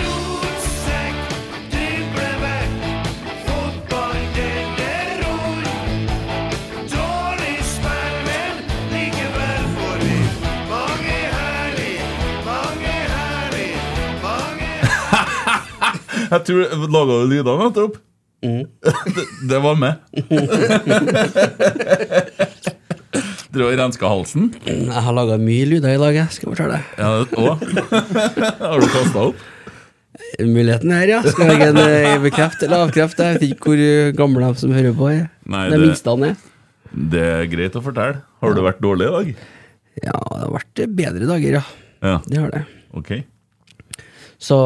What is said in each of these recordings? Rotsekk, driblevekk, fotball deler ror. Dårlig spill, men likevel får vi mange herlig, mange herlig, mange Jeg tror Laga du lyder nettopp? det, det var med. Drev og renska halsen? Jeg har laga mye lyder i dag, jeg, skal jeg fortelle deg. Ja, det òg. Har du kasta opp? Muligheten her, ja. Skal jeg ha en eh, bekreft eller avkreft? Jeg vet ikke hvor eh, gamle de som hører på, er. Nei, de det- minste han er. Det er greit å fortelle. Har du vært dårlig i dag? Ja, det har vært eh, bedre dager, ja. Ja, Det har det. ok. Så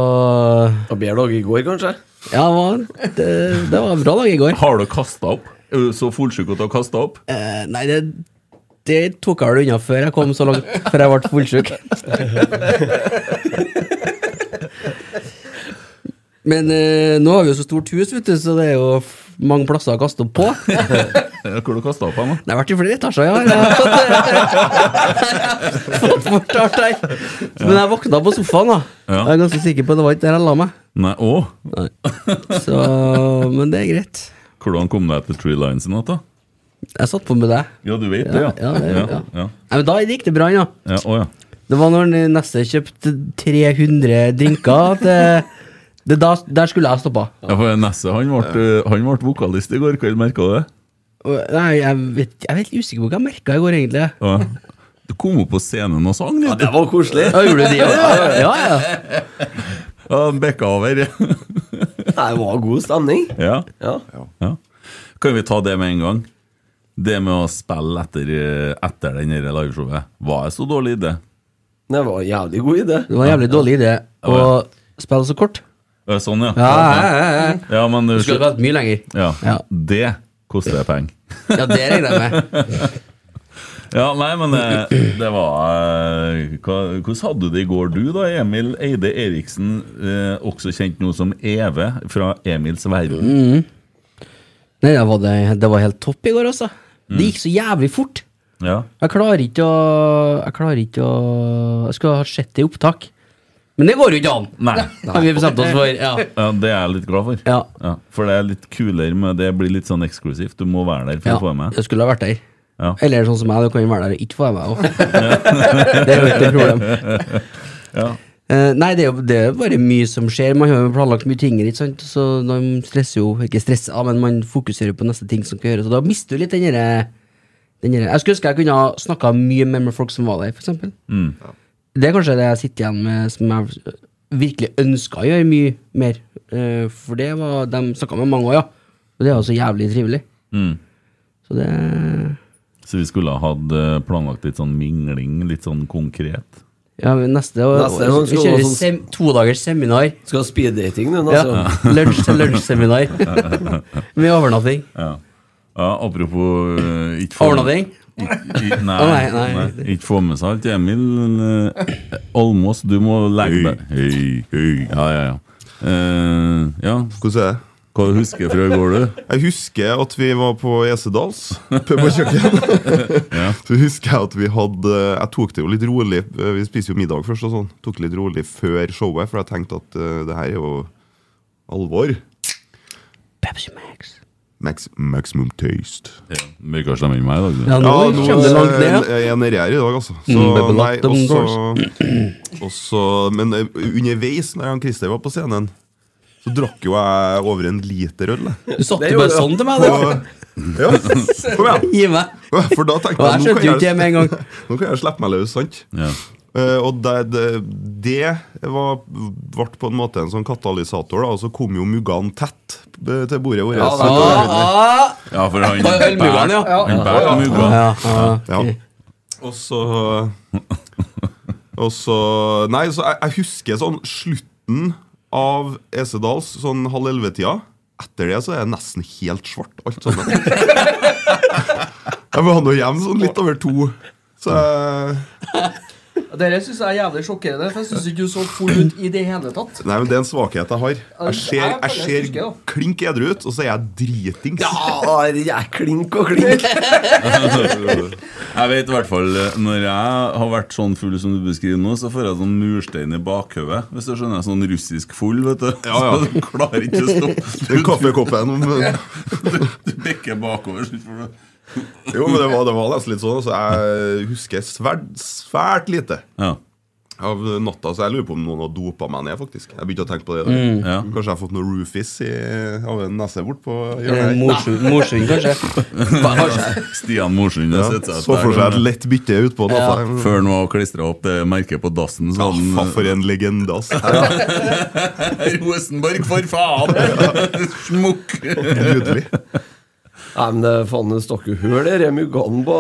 eh, Og bedre dag i går, kanskje? Ja, det var, det, det var en bra dag i går. Har du kasta opp? Er du så fullsjuk at du har kasta opp? Eh, Nei, det, det tok jeg vel unna før jeg kom så langt, før jeg ble fullsjuk. Men eh, nå har vi jo så stort hus, vet du, så det er jo f- mange plasser å kaste opp på. Eh, Hvor du kastet opp hen, da? Det har vært i flere etasjer, ja. Jeg har fått, fått fortalt her. Men jeg våkna på sofaen, da. Ja. Jeg er ganske sikker på at det var ikke der jeg la meg. Nei, å? Så, men det er greit. Hvordan kom du deg til Tree Lines i natt, da? Jeg satt på med deg. Ja, du vet det, ja. Ja, ja, det- ja, ja. ja. Nei, men da gikk det bra, ja. ja, å, ja. Det var når Nesse kjøpte 300 drinker at eh, det, da, Der skulle jeg stoppa. ja for Nesse han ble, han ble vokalist i går kveld, merka du det? Og- Nei, jeg vet, jeg er helt usikker på hva jeg merka i går, egentlig. Ja. Du kom opp på scenen og sang, Ja, vet du. det var koselig. Ja, gjorde du det? Ja, ja, ja. Ja, den bekka over. Nei, Det var god stemning. Ja. Ja. ja. Kan vi ta det med en gang? Det med å spille etter, etter den her liveshowet. Var jeg så dårlig i det? Det var en jævlig god idé. Det var en jævlig dårlig idé å Ja, spille så kort. Ja, Sånn, ja. Ja, ja, ja, ja. Ja, men du, Du skulle spilt mye lenger. ja. Ja. Det koster penger. Ja, det regner jeg med. Ja, nei, men eh, det, det var eh, hva, Hvordan hadde du det i går, du da, Emil Eide Eriksen, eh, også kjent nå som Eve fra Emils verden? Nei, det var, det, det var helt topp i går, altså. Det gikk så jævlig fort. Ja. Jeg klarer ikke å Jeg klarer ikke å Jeg skulle ha sett det i opptak. Men det går jo ikke an! Nei. Har vi bestemt oss for. Ja. Ja, det er jeg litt glad for. Ja. for det er litt kulere, men det blir litt sånn eksklusivt. Du må være der for ja. å få det med. Jeg skulle ha vært der. Ja. Eller sånn som meg, du kan jo være der og ikke få deg med òg. det er jo ikke noe problem. Ja. Eh, nei, det er, jo, det er jo bare mye som skjer. Man har jo planlagt mye ting, ikke sant? så man stresser jo Ikke stresser, ja, men man fokuserer jo på neste ting som skal gjøres, og da mister du litt den derre den derre- Jeg skulle ønske jeg kunne ha snakka mye mer med folk som var der, f.eks. Mm. Det er kanskje det jeg sitter igjen med som jeg virkelig ønska å gjøre mye mer. Eh, for det var De snakka med mange òg, ja. Og det er jo så jævlig trivelig. Mm. Så det Så vi skulle ha hatt eh, planlagt litt sånn mingling, litt sånn konkret. ja, men neste, Neste gang skal Vi du ha kjører sånn- sem, to dagers seminar. Skal ha speeddating nå, Ja. altså. Lunsj til lunsjseminar. Med overnatting. Ja, Apropos eh, ikke få- Overnatting? I- Nei, Å, nei, nei. nei, ikke få med seg alt. Emil eh, Almås, du må legge deg Hei, hei. Ja, ja, ja. Eh, ja. Hvordan er det? Hva husker du fra i går, du? Jeg husker at vi var på Esedals pub og kjøkken. Så husker jeg at vi hadde Jeg tok det jo litt rolig. Vi spiser jo middag først og sånn. Tok det litt rolig før showet, for jeg tenkte at eh, det her er jo alvor. Pepsi Max. Max, maximum taste. Ja, Mørka slem enn meg i dag. du. Ja, nå Ja, nå kommer det langt ned, ja. er eh, jeg nedi her i dag, altså. Så, Mm, bubble nei, up them også, også, men eh, underveis, når han Christer var på scenen, så drakk jo jeg over en liter øl. jeg. Du satt Det jo bare gjorde sånn til meg, Og, du. ja, kom igjen! Gi meg. For da Og tenkte jeg jeg nå skjønte jo kan ikke det jeg, med en gang. nå kan jeg slippe meg løs, sant? Ja. Eh, og det, det, det var, ble på en måte en sånn katalysator, da, og så kom jo muggene tett eh, til bordet vårt. Ja, Ah, så- ja, for han Bare ølmuggene, ja. Han bærer mugga. Ja, ja. Ja. Og så Og så Nei, så jeg, jeg husker sånn slutten av Esedals, sånn halv elleve-tida. Etter det så er det nesten helt svart, alt sammen. jeg var nå hjemme sånn litt over to. Så jeg, Dere syns jeg er jævlig sjokkerende, for jeg syns ikke du så full ut i det hele tatt. nei, men det er en svakhet jeg har. Jeg ser, jeg Jeg føler jeg ser husker, da. klink edru ut, og så er jeg dritings. Ja, jeg er klink og klink. Jeg vet i hvert fall eh, Når jeg har vært sånn full som du beskriver nå, så får jeg sånn murstein i bakhodet. Hvis du skjønner, sånn russisk full, vet du. Ja, ja. Så du klarer ikke å Den stoppe. kaffekoppen om Du, du bikker bakover. så får du- Jo, men det var, det var nesten litt sånn. Altså, jeg husker svært, svært lite. Ja. av natta, så jeg lurer på om noen har dopa meg ned, faktisk. Jeg begynte å tenke på det. Ja. Kanskje jeg har fått noe roofies i, av en nese bort på hjørnet. her. Morsund, Eh, kanskje. Stian Morsund Ja, har sett seg så for seg et der. lett bytte utpå natta. Ja. Før han var klistra opp det merket på dassen. Så han, faen, for en legende, ass. Ja, Rosenborg, for faen! Smukk! Nydelig. Nei, men det eh, faen, det stakk jo hull i de muggene på,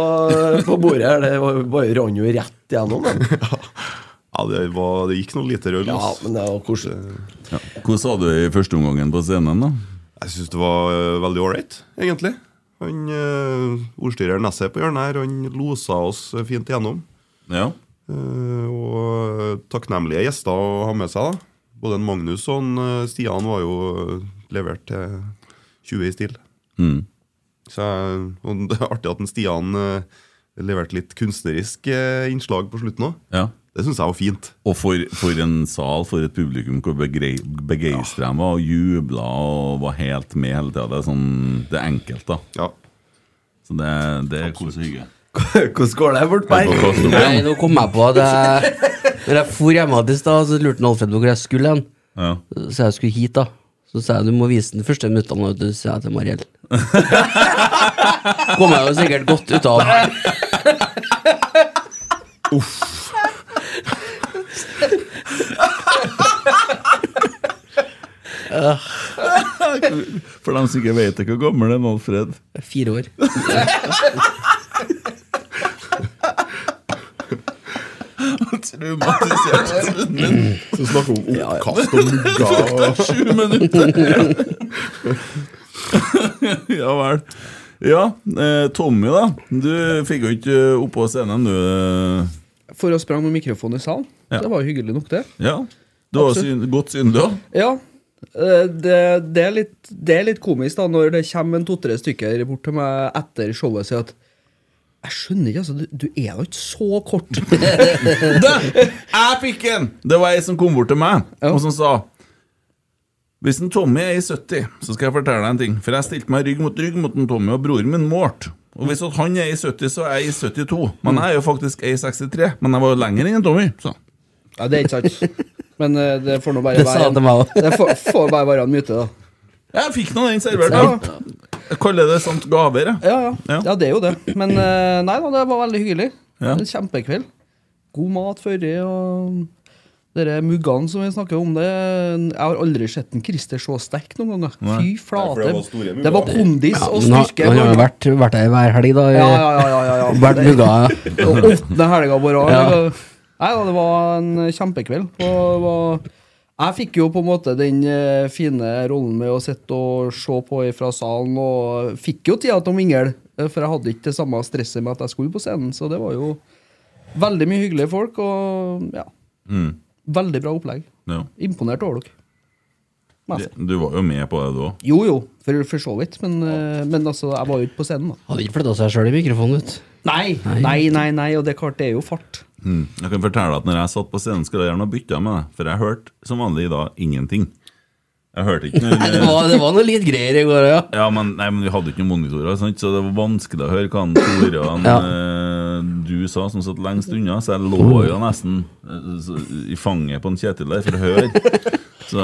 på bordet her. Det var jo bare rant jo rett gjennom. Men. Ja, det, var, det gikk noe lite røll. Ja, ass. men det var koselig. Hvordan sa du i første omgangen på scenen, da? Jeg syns det var eh, veldig ålreit, egentlig. Han eh, ordstyrer Nesset på hjørnet her, han losa oss fint gjennom. Ja. Eh, og takknemlige gjester å ha med seg. da Både en Magnus og en eh, Stian var jo eh, levert til 20 i stil. Så jeg- og det er artig at en Stian eh, leverte litt kunstnerisk eh, innslag på slutten òg. ja. Det syns jeg var fint. Og for, for en sal, for et publikum hvor begeistra de var, og jubla og var helt med hele tida. Det er sånn, det er enkelt, da. Ja. Så det, det er kos og hygge. Hvordan går det bort På der? Karsten. Nei, nå kom jeg på at jeg Når jeg for hjemme i stad, så lurte han Alfred på hvor jeg skulle hen. Ja. Så sa jeg jeg skulle hit, da. Så sa jeg du må vise den første minuttene, og så sa jeg til Mariell. Kom jeg jo sikkert godt ut av. For dem som ikke vet det, hvor gammel er Alfred? Fire år. Traumatisert. Så snakker hun om oppkast og mugger. og- Sju minutter! ja vel. Ja, eh, Tommy, da. Du fikk jo ikke eh, opp på scenen, du. eh, For å sprang med mikrofon i salen. Ja. Det var jo hyggelig nok, det. Ja. Du var syn godt synlig òg. Ja. eh, Det, det, er litt, det er litt komisk da når det kommer en to-tre stykker bort til meg etter showet og sier at jeg skjønner ikke, altså. Du, du er da ikke så kort. Jeg fikk en! Det var ei som kom bort til meg og som sa Hvis en Tommy er i 70, så skal jeg fortelle deg en ting. For jeg stilte meg rygg mot rygg mot en Tommy og broren min målte. Og hvis at han er i 70, så er jeg i 72. Men jeg er jo faktisk i 63. Men jeg var jo lenger enn en Tommy. Så. Ja, det er ikke sant. Men eh, det får nå bare Det sa være han til meg også. Det får, får bare være en myte, da. Jeg fikk nå den servert. da. Jeg kaller det sånt gaver, jeg. Ja, ja. Ja. ja. det er jo det. Men eh, nei da, det var veldig hyggelig. Ja. En kjempekveld. God mat førre og Dere muggene som vi snakker om, det Jeg har aldri sett en Christer så sterk noen ganger. Fy for flate. det var store mugger. Det var kondis og Men han, styrke. han har jo vært, vært der hver helg, da. i- Ja, ja, ja, ja, ja, ja. Vært Det- mugga. og Åttende helga på rad. Ja. eller- Nei da, det var en kjempekveld. Og det var, jeg fikk jo på en måte den eh, fine rollen med å sitte og se på fra salen, og fikk jo tida til å mingle Eh, For jeg hadde ikke det samme stresset med at jeg skulle på scenen. Så det var jo veldig mye hyggelige folk, og ja, Mm. veldig bra opplegg. Ja. Imponert over dere. Mest. Du du var jo med på det, du òg. Jo, jo, for, for så vidt. Men, eh, men altså, jeg var jo ikke på scenen, da. Hadde ikke flytta seg sjøl i mikrofonen, vet du. Nei, nei, nei, nei, og det er klart, det er jo fart. Mm. Jeg kan fortelle at når jeg satt på scenen, skulle jeg gjerne ha bytta med deg, for jeg hørte som vanlig i dag ingenting. Jeg hørte ikke noe Nei, det var, det var noe litt greier i går, ja. Ja, men, nei, men vi hadde ikke noen monitorer, sant? så det var vanskelig å høre hva han Tore og han, Ja. eh, du sa, som satt lengst unna. Så jeg lå Oh. jo nesten eh, så, i fanget på en Kjetil der for å høre. Så,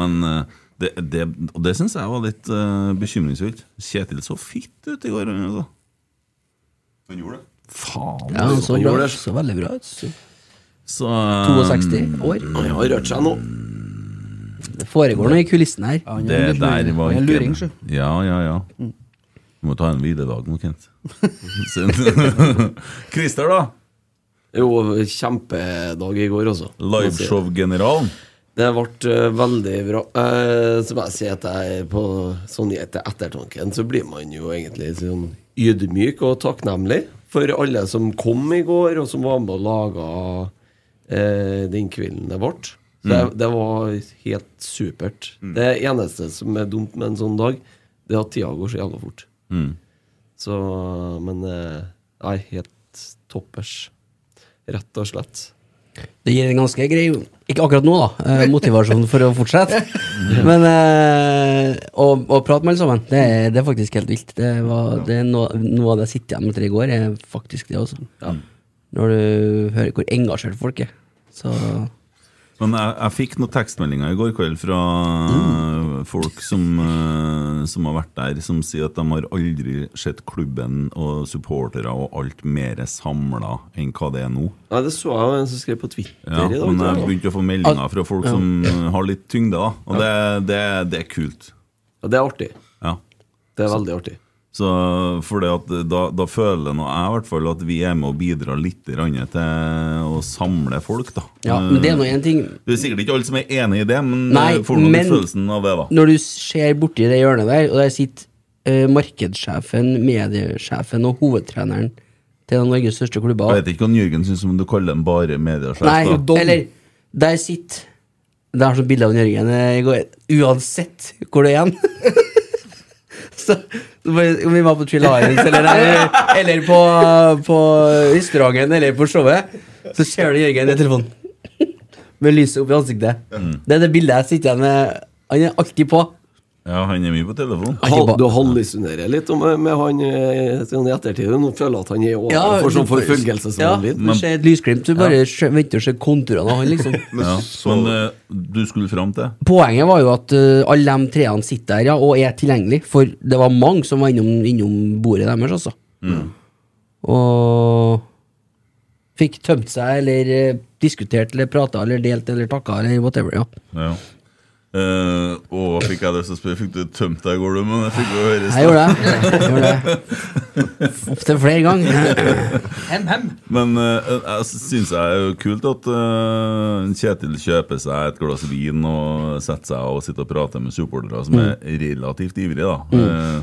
men eh, det, det, og det syns jeg var litt eh, bekymringsfullt. Kjetil så fitt ut i går. Altså. Han gjorde det. Faen. Ja, han så, Han bra, gjorde Mm. ut, så veldig bra ut. Så- Så, eh, 62 år. Han har rørt seg nå. Det foregår noe i kulissen her. det der var ikke luring, sjø. Ja, ja, ja. Du må ta en hviledag nå, Kent. Så- Christer, da? Jo, kjempedag i går, altså. Liveshow-generalen. Det ble eh, veldig bra. Eh, så må jeg si at jeg er på sånn etter ettertanken så blir man jo egentlig sånn ydmyk og takknemlig for alle som kom i går, og som var med og laga eh, den kvelden det ble. Så det, Mm. det var helt supert. Det eneste som er dumt med en sånn dag, det er at tida går så jævla fort. Mm. Så Men eh, Nei, helt toppers. Rett og slett. Det gir en ganske grei Ikke akkurat nå, da. eh, Motivasjon for å fortsette. Men eh, å, å prate med alle sammen, det, er- det er faktisk helt vilt. Det var, det er noe, noe av det jeg sitter igjen med etter i går, er faktisk det også. Mm. Når du hører hvor engasjert folk er. Så Men jeg, jeg fikk noen tekstmeldinger i går kveld fra Mm. øh, folk som, øh, som har vært der, som sier at de har aldri sett klubben og supportere og alt mer samla enn hva det er nå. Nei, det så jeg jo en som skrev på Twitter Ja, i dag. men tror jeg jeg. begynte å få meldinger fra folk Ja. som øh, har litt tyngde, da. Og det, det, det er kult. Ja, det er artig. Ja. Det er veldig artig. Så for det at da, da føler nå jeg i hvert fall at vi er med og bidrar litt grann til å samle folk, da. Eh, Ja, men det er nå en ting Det er sikkert ikke alle som er enig i det, men øh, Nei, får nå men- litt følelsen av det, da. Når du ser borti det hjørnet der, og der sitter eh, markedssjefen, mediesjefen og hovedtreneren til en av Norges største klubber Jeg vet ikke hva Jørgen syns om du kaller den bare mediesjef. Nei, da. eller der sitter Det er sånn bilde av Jørgen eh, i går. Uansett hvor du er hen. Så så bare- Om vi var på Trill Lions eller, der, eller på, på restauranten eller på showet, så ser du Jørgen i telefonen med lyset opp i ansiktet. Det er det bildet jeg sitter igjen med. Han er alltid på. Ja, han er mye på telefon. Hal, du hallusinerer litt om, med han eh, sånn i ettertid. Nå føler jeg at han er overfor sånn forfølgelse som ja, han vil. Du ser et lysglimt, du bare skjø- venter og ser konturene av han, liksom. Ja, men eh, du skulle fram til Poenget var jo at eh, alle de treene sitter der ja, og er tilgjengelig, for det var mange som var innom, innom bordet deres, altså. Og fikk tømt seg, eller eh, diskutert, eller prata, eller delt, eller takka, eller whatever. ja. ja. Eh, å, fikk jeg lyst til å spørre Fikk du tømt deg i går, du? Men jeg fikk jo høre Jeg gjorde det. Jeg gjorde det. Opptil flere ganger. Hem, hem. Men eh, jeg syns det er jo kult at eh, Kjetil kjøper seg et glass vin og setter seg og sitter og prater med supportere som er relativt ivrige, da. Mm.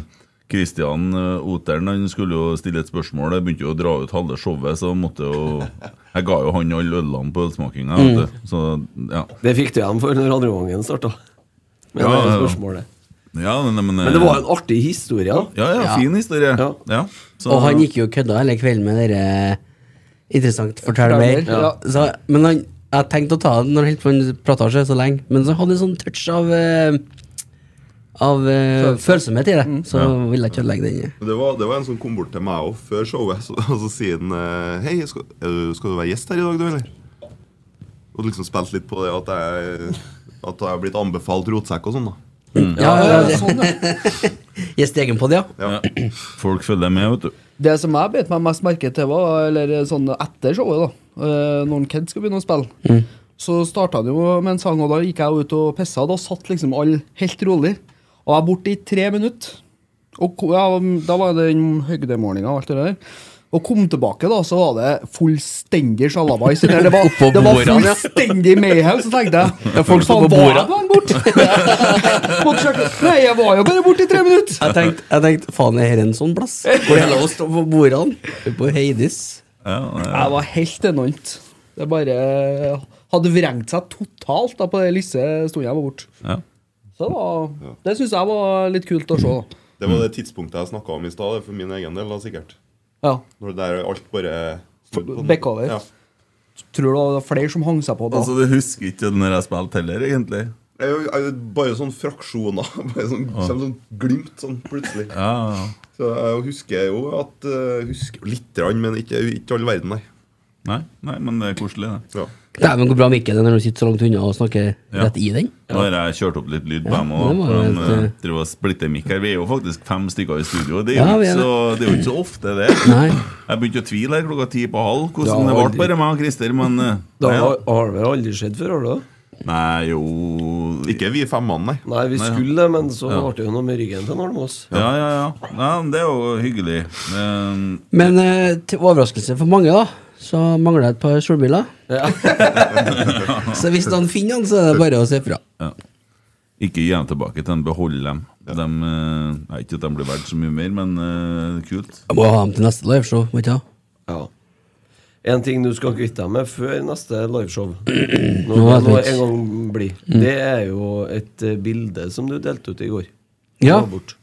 Eh, Kristian eh, Oteren han skulle jo stille et spørsmål. Jeg begynte jo å dra ut halve showet, så måtte jo Jeg ga jo han alle ølene på ølsmakinga. vet du. Så ja. Det fikk du igjen for når andre gangen starta. Men det er jo spørsmålet. Ja, men, men, Men det var en artig historie. da. Ja, ja, fin historie. Ja. så- Og han gikk jo og kødda hele kvelden med dere eh, Interessant, fortell mer. Fortell mer, ja. Så, men han, jeg tenkte å ta den når han holdt på med prata så lenge, men så hadde han en sånn touch av eh, Av eh, følsomhet i det, så Ja. ville jeg ikke ødelegge den. Men Det var, det var en som kom bort til meg også før showet, så, og så sier han eh, Hei, skal, er du- skal du være gjest her i dag, du, eller? Og liksom spilte litt på det at jeg, at jeg er blitt anbefalt rotsekk og sånn, da. Ja, ja, ja, Gjest i egen podd, Mm. ja. Ja. Folk følger med, vet du. Det som jeg bet meg mest merke til, var eller sånn etter showet, da eh, når en Ked skal begynne å spille, så starta han jo med en sang, og da gikk jeg ut og pissa. Da satt liksom alle helt rolig. Og jeg er borte i tre minutter. Og ko- ja, da var det den høydemålinga og alt det der. Og kom tilbake, da, så var det fullstendig sjalabais. Det var, Oppå det var bordene, ja. fullstendig mayhem, så tenkte jeg Ja, folk sto "Faen, på var bordene." jeg bare borte? Måtte sjekke. Nei, jeg var jo bare borte i tre minutter. Jeg tenkte, jeg tenkte faen, er dette en sånn plass? Hvor det er lov å stå på bordene? På Heidis? Jeg var helt enormt. Det bare hadde vrengt seg totalt da, på den lille stunden jeg var borte. Ja. Så det, var- det syns jeg var litt kult å se. da. Det var det tidspunktet jeg snakka om i stad, det er for min egen del, da, sikkert. Ja. Når det der alt bare snudde på den. Bekk over. Ja. Tror du det var flere som hang seg på da? Altså, Du husker ikke når jeg spilte heller, egentlig. Jeg, jeg, bare sånn fraksjoner. Bare sånn, kommer sånn glimt sånn plutselig. Ja, ja. Så jeg husker jo at eh, husker Litt, grann, men ikke, ikke all verden, nei. Nei, nei, men det er koselig, det. Dæven, hvor bra mikken er når du sitter så langt unna og snakker Ja. rett i den. Nå har jeg kjørt opp litt lyd på Ja, dem det òg. var De helt, eh, eh, driver og splitter mikk her. Vi er jo faktisk fem stykker i studio. Det er Ja, jo vi ikke er det. så, det er jo ikke så ofte, det. Nei. Jeg begynte å tvile her klokka ti på halv Ja, hvordan det ble aldri. bare meg og Christer, men eh, Det nei, ja. har, har vel aldri skjedd før, har det? det? Nei, jo Ikke vi fem mann, nei. Nei, vi Nei, ja. skulle det, men så Ja. ble det jo noe med ryggen til Almås. Ja, ja, ja. Nei, men det er jo hyggelig. Men Men eh, til overraskelse for mange, da, så mangler jeg et par solbriller. Ja. Så hvis noen finner den, så er det bare å se fra. Ikke gi dem tilbake til en behold dem. Dem, eh, nei, ikke at de blir verdt så mye mer, men eh, kult. Jeg må ha dem til neste liveshow. må ikke ha? Ja. En ting du skal kvitte deg med før neste liveshow, når Nå er det nå det en litt- gang blir, det er jo et eh, bilde som du delte ut i går. Ja. Det var bort.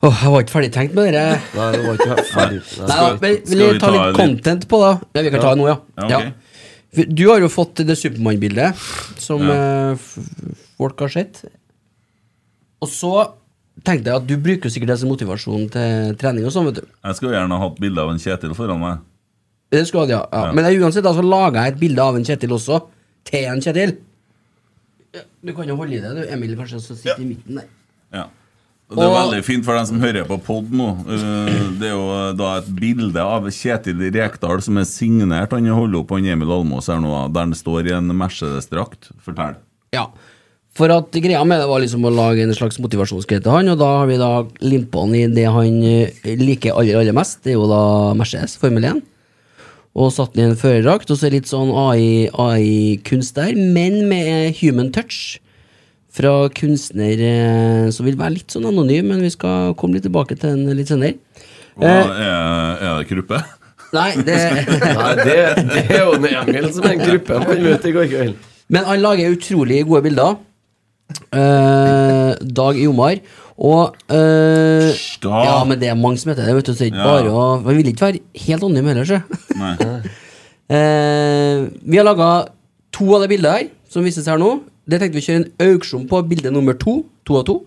Åh, jeg var ikke ferdig tenkt med det. Nei, det var ikke ferdig. Nei, Nei. ja, men skal vil vi jeg ta ta litt litt- content på det? Ja, vi kan ta det nå, ja. Ja, ok. ja. For Du har jo fått det Supermann-bildet som eh, f- f- folk har sett. Og så tenkte jeg at du bruker sikkert det som motivasjon til trening og sånn, vet du. Jeg skulle gjerne hatt bilde av en Kjetil foran meg. Det skulle du, ja. ja. Ja. Men jeg- uansett, da, så laga jeg et bilde av en Kjetil også. Til en Kjetil. Ja, Du kan jo holde i det, du, Emil, kanskje, som sitter i midten der. Ja. Og det er Og- veldig fint for dem som hører på pod nå. Eh, Det er jo eh, da et bilde av Kjetil Rekdal som er signert. Han holder opp han Emil Almås her nå, der han står i en Mercedes-drakt. Fortell. Ja. For at greia med det var liksom å lage en slags motivasjonsgreie til han, og da har vi da limt på han i det han eh, liker aller, aller mest, det er jo da Mercedes Formel 1. Og satt han i en førerdrakt, og så litt sånn AI-kunst der, men med human touch. Fra kunstner eh, som vil være litt sånn anonym, men vi skal komme litt tilbake til den litt senere. Og Eh. da er, er det gruppe? Nei, det Nei, det, det er jo en Emil som er en gruppe han møtte i går kveld. Men han lager utrolig gode bilder. Eh, Dag Jomar. Og eh, da. Ja, men det er mange som heter det. Vet du, så det er ikke Ja. bare å Vi vil ikke være helt anonym heller, sjø. Nei. Eh, vi har laga to av de bildene her, som vises her nå. Det tenkte vi å kjøre en auksjon på bilde nummer to. To av to.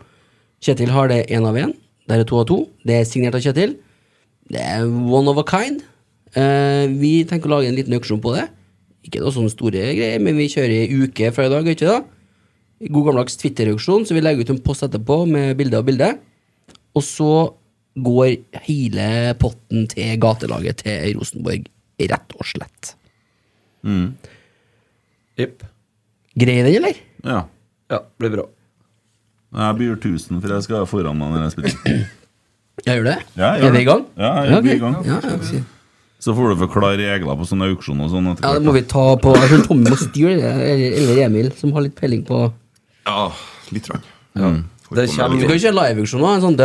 Kjetil har det én av én. Der er to av to. Det er signert av Kjetil. Det er one of a kind. Eh, vi tenker å lage en liten auksjon på det. Ikke noe sånne store greier, men vi kjører i uke fra i dag, gjør ikke det? God gammeldags Twitter-auksjon, så vi legger ut en post etterpå med bilde av bilde. Og så går hele potten til gatelaget til Rosenborg, rett og slett. Mm. Jepp. Greier den, eller? Ja. Ja, blir bra. Jeg byr 1000, for jeg skal ha foran meg når jeg spiller. Jeg gjør det? Ja, jeg gjør er vi det. i gang? Ja, jeg er ok. i gang. Ja, ja, Så får du forklare regler på sånne auksjoner og sånn. etter ja, det hvert. må vi ta på Jeg tror Tommy må styre det, eller- eller Emil, som har litt peiling på Ja, litt rann. Det Vi kommer skal jo kjøre liveauksjon nå. En sånn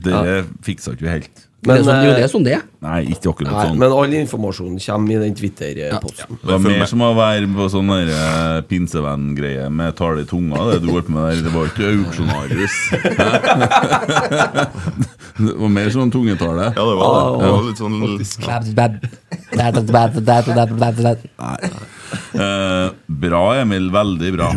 Det fiksa ikke vi helt. Men, Men, det er sånn, jo, eh, det er sånn det er. Nei, ikke akkurat Nei, sånn. men all informasjon kommer i den Twitter-posten. Det var mer som å være på sånn der, eh, pinsevenn-greie med tale i tunga. Det du holdt på med der, det var ikke auksjonarius. det var mer sånn som en tungetale. Ja, det var det. det var litt sånn ja. Eh, bra, Emil. Veldig bra. Eh,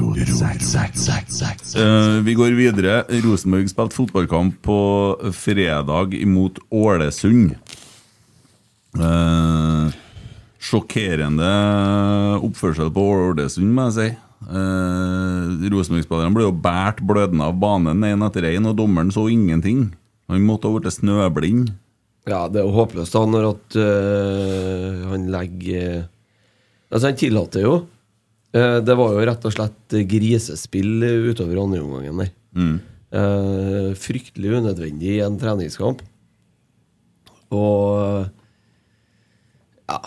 vi går videre. Rosenborg spilte fotballkamp på fredag imot Ålesund. Eh, sjokkerende oppførsel på Ålesund, må jeg si. Eh, Rosenborg-spillerne ble jo båret blødende av banen én etter én, og dommeren så ingenting. Han måtte ha blitt snøblind. Ja, det er jo håpløst da når at øh, han legger Altså, han tillater jo. Eh, det var jo rett og slett grisespill utover andre omgangen der. Eh, fryktelig unødvendig i en treningskamp. Og ja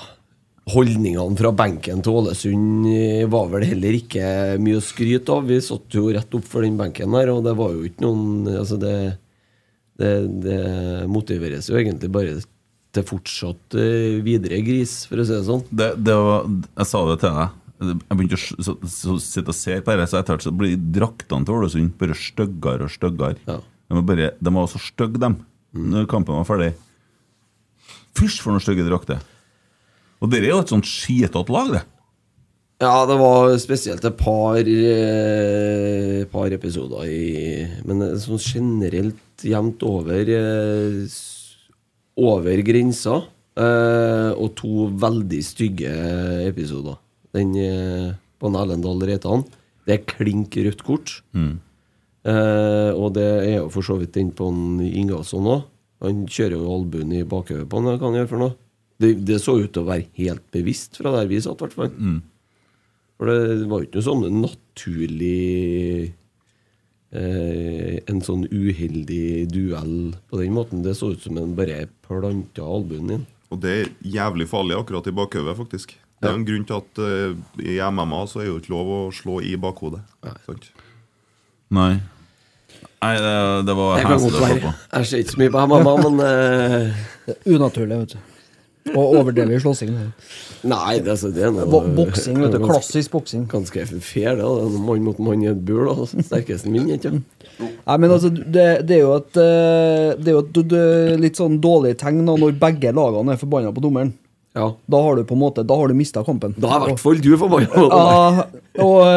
Holdningene fra benken til Ålesund eh, var vel heller ikke mye å skryte av. Vi satt jo rett opp for den benken der, og det var jo ikke noen Altså, det, det, det motiveres jo egentlig bare til fortsatt eh, videre gris, for å si det sånn. Det, det var, jeg sa det til deg. Jeg begynte å s- så- så sitte og se på dette, så etter hvert så blir draktene til Ålesund bare styggere og styggere. De, var bare, de var så stygge, de, Mm. når kampen var ferdig. Fysj, for noen stygge drakter! Og dere er jo et sånt skitete lag, det. Ja, det var spesielt et par, eh, par episoder i Men eh, sånn generelt jevnt over eh, s- Over grensa. Eh, og to veldig stygge episoder. Den eh, på en Erlendal Reitan. Det er klink rødt kort. Mm. Eh, og det er jo for så vidt den på en Ingasson òg. Han kjører jo albuen i bakhodet på han, hva kan han gjøre for noe? Det, det så ut til å være helt bevisst fra der vi satt, i hvert fall. Mm. For det var jo ikke noe sånn naturlig eh, En sånn uheldig duell på den måten. Det så ut som en bare planta albuen inn. Og det er jævlig farlig akkurat i bakhodet, faktisk. Det er jo en grunn til at eh, i MMA så er jo ikke lov å slå i bakhodet. Sant? Nei. Nei, det, det var Det kan heslig godt å se være. på. Jeg ser ikke så mye på MMA, men eh, Det er Unaturlig, vet du. Og overdrevet i slåssing. Nei, det, altså, det er noe Bo- boksing, vet du, klassisk boksing. Ganske fair, det. da. Det er Mann mot mann i et bur, da. Sterkesten vinner, ikke Nei, men altså, det, det er jo et, eh, det er jo et d- d- litt sånn dårlig tegn da, når begge lagene er forbanna på dommeren. Da har du på en måte, da har du mista kampen. Da er i hvert fall du forbanna på dommeren. Ja, og eh,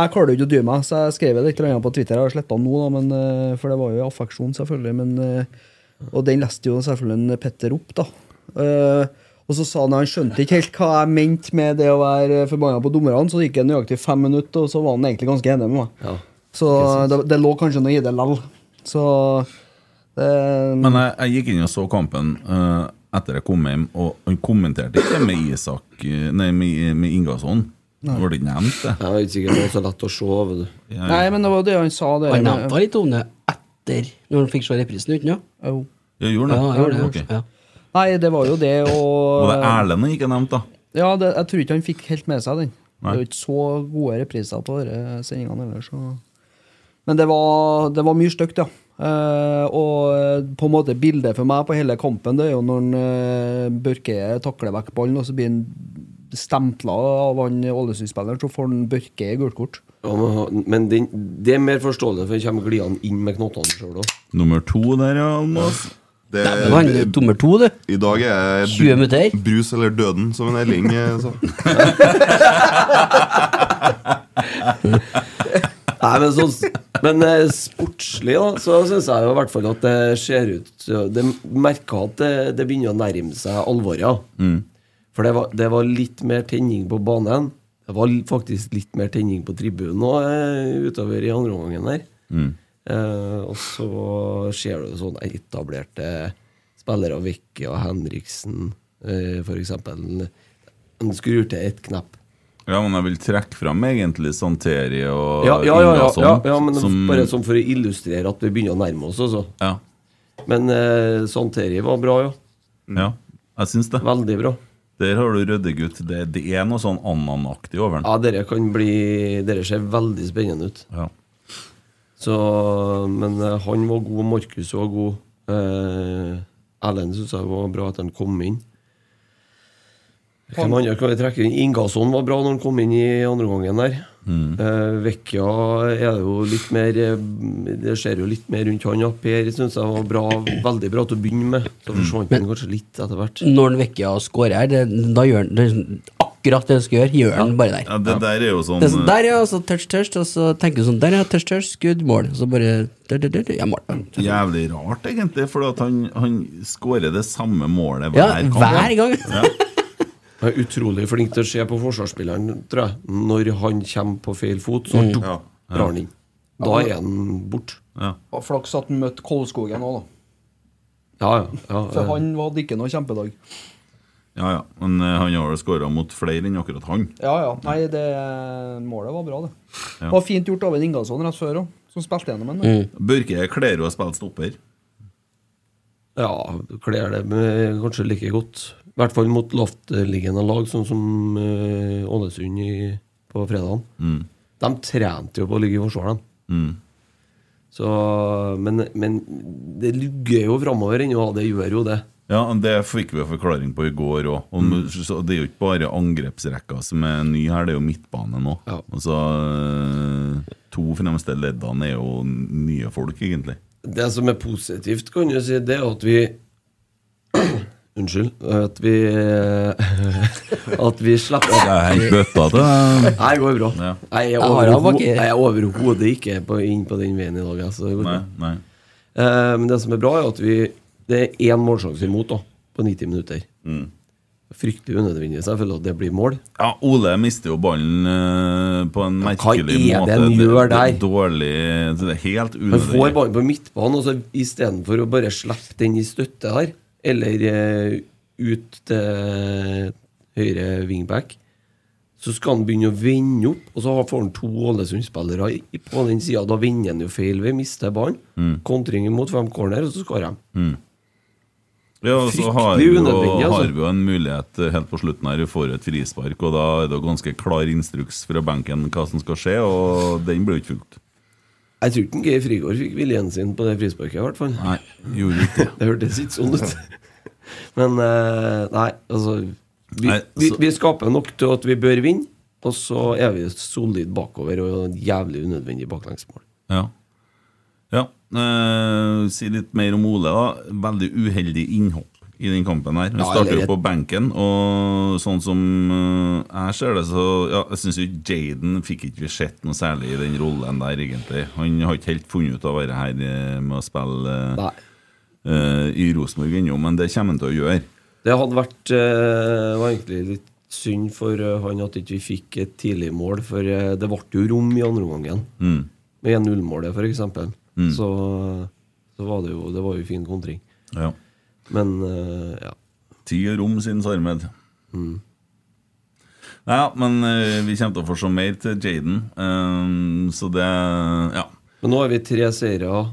jeg klarer jo ikke å dy meg, så jeg skrev det litt eller annet på Twitter. Jeg har sletta den nå, da, men, eh, for det var jo i affeksjon, selvfølgelig. Men, eh, og den leste jo selvfølgelig en Petter opp, da. Eh, og så sa han han skjønte ikke helt hva jeg mente med det å være forbanna på dommerne. Så det gikk det nøyaktig fem minutter, og så var han egentlig ganske enig med meg. Så det, det lå kanskje noe i det likevel. Så det- Men jeg, jeg gikk inn og så kampen eh, etter jeg kom hjem, og han kommenterte ikke med Isak eh, Nei, med, med Ingasson. Nei. Det ble ikke nevnt, det. Jeg vet ikke, det var så lett å se, vet du. Nei, men det var det han sa. Det, Han nevnte litt om det etter, når han fikk se reprisen, gjorde han ikke? Jo. Jeg gjorde det. Ja, jeg gjorde det. Ok. Ja. Nei, det var jo det og Og det er Erlend han ikke nevnte, da. Ja, det, jeg tror ikke han fikk helt med seg den. Nei. Det er jo ikke så gode repriser på disse sendingene ellers. Så. Men det var, det var mye stygt, ja. Eh, og eh, på en måte bildet for meg på hele kampen Det er jo når han, eh, Børke takler vekk ballen, og så blir han stempla av han Ålesund-spilleren, så får han Børke i gult kort. Ja, men ha- men den, det er mer forståelig, for han kommer glidende inn med knottene sjøl òg. Nummer to der, ja, Almås. Det, Nei, men han er nummer to, du. I dag er 20 minutter. bru- brus Eh, eller døden, som en Elling eh, sa. Nei, men, sånn- men eh, sportslig, da, så syns jeg jo i hvert fall at det ser ut Det merker at det, det begynner å nærme seg alvoret. ja. Mm. For det var, det var litt mer tenning på banen. Det var l- faktisk litt mer tenning på tribunen òg eh, utover i andre omgangen der. Mm. Eh, og så ser du sånn etablerte spillere av Vicky og Henriksen, eh, for eksempel. En skrur til ett knepp. Ja, men jeg vil trekke fram egentlig Santeri og Ja, ja, ja, ja, Ingasson. ja, ja men som- bare sånn for å illustrere at vi begynner å nærme oss, altså. Men eh, Santeri var bra, ja. Mm. Ja, jeg syns det. Veldig bra. Der har du Røddegutt. Det, det er noe sånn ananaktig over den. Ja, dere kan bli Dere ser veldig spennende ut. Så Men eh, han var god, Markus var god. Eh, Erlend syns jeg var bra at han kom inn. Hvem andre kan vi trekke inn? Ingasson var bra når han kom inn i andre gangen der. Mm. Vekkia er jo litt mer eh, Det skjer jo litt mer rundt han. Ja. Per syns jeg var bra, veldig bra til å begynne med. Så forsvant han kanskje litt etter hvert. Når han vekker og scorer her, det- da gjør han det, er sånn akkurat det han skal gjøre. Gjør han bare der. Ja, det der er jo sånn Det er sånn, der, ja, og så touch, touch, og så tenker du sånn Der, ja, touch, touch, skudd, mål. Så bare der, der, der, der, Ja, mål. Jævlig rart, egentlig, for at han, han skårer det samme målet hver Ja, kamp. hver gang. Jeg er utrolig flink til å se på forsvarsspilleren, tror jeg. Når han kommer på feil fot, så Mm. dunk, Ja. drar han inn. Da er han borte. Ja. Og Flaks at han møtte Kolskogen òg, da. Ja, ja. For han hadde ikke noe kjempedag. Ja, ja, men eh, han har jo skåra mot flere enn akkurat han. Ja, ja. Nei, det målet var bra, det. Ja. Det var fint gjort av en Ingasson rett før òg. som spilte gjennom den. Mm. Børke kler jo å spille stopper. Ja, kler det med kanskje like godt. I hvert fall mot lavtliggende lag, sånn som eh, Ålesund i, på fredagen. Mm. De trente jo på å ligge i forsvar, de. Mm. Så, men, men det lugger jo framover ennå, det gjør jo det. Ja, Det fikk vi jo forklaring på i går òg. Og Mm. så Det er jo ikke bare angrepsrekka som er ny her, det er jo midtbane nå. Og så eh, To fremste leddene er jo nye folk, egentlig. Det som er positivt, kan du si, det er at vi Unnskyld. At vi At vi slipper Jeg henter bøtta til deg. Nei, det går bra. Ja. Jeg Jeg er har overho- avbakker. jeg er overhodet ikke på, inn på den veien i dag. Altså, det går bra. Nei, nei. Eh, men det som er bra, er at vi, det er én målsjanse imot da, på 90 minutter. Fryktelig unødvendig, selvfølgelig, at det blir mål. Ja, Ole mister jo ballen eh, på en hva merkelig er måte. det han gjør det er der? dårlig Det er helt Man får unødvendig. ballen på midtbanen, altså, og så istedenfor å bare slippe den i støtte her, eller eh, ut til høyre wingback, så skal han begynne å vende opp, og så har- får han to Ålesund-spillere i- på den sida. Da vender han jo feil ved, mister ballen. Mm. Kontring imot fem corner, og så skårer de. Mm. Ja, og så har vi, Fryktelig jo, unødvendig, altså. har vi jo en mulighet eh, helt på slutten her. Vi får et frispark, og da er det jo ganske klar instruks fra benken hva som skal skje, og den blir jo ikke fulgt. Jeg tror ikke Geir Frigård fikk viljen sin på det frisparket, i hvert fall. Nei, gjorde ikke det. hørtes ikke sånn ut. Men eh, nei, altså vi, Nei, vi, så- vi skaper nok til at vi bør vinne, og så er vi solid bakover og jævlig unødvendig baklengsmål. Ja. ja. Eh, si litt mer om Ole. da Veldig uheldig innhopp i den kampen. her Han Ja, starter jo eller et- på benken, og sånn som eh, jeg ser det, så ja, Jeg syns Jaden fikk ikke sett noe særlig i den rollen der, egentlig. Han har ikke helt funnet ut av å være her eh, med å spille eh, eh, i Rosenborg ennå, men det kommer han til å gjøre. Det hadde vært eh, var egentlig litt synd for eh, han at ikke vi fikk et tidlig mål, for eh, det ble jo rom i andre omgangen. Mm. Med 1-0-målet, f.eks. Mm. Så, så var det jo Det var jo fin kontring. Ja. Men eh, ja. Tid og rom, synes Armed. Ja, men eh, vi kommer til å få se mer til Jaden, eh, så det Ja. Men nå har vi tre seire,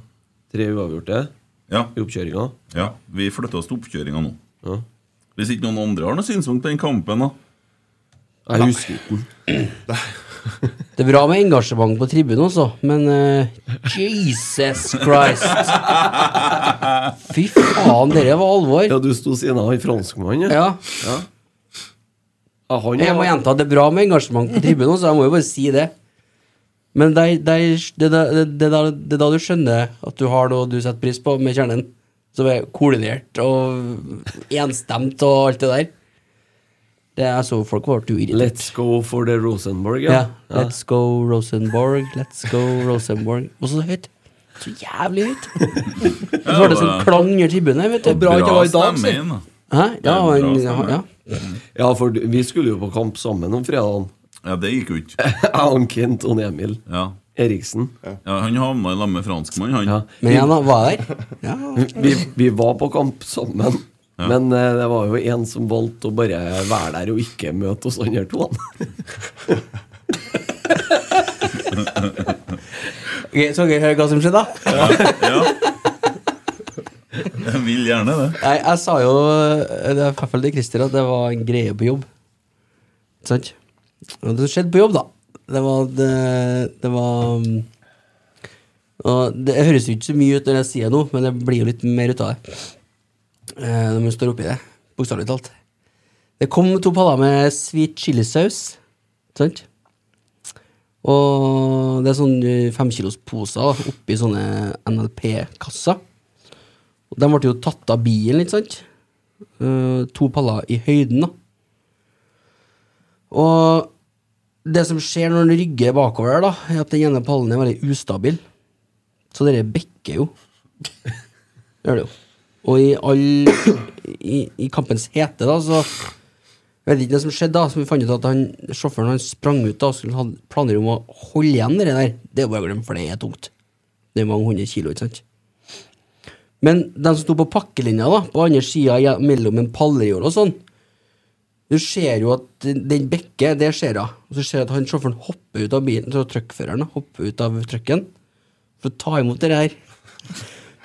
tre uavgjorte i oppkjøringa. Ja, Vi flytter oss til oppkjøringa nå. Ja. Hvis ikke noen andre har noe synspunkt på den kampen, da. Jeg husker ikke den. Det er bra med engasjement på tribunen også, men eh, Jesus Christ! Fy faen, dere var alvor. Ja, du sto siden av han franskmannen, ja. ja. Ja, han Jeg må var- gjenta at det er bra med engasjement på tribunen også, jeg må jo bare si det. Men det er, det, er, det, er, da- det, er da, det er da du skjønner at du har noe du setter pris på med kjernen. Som er koordinert og enstemt og alt det der. Det er så folk ble jo irritert. Let's go for the Rosenborg, Ja. ja. Ja. Let's go Rosenborg, let's go Rosenborg. Og så høyt. Så jævlig høyt. Og så var det sånn klang under tribunen. her, Vet du. Og bra ikke var i dag, si. Hæ? Ja, han, ja. Ja, for du- vi skulle jo på kamp sammen om fredagen. Ja, det gikk jo ikke. Jeg, Kent og Emil Eriksen. Ja, Han havna i lag med franskmann, han. Men igjen, da, hva er det? Vi, vi var på kamp sammen. Ja. Men eh, det var jo en som valgte å bare være der og ikke møte oss andre to. Ok, Skal dere høre hva som skjedde, da? Jeg vil gjerne det. Nei, jeg sa jo eh, det er i hvert fall til Christer at det var en greie på jobb. Ikke sant? Og det som skjedde på jobb, da, det var Det, det var mm, og Det høres jo ikke så mye ut når jeg sier det nå, men det blir jo litt mer ut av det. Eh, når man står oppi det, bokstavelig talt. Det kom to paller med sweet chilisaus. Ikke sant? Og det er sånn, eh, sånne femkilosposer oppi sånne NLP-kasser. Og de ble jo tatt av bilen, ikke sant? Eh, to paller i høyden, da. Og det som skjer når den rygger bakover, da, er at den ene pallen er veldig ustabil. Så dere bekker jo. Gjør det jo. Og i all i, i kampens hete, da, så jeg vet ikke det som skjedde da, så vi fant ut at han, sjåføren han sprang ut da, og skulle ha planer om å holde igjen det der. Det er jo bare å glemme, for det er tungt. Det er mange hundre kilo, ikke sant? Men de som sto på pakkelinja, da, på andre sida mellom en pallejord og sånn Du ser jo at den bekker, det ser jeg. Og så ser jeg at han sjåføren hopper ut av bilen, så truckføreren da, hopper ut av trucken for å ta imot det her.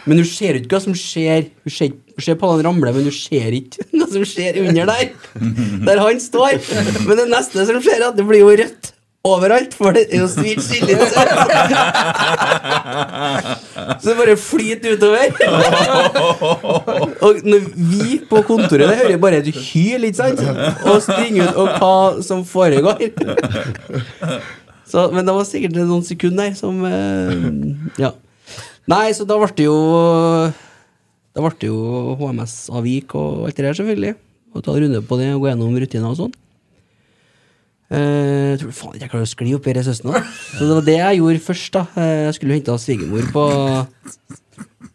Men hun ser ikke hva som skjer. Hun ser, hun ser på han ramle, men hun ser ikke hva som skjer under der. Der han står. Men det neste som skjer, er at det blir jo rødt overalt, for det er jo svirt skille. Så det bare flyter utover. Og når vi på kontoret der hører bare et hyl, ikke sant? Og springer ut, og hva som foregår. Så, men det var sikkert noen sekunder der som eh, Ja. Nei, så da ble det jo Da ble det jo HMS-avvik og alt det der, selvfølgelig. Og ta en runde på det og gå gjennom rutiner og sånn. Eh, jeg tror faen ikke jeg klarer å skli opp i det søsteren nå. Så det var det jeg gjorde først. da Eh, Jeg skulle hente svigermor på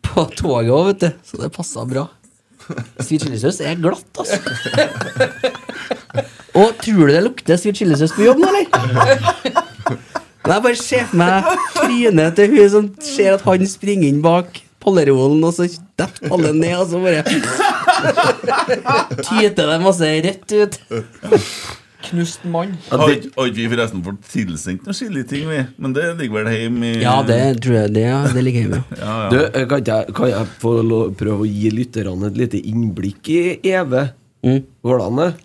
På toget òg, vet du. Så det passa bra. Sweet chilisaus er glatt, altså. Og tror du det lukter sweet chilisaus på jobb nå, eller? Men jeg bare ser for meg trynet til hun som ser at han springer inn bak pollerolen, og så detter alle ned, og så bare tyter det masse rødt ut. Knust mann. Har ikke har ikke vi forresten fått tilsendt noen chiliting, vi? Men det ligger vel hjemme i Ja, det tror jeg det, det ligger hjemme. Ja, ja. Du, eh, kan, ikke jeg, kan jeg få lov, prøve å gi lytterne et lite innblikk i Eve? Mm. Går det an, det?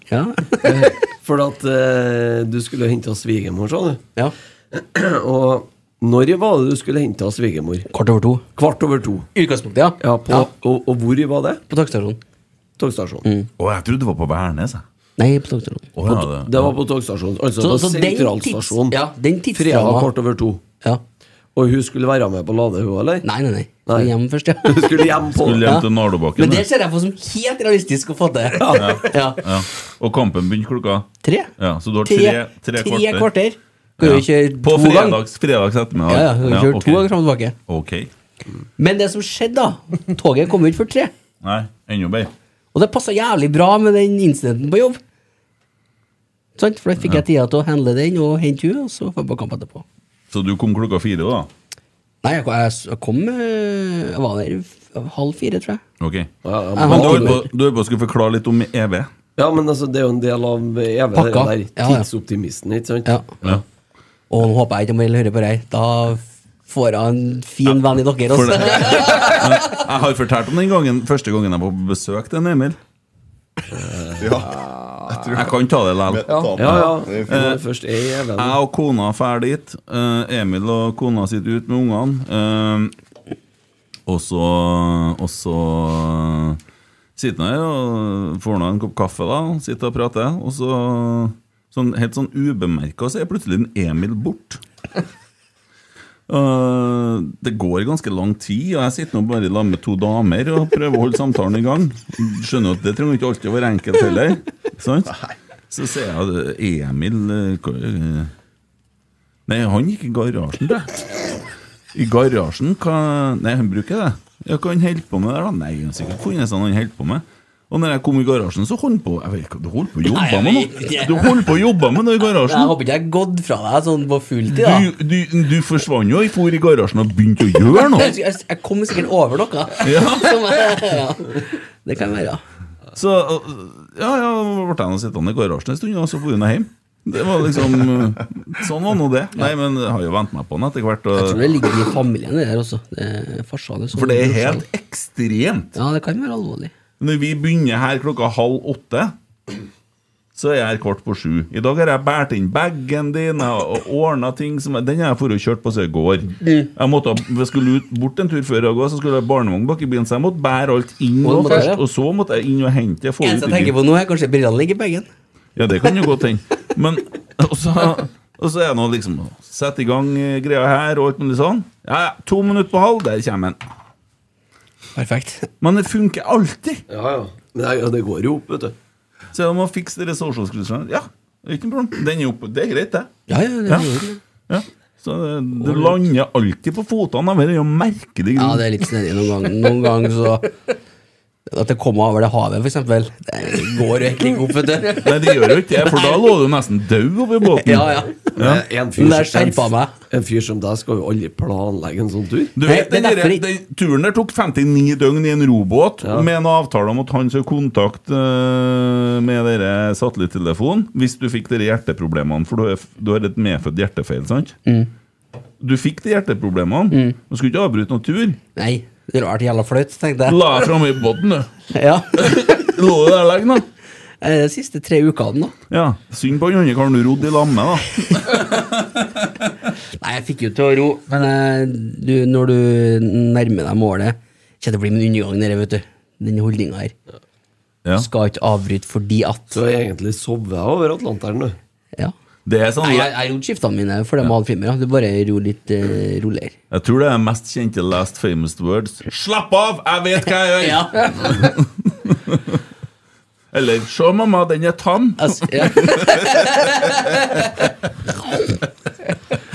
Eh, For at eh, du skulle hente oss svigermor, sa du? Og når var det du skulle hente oss svigermor? Kvart over to. Kvart over to. Utgangspunktet, ja. Mm. på, Og, og hvor var det? På togstasjonen. Togstasjonen. Å, jeg trodde det var på Værnes, jeg. Nei, på togstasjonen. Å, ja, det. Det var på togstasjonen, altså på sentralstasjonen. ja, den Fredag tidsramma kvart over to. Ja. Og hun skulle være med på Lade, hun, eller? Nei, nei, nei. Skal hjem først, ja. Hun skulle hjem på Skulle hjem til Men Nardobakken. det du. ser jeg på som helt realistisk å få til. Ja. Ja. Og kampen begynte klokka Tre. Ja, Så du har Tre, tre, tre kvarter. kvarter. Kan jo kjøre På to ganger. fredags, fredags ettermiddag. Ja, ja, kan kjøre ok. to ganger fram og tilbake. Ok. Men det som skjedde, da Toget kom jo ikke før tre. Nei, enda bedre. Og det passa jævlig bra med den incidenten på jobb. Sant? For da fikk jeg tida til å handle den og hente henne, og så var jeg på kamp etterpå. Så du kom klokka fire, da? Nei, jeg, jeg, jeg kom eh, Jeg var der f- halv fire, tror jeg. Ok. Ja, ja, Jeg men, Men var du holdt tidlig. på, du holdt på å skulle forklare litt om E EV. ja, men altså, det er jo en del av Eve, det Pakka. der Ja, ja. tidsoptimisten, ikke sant? Ja. Ja. Og nå håper jeg ikke Amel hører på deg. Da får jeg en fin venn i dere For det. også. Jeg har fortalt om den gangen, første gangen jeg var på besøk til en Emil. Ja. Jeg kan ta det likevel. Ta den. Ja, ja. Det er Når fint. det først er i Even. Jeg og kona drar dit. eh, Emil og kona sitter ute med ungene. eh, og så Og så sitter han her og får nå en kopp kaffe, da. Sitter og prater. Og så, sånn, helt sånn ubemerka, så er plutselig en Emil bort. Eh, det går ganske lang tid, og jeg sitter nå bare i lag med to damer og prøver å holde samtalen i gang. Skjønner at det trenger ikke alltid å være enkelt heller. Sant? Så ser jeg at Emil eh, hva- eh, Nei, han gikk i garasjen, da. I garasjen? Hva Nei, han bruker det. Ja, Hva han holder på med der, da? Nei, han har sikkert funnet seg noe han holder på med. Og når jeg kom i garasjen, så holdt han på Jeg vet ikke, Du holdt på å jobbe med noe Du holdt på å jobbe med noe i Jeg garasjen. håper ikke jeg har gått fra deg sånn på fulltid, da. Du, du, du forsvant jo, jeg for i garasjen og begynte å gjøre noe. Jeg, jeg, jeg kom sikkert over noe. Ja. Som jeg- ja. Det kan være. Så øh, ja, ja, ble jeg nå sittende i garasjen en stund, og så dro jeg hjem. Det var liksom øh, Sånn var nå det. Nei, men jeg har jo vent meg på den etter hvert. Jeg tror Og, det ligger i familien, det der også. Det er farsan, for det er helt ekstremt. Ja, det kan være alvorlig. Når vi begynner her klokka halv åtte, så er jeg her kvart på sju. I dag har jeg båret inn bagen din jeg har ordna ting som jeg- Den har jeg for og kjørt på siden i går. Jeg måtte, ha- jeg skulle ut bort en tur før jeg går, så skulle jeg ha barnevogn bak i bilen, så jeg måtte bære alt inn Må du nå bære, først. ja. Og så måtte jeg inn og hente det. få det Eneste ut i jeg tenker bilen. på nå, er kanskje brillene ligger i bagen. Ja, det kan jo godt hende. Men og så, og så er det nå liksom å Sette i gang eh, greia her og alt mulig sånn. Ja, to minutter på halv, der kommer den. Perfekt. Men det funker alltid! Ja, ja. Men det, ja, det går jo opp, vet du. Så jeg må fikse de social skills-ene. Ja, det er ikke noe problem. Den er oppe. Det er greit, det. Ja, ja, det, Ja. er jo- Ja. Så eh, du lander alltid på fotene. Det er jo merkelig ja, grunn. det er litt snedig noen ganger. Noen ganger så At det kommer over det havet, for eksempel. Det går jo egentlig ikke opp, vet du. Nei, det gjør jo ikke det, for da lå du nesten død oppi båten. Ja, ja. Men En fyr, Men det som- skjerpa meg. en fyr som deg skal jo aldri planlegge en sånn tur. Nei, Du det vet, den, er der, derfor ikke- den turen der tok 59 døgn i en robåt med en avtale om at han skulle kontakte øh, med dere Mm. satellittelefonen hvis du fikk dere hjerteproblemene, for du, er, f- du har et medfødt hjertefeil, sant? Du fikk de hjerteproblemene. Du skulle ikke avbryte noen tur. Nei, det er rart jævla flaut, tenkte jeg. La deg framme i båten, du. Ja. Lå du der lenge, da? Eh, De siste tre ukene, da. Ja. Synd på han andre karen du rodde i lag med, da. Nei, jeg fikk jo til å ro, men eh, du, når du nærmer deg målet Kjenner det blir min undergang, dere, vet du. Denne holdninga her. Skal ikke avbryte fordi at Du har egentlig sovet over Atlanteren, du. Ja. Det er sånn Nei, jeg, jeg rodde skiftene mine for dem hadde filmer. Ja. Det bare ro litt eh, roligere. Jeg tror det er mest kjente last famous words. Slapp av! Jeg vet hva jeg gjør! Eller Se, mamma, den er tam! Altså, ja.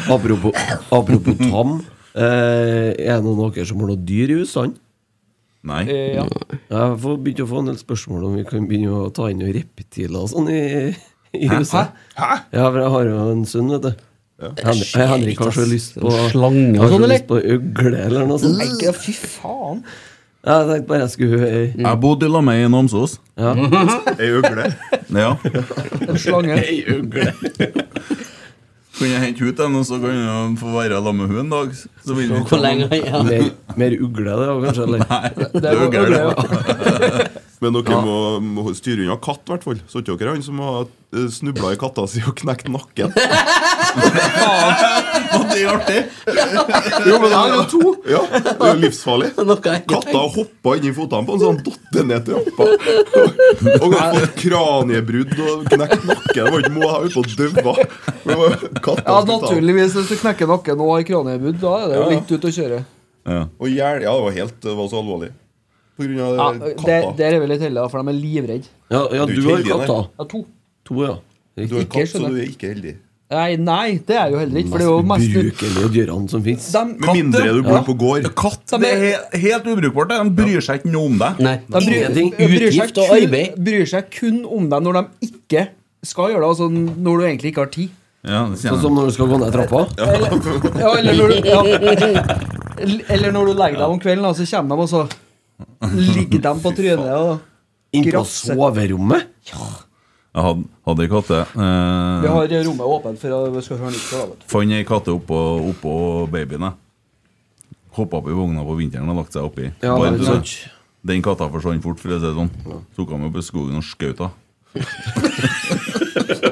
Apropos, apropos tam. Eh, er det noen av dere som har noe dyr i husene? Nei. Jeg får begynt å få en del spørsmål om vi kan begynne å ta inn noen reptiler og sånn i, i huset. Ja, for jeg har jo en sønn, vet du. Hen- Henrik har så lyst på Slange og har så sånn, eller? lyst på øgle eller noe sånt. Ja, fy faen. Jeg tenkte bare jeg skulle eh, Jeg bodde i lag med ei i Namsos. Ei ugle. Ja. En slange. Ei øgle. Kan jeg hente ut den, og så kan jeg få være sammen med henne en dag? Så vil vi Hvor lenge ja. Mer, mer ugle, det var kanskje? Eller? Det er jo ugle, gærent. Men dere må, må styre unna katt, i hvert fall. Så ikke dere han som har snubla i katta si og knekt nakken? Og det er artig! Jo, men det er jo to! Ja, det er jo livsfarlig. Noe jeg ikke Katta hoppa inni fotene på han, så han datt ned trappa. Og han fått kraniebrudd og knekt nakken. Det var ikke må ha ut på døva. Det var Ja, katta som skulle ta han. naturligvis. Hvis du knekker nakken og har kraniebrudd, da er det jo litt ut å kjøre. Og hjel, ja, det var helt det var så alvorlig. På grunn av Ja, katta. der, der er vi litt heldige, for de er livredde. Ja, ja, Du er du ikke har heldig, nei. katta. Ja, to. To, ja. du har ikke, katt, så skjønner. du er ikke heldig. Nei, nei, det er jo heller ikke, for det er jo Mest mest brukelige dyrene som fins. De, Med mindre du bor på gård. Katt det er he- helt ubrukbart. det. De bryr seg ikke noe om deg. Nei. de bryr, Ingenting. bryr, seg Utgift og kun, arbeid. bryr seg kun om deg når de ikke skal gjøre det, altså når du egentlig ikke har tid. Ja, det sier Sånn jeg. som når du skal gå ned trappa. Ja, eller, når du, ja. eller når du legger deg om kvelden, da, så kommer de, og så ligger de på trynet. Og Inn på Grafse. soverommet. Jeg hadde, hadde ei katte. vi Eh, har rommet åpent for at vi skal høre nytt. fra da, vet du. fant ei katte oppå, oppå babyen. Hoppa opp i vogna på vinteren og lagt seg oppi. Ja, Bare det er du sånn- sant. vet, den katta forsvant fort, for å si det sånn. Tok han med opp i skogen og skjøt henne.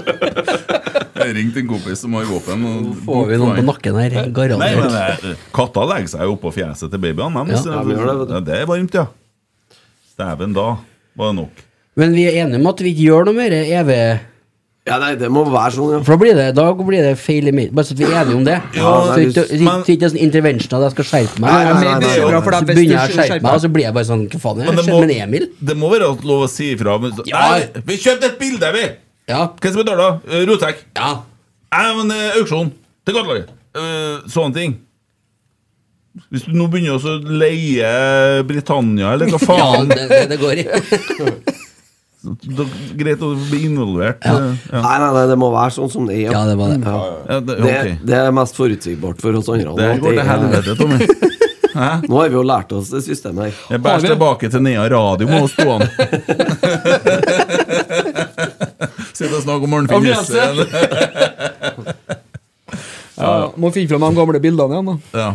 Jeg ringte en kompis som har våpen. Og Får vi noen på nakken her? Nei, men Garantert. eh, Katta legger seg jo oppå fjeset til babyene. dem, Ja, så- de gjør det, vet du. Ja, det er varmt, ja. Dæven, da var det nok. Men vi er enige om at vi ikke gjør noe mer evig Ja, nei, det må være sånn, ja. For da blir det, da blir det feil i mitt Bare så at vi er enige om det. Ja, så nei, ikke du- så ikke det er sånn intervention at jeg skal skjerpe meg. Nei, nei, nei, Det nei, er jo nei. bra, for det Så er begynner jeg å best du skjerpe meg, og så blir jeg bare sånn Hva faen er det som skjer med Emil? det må være lov å si ifra. Men, så- Ja. Nei, vi kjøpte et bilde, vi! Ja. Hvem som betaler? Eh, Rotsekk. ja. Nei, men eh, auksjon til kattelaget. Eh, sånne ting. Hvis du nå begynner også å leie Britannia, eller hva ja faen det, det, det går i. da, Greit å bli involvert. eh, Ja. Nei, nei, nei, det må være sånn som det er. Ja, det var det. Ja, det, Det, ok. det er mest forutsigbart for oss andre. det at går til er- helvete, Tommy. Nå har vi jo lært oss det systemet her. Jeg bærer tilbake til Nea Radio med oss to. han. Sitter og snakker om Arnfinn Jesse. Ja, ja. Må finne fram de gamle bildene igjen, da. Ja,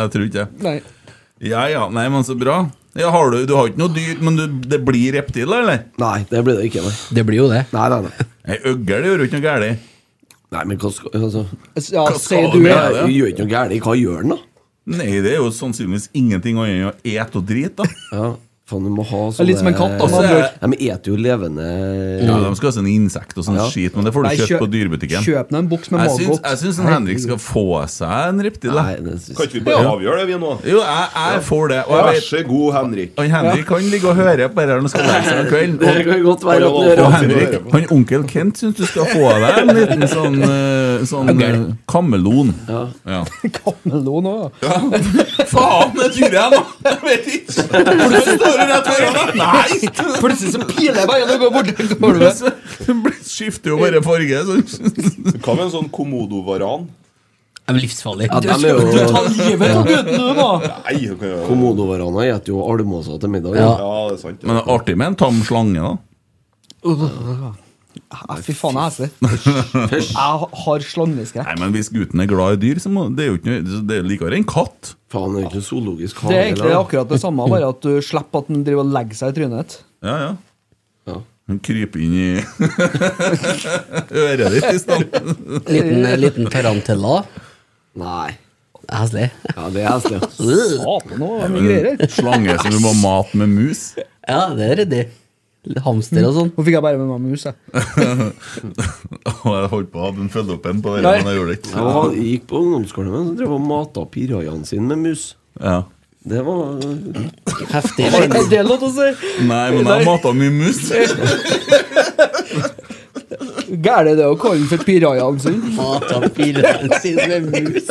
jeg tror ikke det. Nei. Ja ja, nei, men så bra. Ja, har du, du har ikke noe dyr, men du, det blir reptiler, eller? Nei, det blir det ikke. Nei, Det blir jo det. nei, nei. nei. Ei øgle gjør jo ikke noe galt. nei men hva skal altså, Ja, Hva sier skal du vi ja. ha? Jeg gjør ikke noe galt. Hva gjør den, da? Nei, det er jo sannsynligvis ingenting annet enn å ete og drite, da. Ja, faen, du må ha sånn- er sånne litt som en katt, da, med andre ord. De eter jo levende Ja, De skal ha sånn insekt og sånn Ja. skit, men det får Nei, du kjøp- kjøpt på dyrebutikken. Kjøp deg en boks med Jeg syns, maggot. jeg syns en Henrik skal få seg en reptil. Nei, da. det syns Kan jeg ikke vi bare avgjøre det, vi nå? Jo, jeg, jeg får det. Og jeg Vær vet, så god, Henrik. han Henrik han ligger og hører på det her når han skal legge seg om kvelden. Det kan godt være at den Hold on, gjør Og hold det. on. Henrik, han onkel Kent syns du skal få av deg en liten sånn, eh, sånn eh, kameleon. Ja. Kamelon også, da. Faen, det tror jeg, da! Jeg vet ikke! Plutselig står hun rett foran deg. Nei! Plutselig så piler jeg meg gjennom går bort til gulvet. Så- Hun blir- skifter jo bare farge. Så. Hva med en sånn komodovaran? Det er livsfarlig. Ja, de er jo Ta livet av gutten, du, da! Nei, det kan jo- Komodovarana spiser jo almåser til middag. Ja. Ja, det er sant. Men det er artig med en tam slange, da. Ja, Fy faen, jeg er heslig. Jeg har slangeskrekk. Nei, men hvis gutten er glad i dyr, så må, det er jo ikke noe, det er likere enn katt. Faen, det er ikke zoologisk Det er egentlig akkurat det samme, bare at du slipper at den driver og legger seg i trynet ditt. Ja, ja. Hun kryper inn i øret ditt i stedet. Liten, eh, liten tarantella. Nei. Heslig. Ja, det er heslig. Satan, nå er det mye greier her. Slange som du må mate med mus. Ja, det er ryddig. Hamster og sånn. Nå fikk jeg bare med meg mus, jeg. Og jeg holdt på å ha den følge opp en på det, Nei. men jeg gjorde det ikke. Ja, han gikk på ungdomsskolen, men så drev han og mata pirajaen sin med mus. Ja. Det var Heftig. Er det lov til å si? Nei, men jeg mata mye mus. Gære det å kalle den for pirajaen sin? Mata pilen sin med mus.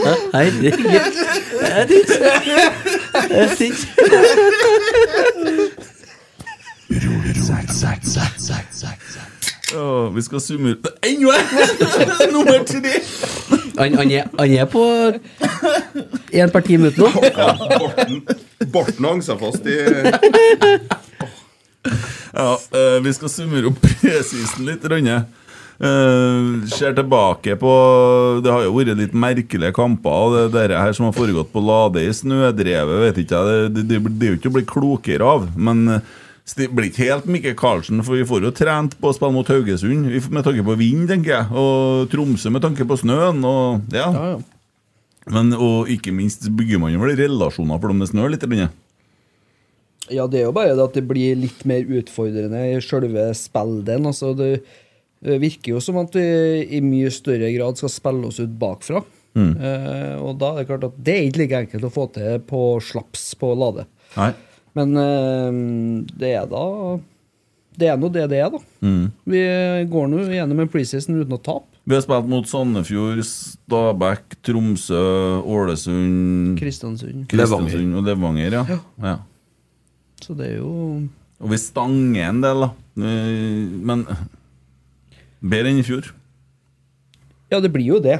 Hæ? Herregud. Jeg syns Jeg syns Ja, vi skal summe ut Enda en! Nummer tre! Han han er, han er på én per ti minutter nå. Borten, Borten hang seg fast i Ja, eh, vi skal summere opp presisen litt, Rønne. Eh, ser tilbake på Det har jo vært litt merkelige kamper. og Det dere her som har foregått på Lade i snødrevet, vet ikke jeg. Det, det, det, det er jo ikke å bli klokere av. Men eh, det blir ikke helt Mikke Karlsen, for vi får jo trent på å spille mot Haugesund vi får- med tanke på vind, tenker jeg. Og Tromsø med tanke på snøen. Og, ja. Ja, ja. Men, og ikke minst bygger man jo vel relasjoner for dem det snør litt. Rønne. Ja, det er jo bare det at det blir litt mer utfordrende i selve spilldelen. Altså, det eh, virker jo som at vi i mye større grad skal spille oss ut bakfra. Eh, og da er det klart at det er ikke like enkelt å få til på slaps på Lade. Nei. Men eh, det er da Det er nå det det er, da. Vi går nå gjennom en preseason uten å tape. Vi har spilt mot Sandefjord, Stabæk, Tromsø, Ålesund, Kristiansund. Kristiansund og Levanger. Ja. Ja. Så det er jo Og vi stanger en del, da. Eh, Men bedre enn i fjor. Ja, det blir jo det.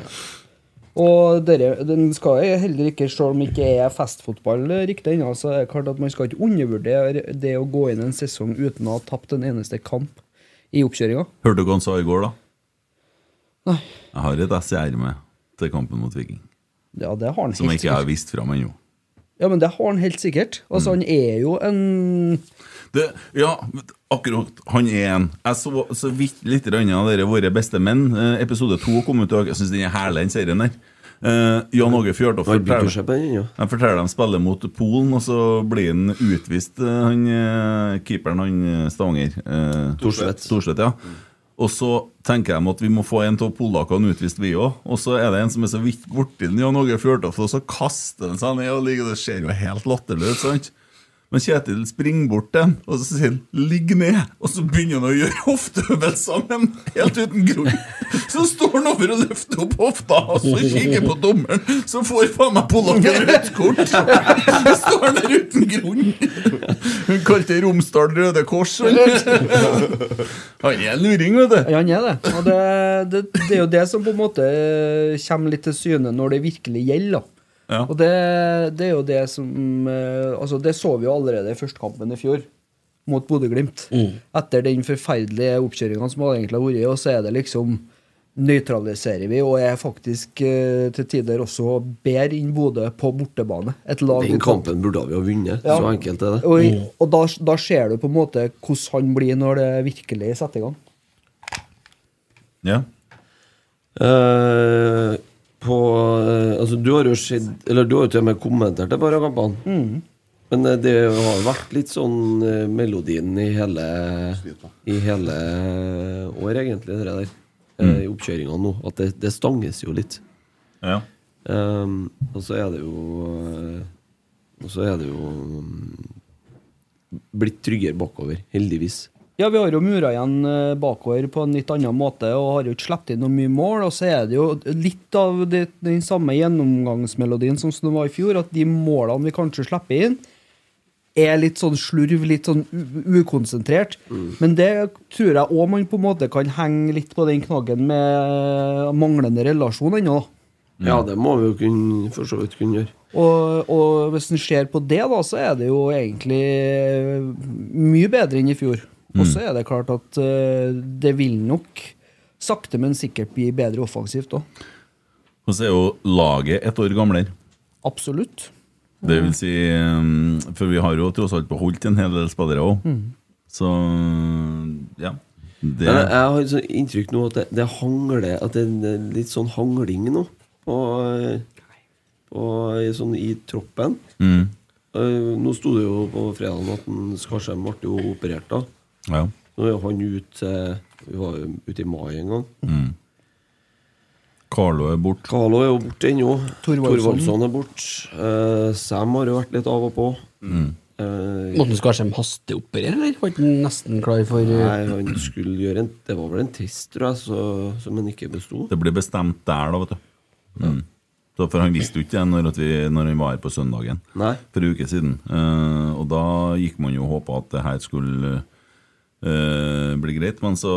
Og dere, den skal jeg heller ikke, selv om ikke er festfotball riktig ennå, så er det klart at man skal ikke undervurdere det å gå inn en sesong uten å ha tapt en eneste kamp i oppkjøringa. Hørte du hva han sa i går, da? Nei. Jeg har et ess i ermet til kampen mot Viking. Ja, det har han Som helt jeg ikke Mm. har sikkert. vist fram ennå. Ja, men det har han helt sikkert. Altså, han er jo en Det, ja, akkurat. Han er en. Jeg så så vidt litt grann av dere Våre beste menn. Eh, episode to kom ut i dag. Jeg syns den er herlig, den serien der. Eh, Jan Åge Fjørtoft Han bygger forteller seg på den ennå. Han forteller de spiller mot Polen, og så blir han utvist, eh, han eh, keeperen, han eh, Stavanger. eh, Thorstvedt. Thorstvedt, ja. Og så tenker de at vi må få en av polakkene utvist, vi òg. Og så er det en som er så vidt borti den, Jan Åge Fjørtoft, og så kaster han seg ned og ligger Det ser jo helt latterlig ut, sant? Men Kjetil springer bort til han, og så sier han 'ligg ned', og så begynner han å gjøre hofteøvelser med han, helt uten grunn. Så står han over og løfter opp hofta, og så kikker på dommeren, så får faen meg polakken rødt kort! Så står han der uten grunn! Hun kalte det Romsdal Røde Kors. Han Han er en luring, vet du. Ja, han er det. Og det, det, det er jo det som på en måte eh, kommer litt til syne når det virkelig gjelder. da. Ja. Og det, det er jo det som eh, Altså, det så vi jo allerede i førstekampen i fjor, mot Bodø-Glimt. Etter den forferdelige oppkjøringa som hadde egentlig har vært, og så er det liksom Nøytraliserer vi og er faktisk eh, til tider også bedre enn Bodø på bortebane. Et lag Den uten- kampen burde vi ha vunnet. Ja. Så enkelt er det. Og, og da, da ser du på en måte hvordan han blir når det virkelig setter i gang. Ja. Eh, på, eh, altså, du har jo sett Eller du har jo til og med kommentert det bare av kampene. Men eh, det har jo vært litt sånn eh, melodien i hele I hele år, egentlig, det der. Eh, I oppkjøringa nå. At det, det stanges jo litt. ja. Ehm, og så er det jo eh, Og så er det jo mm, blitt tryggere bakover, heldigvis. Ja, vi har jo mura igjen eh, bakover på en litt annen måte og har jo ikke sluppet inn noe mye mål. Og så er det jo litt av det, den samme gjennomgangsmelodien som det var i fjor, at de målene vi kanskje slipper inn, er litt sånn slurv, litt sånn u ukonsentrert. Mm. Men det tror jeg òg man på en måte kan henge litt på den knaggen med manglende relasjon ennå, da. Ja, det må vi jo kunne, for så vidt kunne gjøre. Og, og hvis en ser på det, da, så er det jo egentlig eh, mye bedre enn i fjor. Og Mm. så er det klart at eh, det vil nok sakte, men sikkert bli bedre offensivt òg. Og så er jo laget et år gamlere. Absolutt. Det vil si um, For vi har jo tross alt beholdt en hel del spillere òg. Mm. Så ja. Det, Men jeg, jeg har et sånt inntrykk nå at det, det hangler At det er en litt sånn hangling nå. Og, og i sånn i troppen. Mm. Eh, nå sto det jo på fredagen at en Skarsheim ble jo operert, da. Ja. Nå er jo han ute Vi var jo ute i mai en gang. Mm. Carlo er borte. Carlo er jo borte ennå. Thorvaldsson. Thorvaldsson er borte. Eh, Sam har jo vært litt av og på. Mm. Eh, Måtte han Skarsheim hasteoperere, eller? Var ikke han nesten klar for Nei, han skulle gjøre en Det var vel en test, tror jeg, så, som han ikke besto. Det ble bestemt der, da, vet du. Mm. Så, for han visste jo ikke det når, at vi, når han var her på søndagen Nei. for en uke siden. Eh, og da gikk man jo og håpa at det her skulle eh, bli greit. Men så,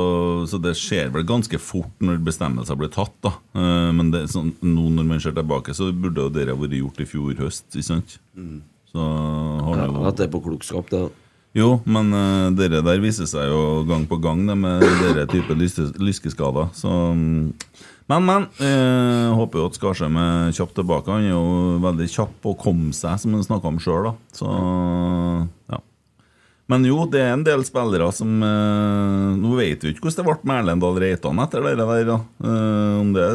så det skjer vel ganske fort når bestemmelser blir tatt, da. Eh, men det, er sånn, nå når man ser tilbake, så burde jo det ha vært gjort i fjor høst, ikke sant? Så har det Ja, jo at det er på klokskap, det. jo, men uh, dere der viser seg jo gang på gang det med dere type lyste, lyskeskader. Så, mm. men, men. eh, håper jo at Skarsheim er kjapt tilbake. Han er jo veldig kjapp og kom seg, som han snakka om sjøl. Ja. Men jo, det er en del spillere som eh, Nå vet vi ikke hvordan det ble med Erlend Dahl Reitan etter det der. Da. Eh, om det,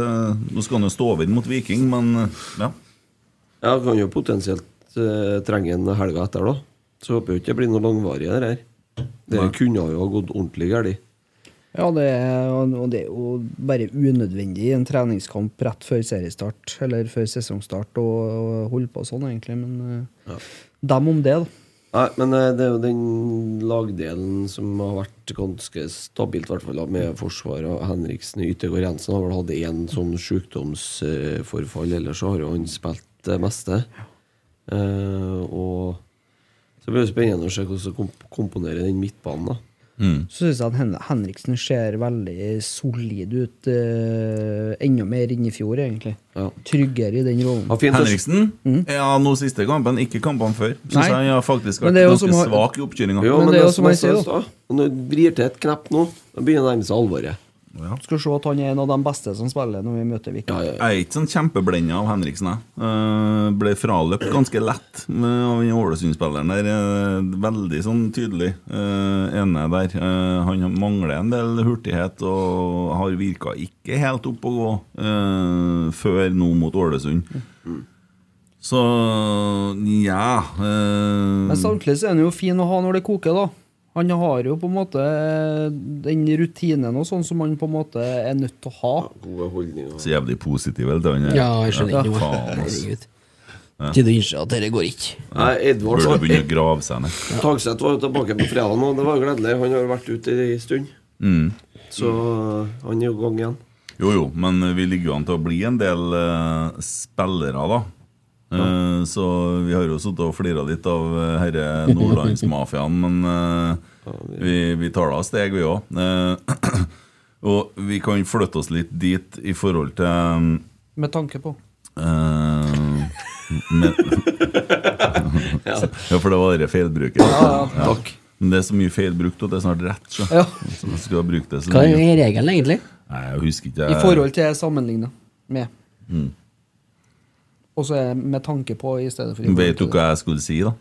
nå skal han jo stå over mot Viking, men eh, ja. Ja, kan jo potensielt eh, trenge en helga etter, da. Så håper jeg ikke det blir noe langvarig, det her. Det Nei. kunne jo ha gått ordentlig galt. Ja, det er, og det er jo bare unødvendig i en treningskamp rett før seriestart, eller før sesongstart, og holde på sånn, egentlig. Men eh, dem om det, da. Nei, men eh, det er jo den lagdelen som har vært ganske stabilt, i hvert fall da, med Forsvaret og Henriksen og Yttergård Jensen. Har vel hatt én sånn sykdomsforfall, ellers så har jo han spilt det meste. Eh, og så blir det spennende å se hvordan komp komponere den midtbanen, da. Så syns jeg at Hen Henriksen ser veldig solid ut. eh, enda mer enn i fjor, egentlig. Ja. Tryggere i den rollen. Ja, fint. Henriksen? Ja, nå siste kampen, ikke kampene før. Syns Mm. Nei. jeg har faktisk Men vært det er jo ganske som- svak i oppkjøringa. Jo, Men men, det er jo som det, som jeg jeg sa i sier, da. stad, når det vrir til et knepp nå, da begynner det å nærme seg alvoret. Skal se at han er en av de beste som spiller når vi møter Viking. Ja, ja, ja. Jeg er ikke sånn kjempeblenda av Henriksen. Jeg. Eh, ble fraløpt ganske lett med- av den Ålesund-spilleren der. eh, veldig sånn tydelig eh, ene der. Eh, han mangler en del hurtighet og har virka ikke helt opp å gå eh, før nå mot Ålesund. Mm. Så ja eh, Men samtidig så er han jo fin å ha når det koker, da. Han har jo på en måte eh, den rutinen og sånn som han på en måte er nødt til å ha. Gode holdninger. Så jævlig positiv hele tida. Ja, jeg skjønner ikke noe. faen, ass. Herregud. Tid å innse at dette går ikke. Nei, Edvard Burde begynne å var- grave seg ned. Tagseth var jo tilbake på fredag nå, det var gledelig. Han har jo vært ute en stund. Mm. Så eh, han er jo i gang igjen. Jo, jo, men vi ligger jo an til å bli en del eh, spillere, da. Eh, Så vi har jo sittet og flira litt av eh, herre nordlandsmafiaen, men eh, vi, vi tar da steg, vi òg. Og vi kan flytte oss litt dit i forhold til Med tanke på. eh, med, Ja. Ja, for det var dere feilbruket. ja, takk. Men det er så mye feilbrukt, og det er snart rett. Så. Ja. så man skal bruke det så Hva lenge. er regelen, egentlig? Nei, jeg husker ikke. I forhold til sammenligna med. Og så er det med tanke på i stedet for i forhold Vet du til. hva jeg skulle si, da?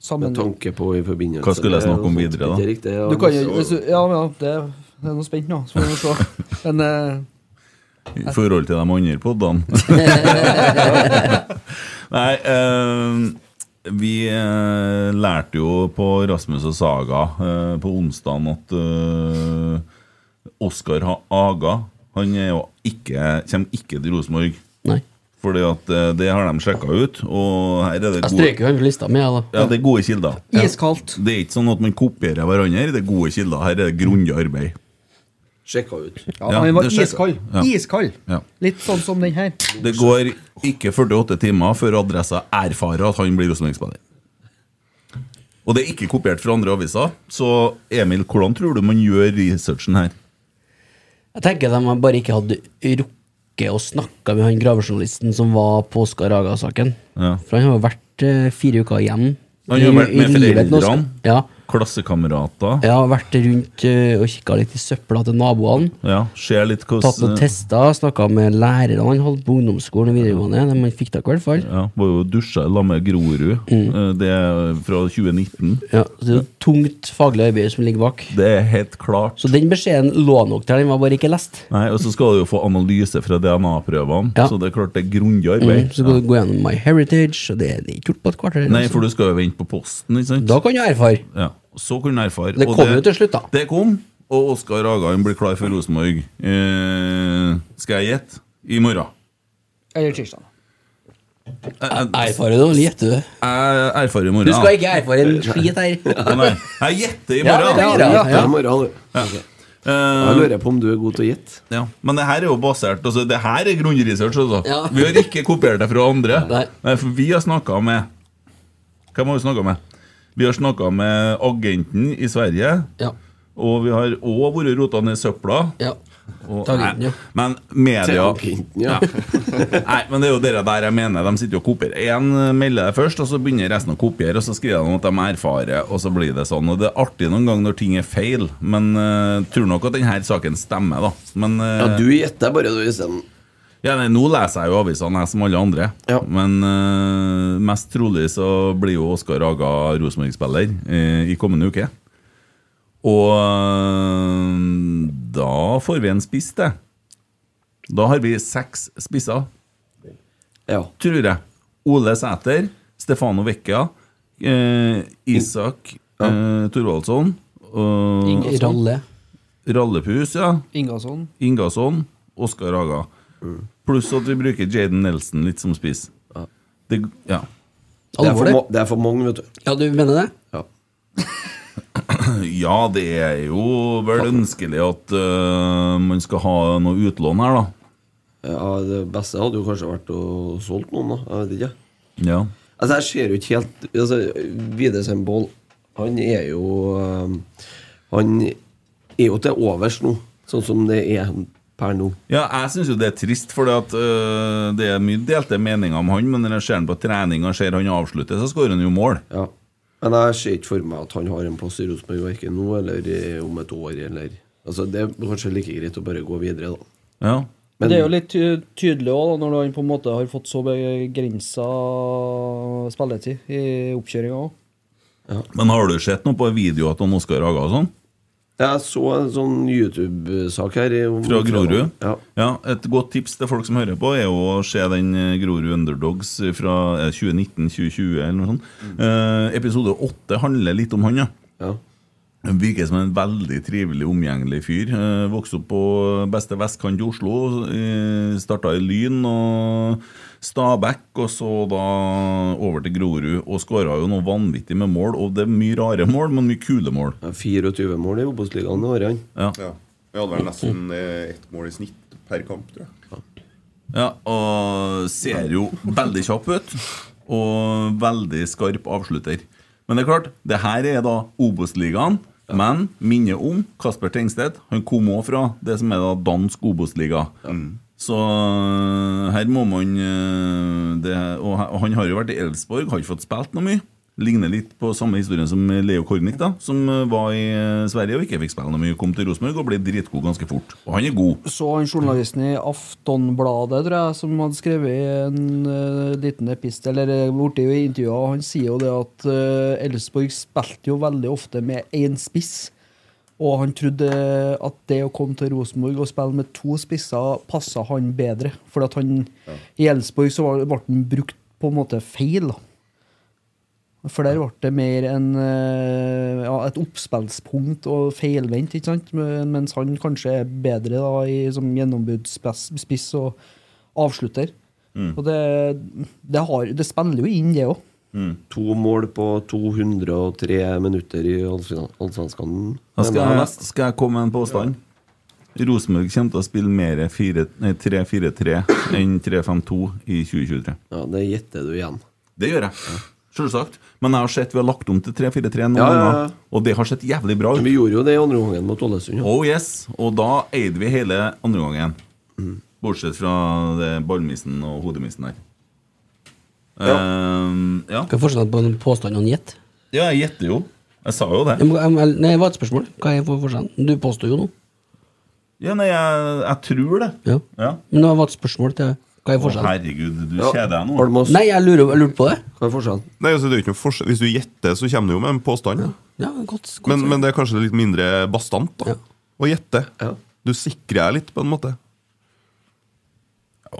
Sammen- Med tanke på i forbindelse Hva skulle jeg snakke om videre, da? Det er riktig, ja. Du kan jo hvis du- Ja, ja, det, det er noe spent nå, så får vi se. Men eh, I forhold til de andre podene. Nei, eh, vi eh, lærte jo på Rasmus og Saga eh, på onsdagen at eh, Oskar Ha- Aga Han er jo ikke, kommer ikke til Rosenborg. Nei. Fordi at eh, det har de sjekka ut, og her er det Jeg gode, strøker jo han fra lista mi, jeg, da. ja, det er gode kilder. iskaldt. Det er ikke sånn at man kopierer hverandre, det er gode kilder. Her er det grundig arbeid. Sjekka ut. Ja, Ja, han var det skjer- iskald. ja. Iskald. Ja. Litt sånn som den her. Det går ikke 48 timer før adressa erfarer at han blir Rosenborg-spiller. Og det er ikke kopiert fra andre aviser. Så Emil, hvordan tror du man gjør researchen her? Jeg tenker de bare ikke hadde rukket snakket og snakka med han gravejournalisten som var på Oskar Haga-saken. Ja. For han har jo vært eh, fire uker igjen. Han har i- vært i med livet nå. foreldrene, Ja. klassekamerater. Jeg har vært rundt eh, og kikka litt i søpla til naboene. Ja, ser litt Tatt noen hvordan tester, snakka med lærerne han holdt på ungdomsskolen og videregående. De han fikk tak i hvert fall. ja, Var jo dusja i lag med Grorud. Mm. Eh, Det er fra 2019. Ja, så det er jo tungt faglig arbeid som ligger bak. Det er helt klart. Så den beskjeden lå nok der, den var bare ikke lest. Nei, Og så skal du jo få analyse fra DNA-prøvene, Ja. så det er klart det er grundig Mm, arbeid. så skal du gå gjennom My Heritage, og det det er ikke gjort på et kvarter. Nei, altså. for du skal jo vente på posten, ikke sant? Da kan du erfare. Ja, så kunne jeg erfare. Det og kom jo til slutt, da. Det kom, og Oskar Hagan blir klar for Rosenborg. Eh, skal jeg gjette? I morgen. Eller tirsdag. Eh, Erfarer du, eller gjetter du? Jeg erfarer i morgen. Du skal ikke erfare en skit Å, her. nei. Jeg gjetter i Ja, morgen! det er Ja, Ja, det ja. er morgen, du. Da Eh, lurer jeg på om du er god til å gjette. ja. Men det her er jo basert altså, Det her er grunnresearch. Altså. Ja. Vi har ikke kopiert det fra andre. Nei. for vi har snakka med Hvem har vi snakka med? Vi har snakka med agenten i Sverige. Ja. Og vi har òg vært rota ned i søpla. ja. Og, Tagenten, nei, ja. men media Agenten, ja. Nei, men det er jo dere der jeg mener. De sitter jo og kopierer. Én melder det først, og så begynner resten å kopiere, og så skriver de at de erfarer, og så blir det sånn. Og det er artig noen ganger når ting er feil, men eh, tror nok at denne saken stemmer, da. Men eh, Ja, du gjetter bare du isteden. ja, nei, nå leser jeg jo avisene, jeg som alle andre. Ja. Men eh, mest trolig så blir jo Oskar Haga Rosenborg-spiller eh, i kommende uke. Og eh, da får vi en spiss, det. Da har vi seks spisser, Ja. tror jeg. Ole Sæter, Stefano Vecchia, eh, Isak eh, Thorvaldsson, og Ralle. Rallepus, ja. Ingasson. Ingasson, Oskar Haga. Pluss at vi bruker Jaden Nelson litt som spiss. Det, ja. Det er, for, Alvorlig? ma- det er for mange, vet du. Ja, du mener det? Ja. ja, det er jo vel ønskelig at øh, man skal ha noe utlån her, da. Eh, Ja, det beste hadde jo kanskje vært å solgt noen, da. Jeg vet ikke. Ja. Altså, jeg ser jo ikke helt altså, Vidar Sandball, han er jo øhm, Han er jo til overs nå, sånn som det er per nå. Ja, jeg syns jo det er trist, for det er mye delte meninger om han. Men når jeg ser han på trening og ser han avslutte, så skårer han jo mål. Ja. Men jeg ser ikke for meg at han har en plass i Rosenborg, verken nå eller i- om et år, eller Altså, det er kanskje like greit å bare gå videre, da. Ja. Men det er jo litt ty- tydelig òg, når han på en måte har fått så begrensa spilletid i oppkjøringa òg. Men har du sett noe på video at han Oskar Haga og sånn? Jeg så en sånn YouTube-sak her. i- om- Fra Grorud? Ja. Et godt tips til folk som hører på, er jo å se den eh, Grorud Underdogs fra øh, 2019-2020 eller noe sånt. Mm. Eh, episode åtte handler litt om han, ja. ja. Han Virker som en veldig trivelig, omgjengelig fyr. Eh, vokste opp på beste vestkant i Oslo. Eh, starta i Lyn og Stabæk, og så da over til Grorud. Og skåra jo noe vanvittig med mål. Og det er mye rare mål, men mye kule mål. Ja, 24 mål i Obos-ligaen i år, han. Ja. Ja. Vi hadde vel nesten eh, ett mål i snitt per kamp, tror jeg. Ja, og ser jo veldig kjapp ut. Og veldig skarp avslutter. Men det er klart, det her er da Obos-ligaen. Men minner om Kasper Tengstedt. Han kom òg fra det som er da dansk Obos-liga. Så her må man eh, det, og, he- og han har jo vært i Elfsborg, har ikke fått spilt noe mye. Ligner litt på samme historien som Leo Kornic, da, som eh, var i eh, Sverige og ikke fikk spille noe mye. Kom til Rosenborg og ble dritgod ganske fort. Og han er god. Så han journalisten i Aftonbladet, tror jeg, som hadde skrevet en eh, liten epistel, eller borti i intervjuet, han sier jo det at eh, Elfsborg spilte jo veldig ofte med én spiss. Og han trodde at det å komme til Rosenborg og spille med to spisser passa han bedre. For at han, i Elfsborg så var- ble han brukt på en måte feil. da. For der ble det mer en, eh, ja, et oppspillspunkt og feilvendt, ikke sant? Men- mens han kanskje er bedre da, i, som gjennombudsspiss og avslutter. Mm. Og det, det, har, det spiller jo inn, det òg. To mål på 203 minutter i Allsven- Allsvenskan. Da skal Men- eh, jeg, skal jeg komme med en påstand. Rosenborg kommer til å spille mer 4 nei, 3-4-3 enn 3-5-2 i 2023. Ja, det gjetter du igjen. Det gjør jeg. Selvsagt. Men jeg har sett vi har lagt om til 3-4-3 noen Ja, ja, ja. ganger, og det har sett jævlig bra Men ut. vi gjorde jo det i andre omgangen mot Ålesund. Ja. Mm. Oh yes, Og da eide vi hele andre gangen. Bortsett fra det ballmisen og hodemisen her. Ja. Ehm, ja. Hva er forskjellen på en påstand og en gjett? ja, jeg gjetter jo. Jeg sa jo det. Jeg må- jeg- jeg- Nei, det var et spørsmål. Hva er for- forskjellen? Du påstår jo noe. Ja, nei, jeg, jeg tror det. Ja. Ja. Men det var et spørsmål til Hva er Å, forskjellen? herregud, du Ja. kjeder deg nå. Nei, jeg lurer, jeg lurer på det. Hva er forskjellen? Nei, altså, det er jo ikke noe forskjell. Hvis du gjetter, så kommer du jo med en påstand. Ja, godt, godt men, men det er kanskje litt mindre bastant da, å gjette. Du sikrer deg litt, på en måte.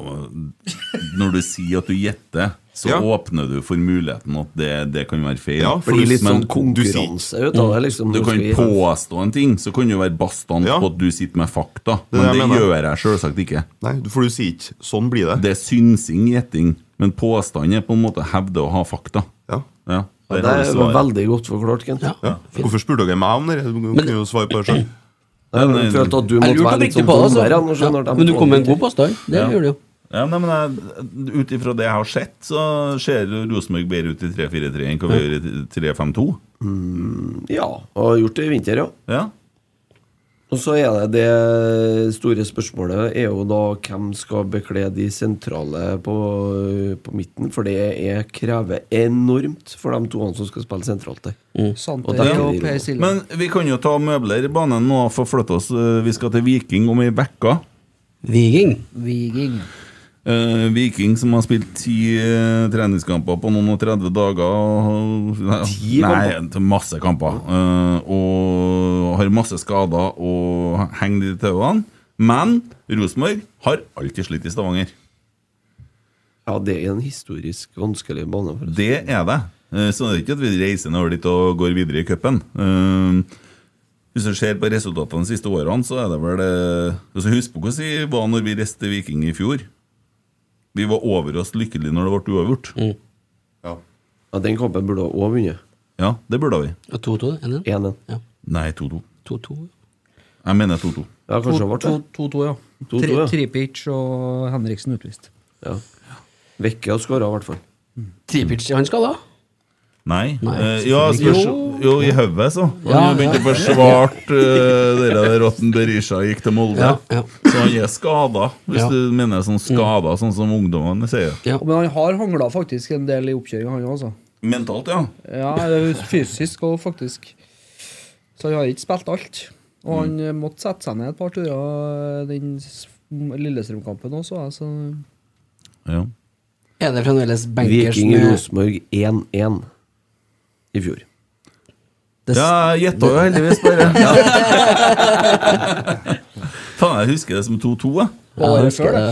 Når du sier at du gjetter, så Ja. åpner du for muligheten at det, det kan være feil. Ja, for Men det blir litt sånn du sier- konkurranse ut av det, liksom. Du Nå kan skal vi- påstå en ting, så kan du være bastant på at du sitter med fakta. Det er Men det det, jeg mener. gjør jeg selvsagt ikke. Nei, For du sier ikke 'sånn blir det'. Det er synsing, gjetting. Men påstanden er på en måte hevde å ha fakta. Ja. der har du svaret. godt forklart, Kent. Ja. Hvorfor spurte dere meg om det? Du kunne jo svare på det sjøl. Jeg Nei, nei, følte at du Jeg måtte lurte være litt oppriktig sånn på det, altså. dommer, jeg, nå skjønner Ja, men du kom med en god påstand. Det Ja. gjør du jo. Ja, nei, men jeg- Ut ifra det jeg har sett, så ser Rosenborg bedre ut i 3-4-3 enn hva vi gjør i 3-5-2. Ja, og har gjort det i vinter, ja. Og så er det det store spørsmålet er jo da hvem skal bekle de sentrale på, på midten, for det er, krever enormt for de to som skal spille sentralt der. Mm. Sant, Og det er dekker jo de Per rommene. Siljan. Men vi kan jo ta møbler i banen nå og forflytte oss. Eh, Vi skal til Viking om ei uke. Viking? Viking. Eh, Viking som har spilt ti eh, treningskamper på noen og 30 dager. og- Ti Nei, kamper? til masse kamper. Eh, og har masse skader og henger i tauene. Men Rosenborg har alltid slitt i Stavanger. Ja, det er en historisk vanskelig bane. For det er det. Eh, Så det er ikke at vi reiser nedover dit og går videre i cupen. Eh, Hvis du ser på resultatene de siste årene, så er det vel eh, altså Husk på hvordan vi var når vi reiste til Viking i fjor. Vi var over oss lykkelige når det ble uavgjort. Mm. Ja. den kampen burde ha òg vunnet. Ja, det burde vi. Og 2-2, 1-1? 1-1. Nei, 2-2. 2-2. Jeg mener 2-2. Ja, kanskje det ble det. 2-2, ja. 2-2, ja. Tri- Tripic og Henriksen utvist. Ja. Vekke har skåra, i hvert fall. Tripic, han skal da? Nei. Nei, Eh, ja, selvfølgelig spørs, ikke. jo, i hodet, så. Han Ja, begynte å ja. forsvare uh, det der Rotten Berisha gikk til Molde. Ja, ja. Så han er skada, hvis Ja. du mener sånn skada, sånn som ungdommene sier. Men han har hangla faktisk en del i oppkjøringa, han også. Mentalt, ja. Ja, det er fysisk og faktisk. Så han har ikke spilt alt. Og han eh, måtte sette seg ned et par turer eh, den s- Lillestrøm-kampen også. Altså. ja. Er det fremdeles bankers Viking med- Rosenborg 1-1 i fjor. Ja, jeg gjetta jo heldigvis bare. Faen, jeg husker det som 2-2. jeg. Ja, jeg husker det.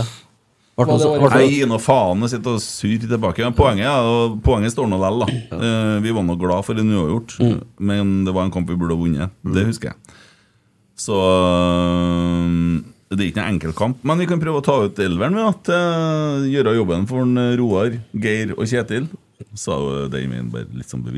Var det også- var det- Nei, gi nå faen og sitte og surre tilbake. Men poenget, er, og poenget står nå vel, da. Eh, Vi var nå glad for en uavgjort, men det var en kamp vi burde ha vunnet. Det husker jeg. Så eh, det er ikke noen enkel kamp, men vi kan prøve å ta ut elveren ved at eh, gjøre jobben for en Roar, Geir og Kjetil. Sa jo Damien bare litt sånn bevisst.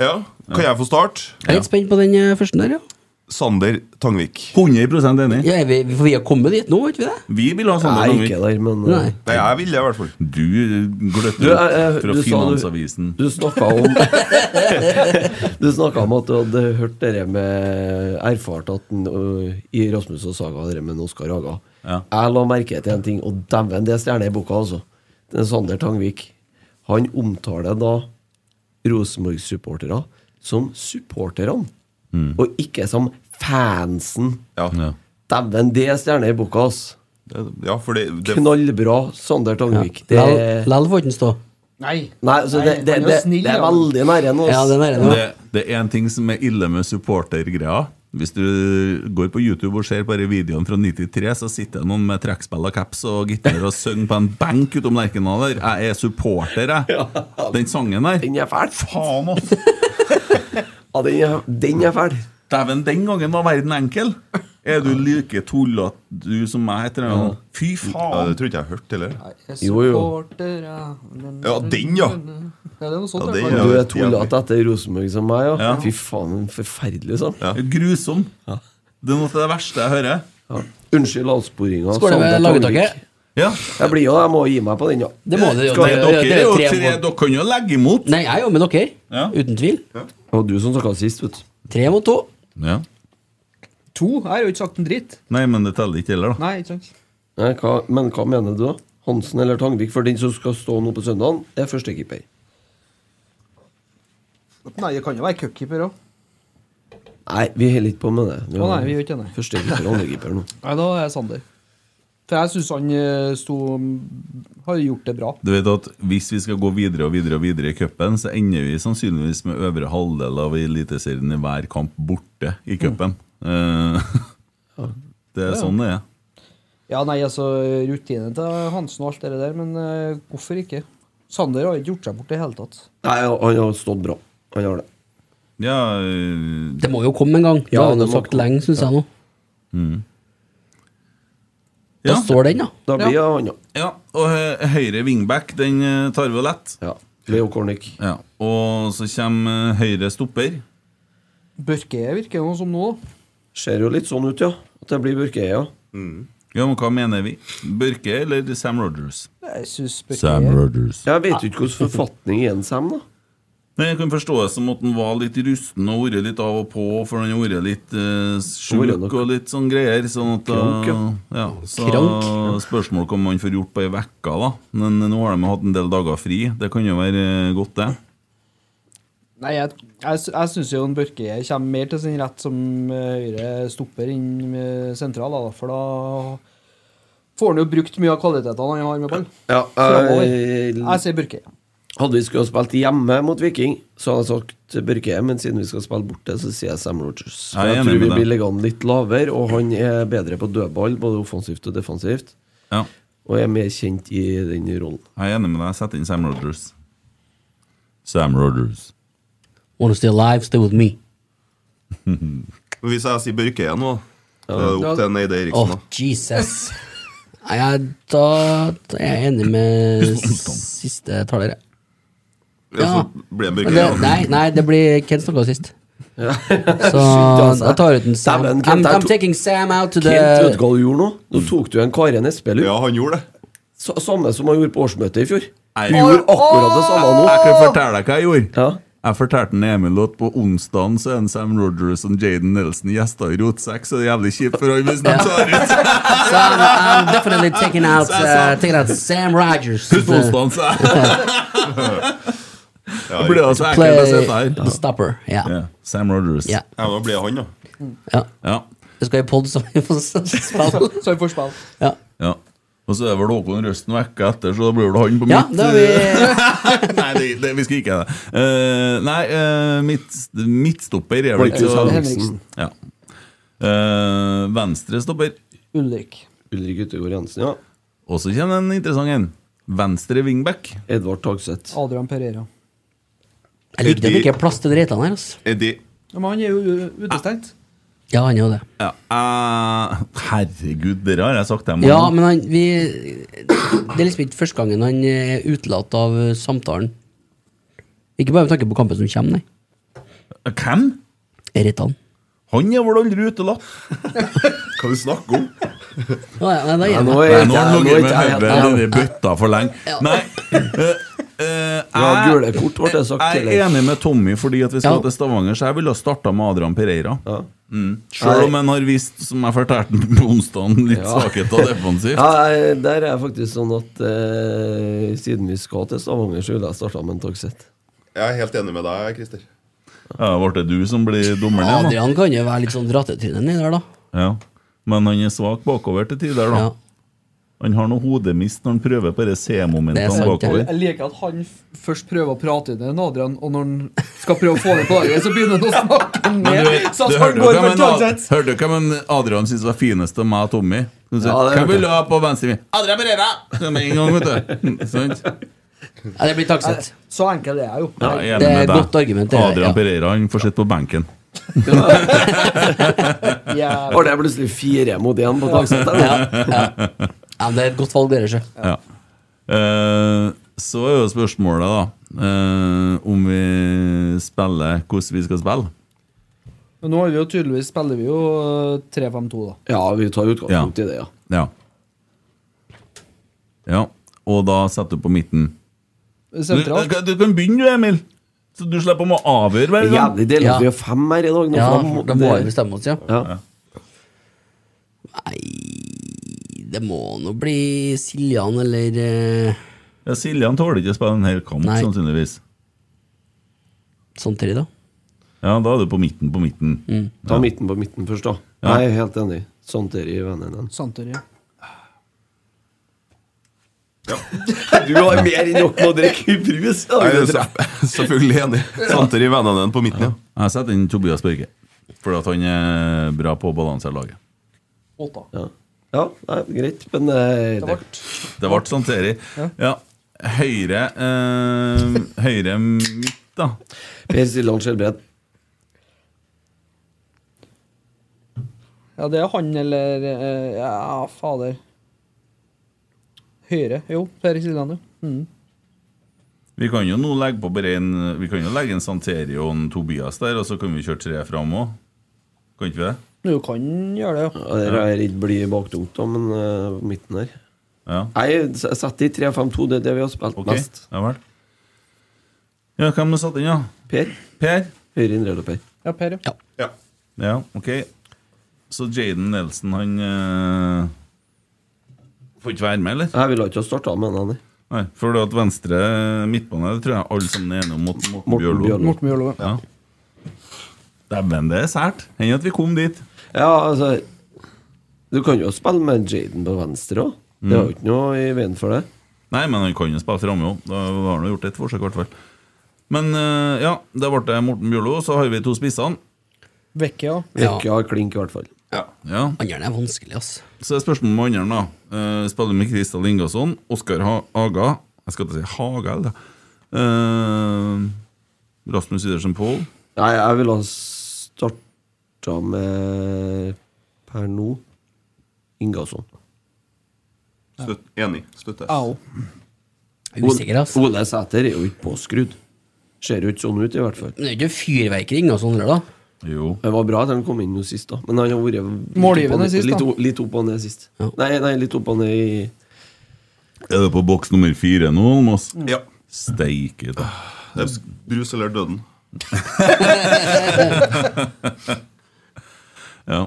Ja, Kan jeg få starte? Jeg er litt spent på den eh, første der, ja. Sander Tangvik. 100 enig. ja er vi, vi- for vi har kommet dit nå, har ikke vi det? Vi vil ha Sander Nei, Tangvik. ikke der, men, uh, Nei. Nei, jeg vil det, i hvert fall. Du eh, gløtter Du, opp eh, fra eh, du sa du- Finansavisen. Du snakka om Du snakka om at du hadde hørt dere med erfart at den, ø, i Rasmus og Saga dere med en Oskar Haga. Jeg la merke til en ting, og dæven, det er stjerne i boka, altså. Det er Sander Tangvik. Han omtaler da Rosenborg-supportere som supporterne, Mm. og ikke som fansen. Ja. Dæven, det er stjerne i boka, altså. Ja, for det, det- Knallbra, Sander Tangvik. Ja. Det Lell- Lell får ikke stå. Nei. Nei, så det, det, han er jo det, snill, det er da. veldig nære nå. ass. Ja, det er nære nå. Det, det er en ting som er ille med supportergreia. Hvis du går på YouTube og ser bare videoen fra 93, så sitter det noen med trekkspill og caps og gitar og synger på en benk utom Lerkendal der. Jeg er supporter, jeg. Den sangen der. Den er fæl. Faen, ass. Ja, den er, den er fæl. Dæven, den gangen var verden enkel. Er du like tullete, du som meg, heter det? Ja. Fy faen. Ja, det tror ikke jeg har hørt heller. Jo, jo. Ja, den, ja. Ja, det er noe sånt. Ja, i hvert fall. det er- Du er tullete etter Rosenborg som meg, ja. Ja. Fy faen, en forferdelig sånn. sang. Grusom. Det er noe av det verste jeg hører. Unnskyld altså. avsporinga. Skål Sander med Tangvik. lagetaket. Ja. Jeg blir jo Jeg må gi meg på den, ja. Det må det jo. Skal Det- dere, det- det er jo tre tre, mot- dere kan jo legge imot. Nei, jeg er jo med dere. Ja. Uten tvil. Det var du som snakka sist, vet du. Tre mot to. Ja. To? Jeg har jo ikke sagt en dritt. Nei, men det teller ikke heller, da. Nei, ikke sant. Nei, hva- Men hva mener du, da? Hansen eller Tangvik? For den som skal stå nå på søndagen, er førstekeeper. Nei, det kan jo være cupkeeper òg. Nei, vi holder ikke på med det. Å, nei, vi gjør ikke det, nei. Førstekeeper og andrekeeper nå. Nei, da er jeg Sander. For jeg syns han eh, sto har gjort det bra. Du vet at Hvis vi skal gå videre og videre og videre i cupen, så ender vi sannsynligvis med øvre halvdel av Eliteserien i hver kamp borte i cupen. Eh, det er Ja. sånn det er. Ja, nei, altså rutinen til Hansen og alt det der, men eh, hvorfor ikke? Sander har ikke gjort seg bort i det hele tatt. Nei, han har stått bra. Han har det. Ja, eh, Det må jo komme en gang. Ja, det har han det jo må sagt komme. lenge, syns jeg nå. Da Mm. Ja. står den, da. Da blir det han, ja. ja og hø- høyre wingback, den eh, tar vi lett. ja. Leo Kornic. Ja. Og så kommer eh, høyre stopper. Børke virker noe som nå. Ser jo litt sånn ut, ja. At det blir Børkeøya. Ja. Ja, men hva mener vi? Børke eller Sam Rogers? Jeg synes Børke Rogers. Jeg vet jo ikke hvordan forfatning er en Sam, da. Nei, Jeg kan forstå det som at han var litt rusten og vært litt av og på, for han har vært litt eh, sjuk Vært nok. og litt sånn greier. Sånn at, Krank, ja. ja. Så Krank. spørsmålet kom han får gjort på ei uke, da. Men nå har de hatt en del dager fri. Det kan jo være eh, godt, det. Nei, jeg, jeg, sy- jeg syns jo en Børke kommer mer til sin rett som eh, høyre stopper inn med sentral, da, for da får han jo brukt mye av kvalitetene han har med ball. Ja, Fremover. eh, Jeg sier Børke. Hadde vi skulle ha spilt hjemme mot Viking, så hadde jeg sagt Børke, men siden vi skal spille borte, så sier jeg Sam Rogers. Jeg er Jeg, jeg enig tror vi med deg. blir liggende litt lavere, og han er bedre på dødball, både offensivt og defensivt, Ja, og er mer kjent i den rollen. jeg er enig med deg. Sett inn Sam Rogers. Sam Rogers. Wanna stay alive, stay with me. Men Hvis jeg sier Børke igjen nå, da er det opp til Eide Eriksen. Åh, da Jesus. Nei, jeg, da, da er jeg enig med siste taler, jeg. Ja, så blir det Men Børke det, igjen. da. nei, nei, det blir Ken snakka sist. Så altså. jeg tar ut en Sam. Dæven, Kent, I'm, jeg I'm tok- taking Sam out to Kent the Ødegaard gjorde noe. Mm. Nå tok du en Karen Espelund. Ja, han gjorde det. Sa- Samme som han gjorde på årsmøtet i fjor. Nei. Du gjorde akkurat det samme nå. Jeg kan fortelle deg hva jeg gjorde. Ja. Jeg fortalte en Emil at på onsdagen så er en Sam Rogers og Jaden Nelson gjester i Rotsekk, så det er jævlig kjipt for han hvis de tar ut. Sam. I'm definitely taking out, Sam, uh, Sam. taking out Sam Rogers. eh, Husk på onsdagen, sa jeg. Da blir det så Play ekkelt å sitte her. the stopper. Ja. Ja, Sam Rogers. Ja. Ja, da blir det han, da. ja. Ja. Vi skal i pod, så vi får spille. Så vi får spille. Ja. ja. Og så er vel Håkon Røsten vekke etter, så da blir vel han på ja, mitt da har vi eh, Nei, det, det, vi skal ikke det. Eh, nei, eh, mitt, midtstopper er vel ikke Markus så Henriksen. ja. Eh, Venstre stopper. Ulrik. Ulrik Utegård Jensen, ja. Og så kommer en interessant en. Venstre wingback. Edvard Tagseth. Adrian Pereira. Jeg liker det at det ikke er plass til Reitan her. Altså. Eddie. Ja, men han er jo u- utestengt. Ja, han er jo det. Ja, eh, herregud, dere har jeg sagt dem. Ja, men han vi, Det er liksom ikke første gangen eh, han er utelatt av eh, samtalen. Ikke bare med tanke på kampen som kommer, nei. Hvem? Eritan. Han er vel aldri utelatt? Hva du snakker om? Nei, nei, da Nei, gir nå jeg har meg. Nå han er ligget ikke med jeg- hodet Ja. nedi bøtta for lenge. Nei eh, eh, Ja, jeg- gule kort ble det sagt Jeg tidligere. er enig med Tommy, fordi at vi skal Ja. til Stavanger, så jeg ville ha starta med Adrian Pereira. Mm. Nei. Selv om han har vist, som jeg fortalte den på onsdag, litt Ja. svakhet og defensivt. Ja, jeg- der er jeg faktisk sånn at eh, siden vi skal til Stavanger, så ville jeg starta med en Togsett. Jeg er helt enig med deg, Christer. Ja, Ble det du som blir dommeren igjen, da? Adrian kan jo være litt sånn drattetryne nedi der, da. Ja. Men han er svak bakover til tider, da. Han har noe hodemist når han prøver på de C-momentene bakover. Jeg liker at han f- først prøver å prate ned en Adrian, og når han skal prøve å få det på laget, så begynner han å snakke Men ned. du, vet- Så du at han hørte jo går hva for men Ad- Togsett. hørte du hva men Adrian syntes var finest av meg og Tommy? Han sa, Ja, det hørte Hvem vil jeg. du ha på venstre ving? Adrian Pereira! Så Med en gang, vet du. Sant? Ja, det blir Togsett. Så enkel er jeg jo. Ja, jeg Det Eh, enig er med et deg. godt argument, det er- Adrian ja. Pereira han får sitte på benken. Ja. Var det plutselig fire mot én på Togsett? Ja, ja. Ja, men det er et godt valg, dere, sjø. Ja. Eh, så er jo spørsmålet, da, eh, om vi spiller hvordan vi skal spille. Men nå har vi jo tydeligvis spiller vi jo øh, 3-5-2, da. Ja, vi tar utgangspunkt i det, ja. Ja. ja. Og da setter du på midten. Du, Sentralt. du kan begynne, du, Emil. Så du slipper å må avgjøre hver gang. Jævlig deilig at vi er fem her i dag. Nå, Ja, for da må vi bestemme oss, ja. ja. Det må nå bli Siljan eller eh, Ja, Siljan tåler ikke å spille en hel kamp, Nei. sannsynligvis. sånn tre, da. Ja, da er du på midten på midten. Ta Ja. midten på midten først, da. Ja. Jeg er helt enig. Santeri i vennene. Santori. Du har mer enn nok med å drikke brus. Ja, Nei, det tror så- Selvfølgelig enig. Santer i vennene dine på midten, ja. Jeg setter inn Tobias Børge, for at han er bra på å balansere laget. Åtta. Ja, ja nei, greit, men eh, det, Det ble Santeri. Ja. Høyre eh, Høyre midt, da. Per Siljan Skjelbred. Ja, det er han eller øh, Ja, fader. Høyre. Jo, Per Siljan, ja. Mm. Vi kan jo nå legge på bare en Vi kan jo legge en Santeri og en Tobias der, og så kan vi kjøre tre fram òg. Kan ikke vi det? Du kan gjøre det, ja. Ja, det er jeg redd blir baktungt, da, men eh, på midten her. Ja. Jeg s- setter i 3-5-2, det er det vi har spilt Ok, mest. ja vel. Ja, hvem har satt inn, da? Per. Per? Høyre indreløper. Ja, Per, ja. Ja, ok. Så Jaden Nelson, han eh, Får ikke være med, eller? Jeg ville ikke ha starta med han. Nei. Nei, for det at venstre midtbane Det tror jeg alle sammen er enige om mot Morten, Bjørlo. Morten Bjørlo, ja. Dæven, det er sært. Hender at vi kom dit. Ja, altså Du kan jo spille med Jaden på venstre òg. Det er jo ikke noe i veien for det. Nei, men han kan jo spille framme òg. Da har han jo gjort et forsøk, i hvert fall. Men eh, ja, det ble det Morten Bjørlo. Så har vi to spissene. Vekke, ja. Ikke ha klink, i hvert fall. Ja. ja. Andjern er vanskelig, ass. Så er spørsmålet med andre, da. Eh, spiller med Kristian Ingasson, Oskar ha Haga Jeg skal ikke si Haga, eller? Eh, Rasmus Idersen Pål. Nei, jeg ville ha starta med per nå Ingasson. Støtt, enig. Støttes. Au. Usikker, ass. Ole Sæter er jo ikke påskrudd. Ser jo ikke sånn ut, i hvert fall. Men Det er jo ikke fyrverkeri og sånn, da. Jo. Det var bra at han kom inn nå sist, da. Men han har vært litt Målgivende opp og ned- sist, da. Litt, o- litt opp og ned sist. Nei, nei, litt opp og ned i Er det på boks nummer fire nå, Almås? Ja. Ah, Steike, da. Det er brus eller døden. Ja.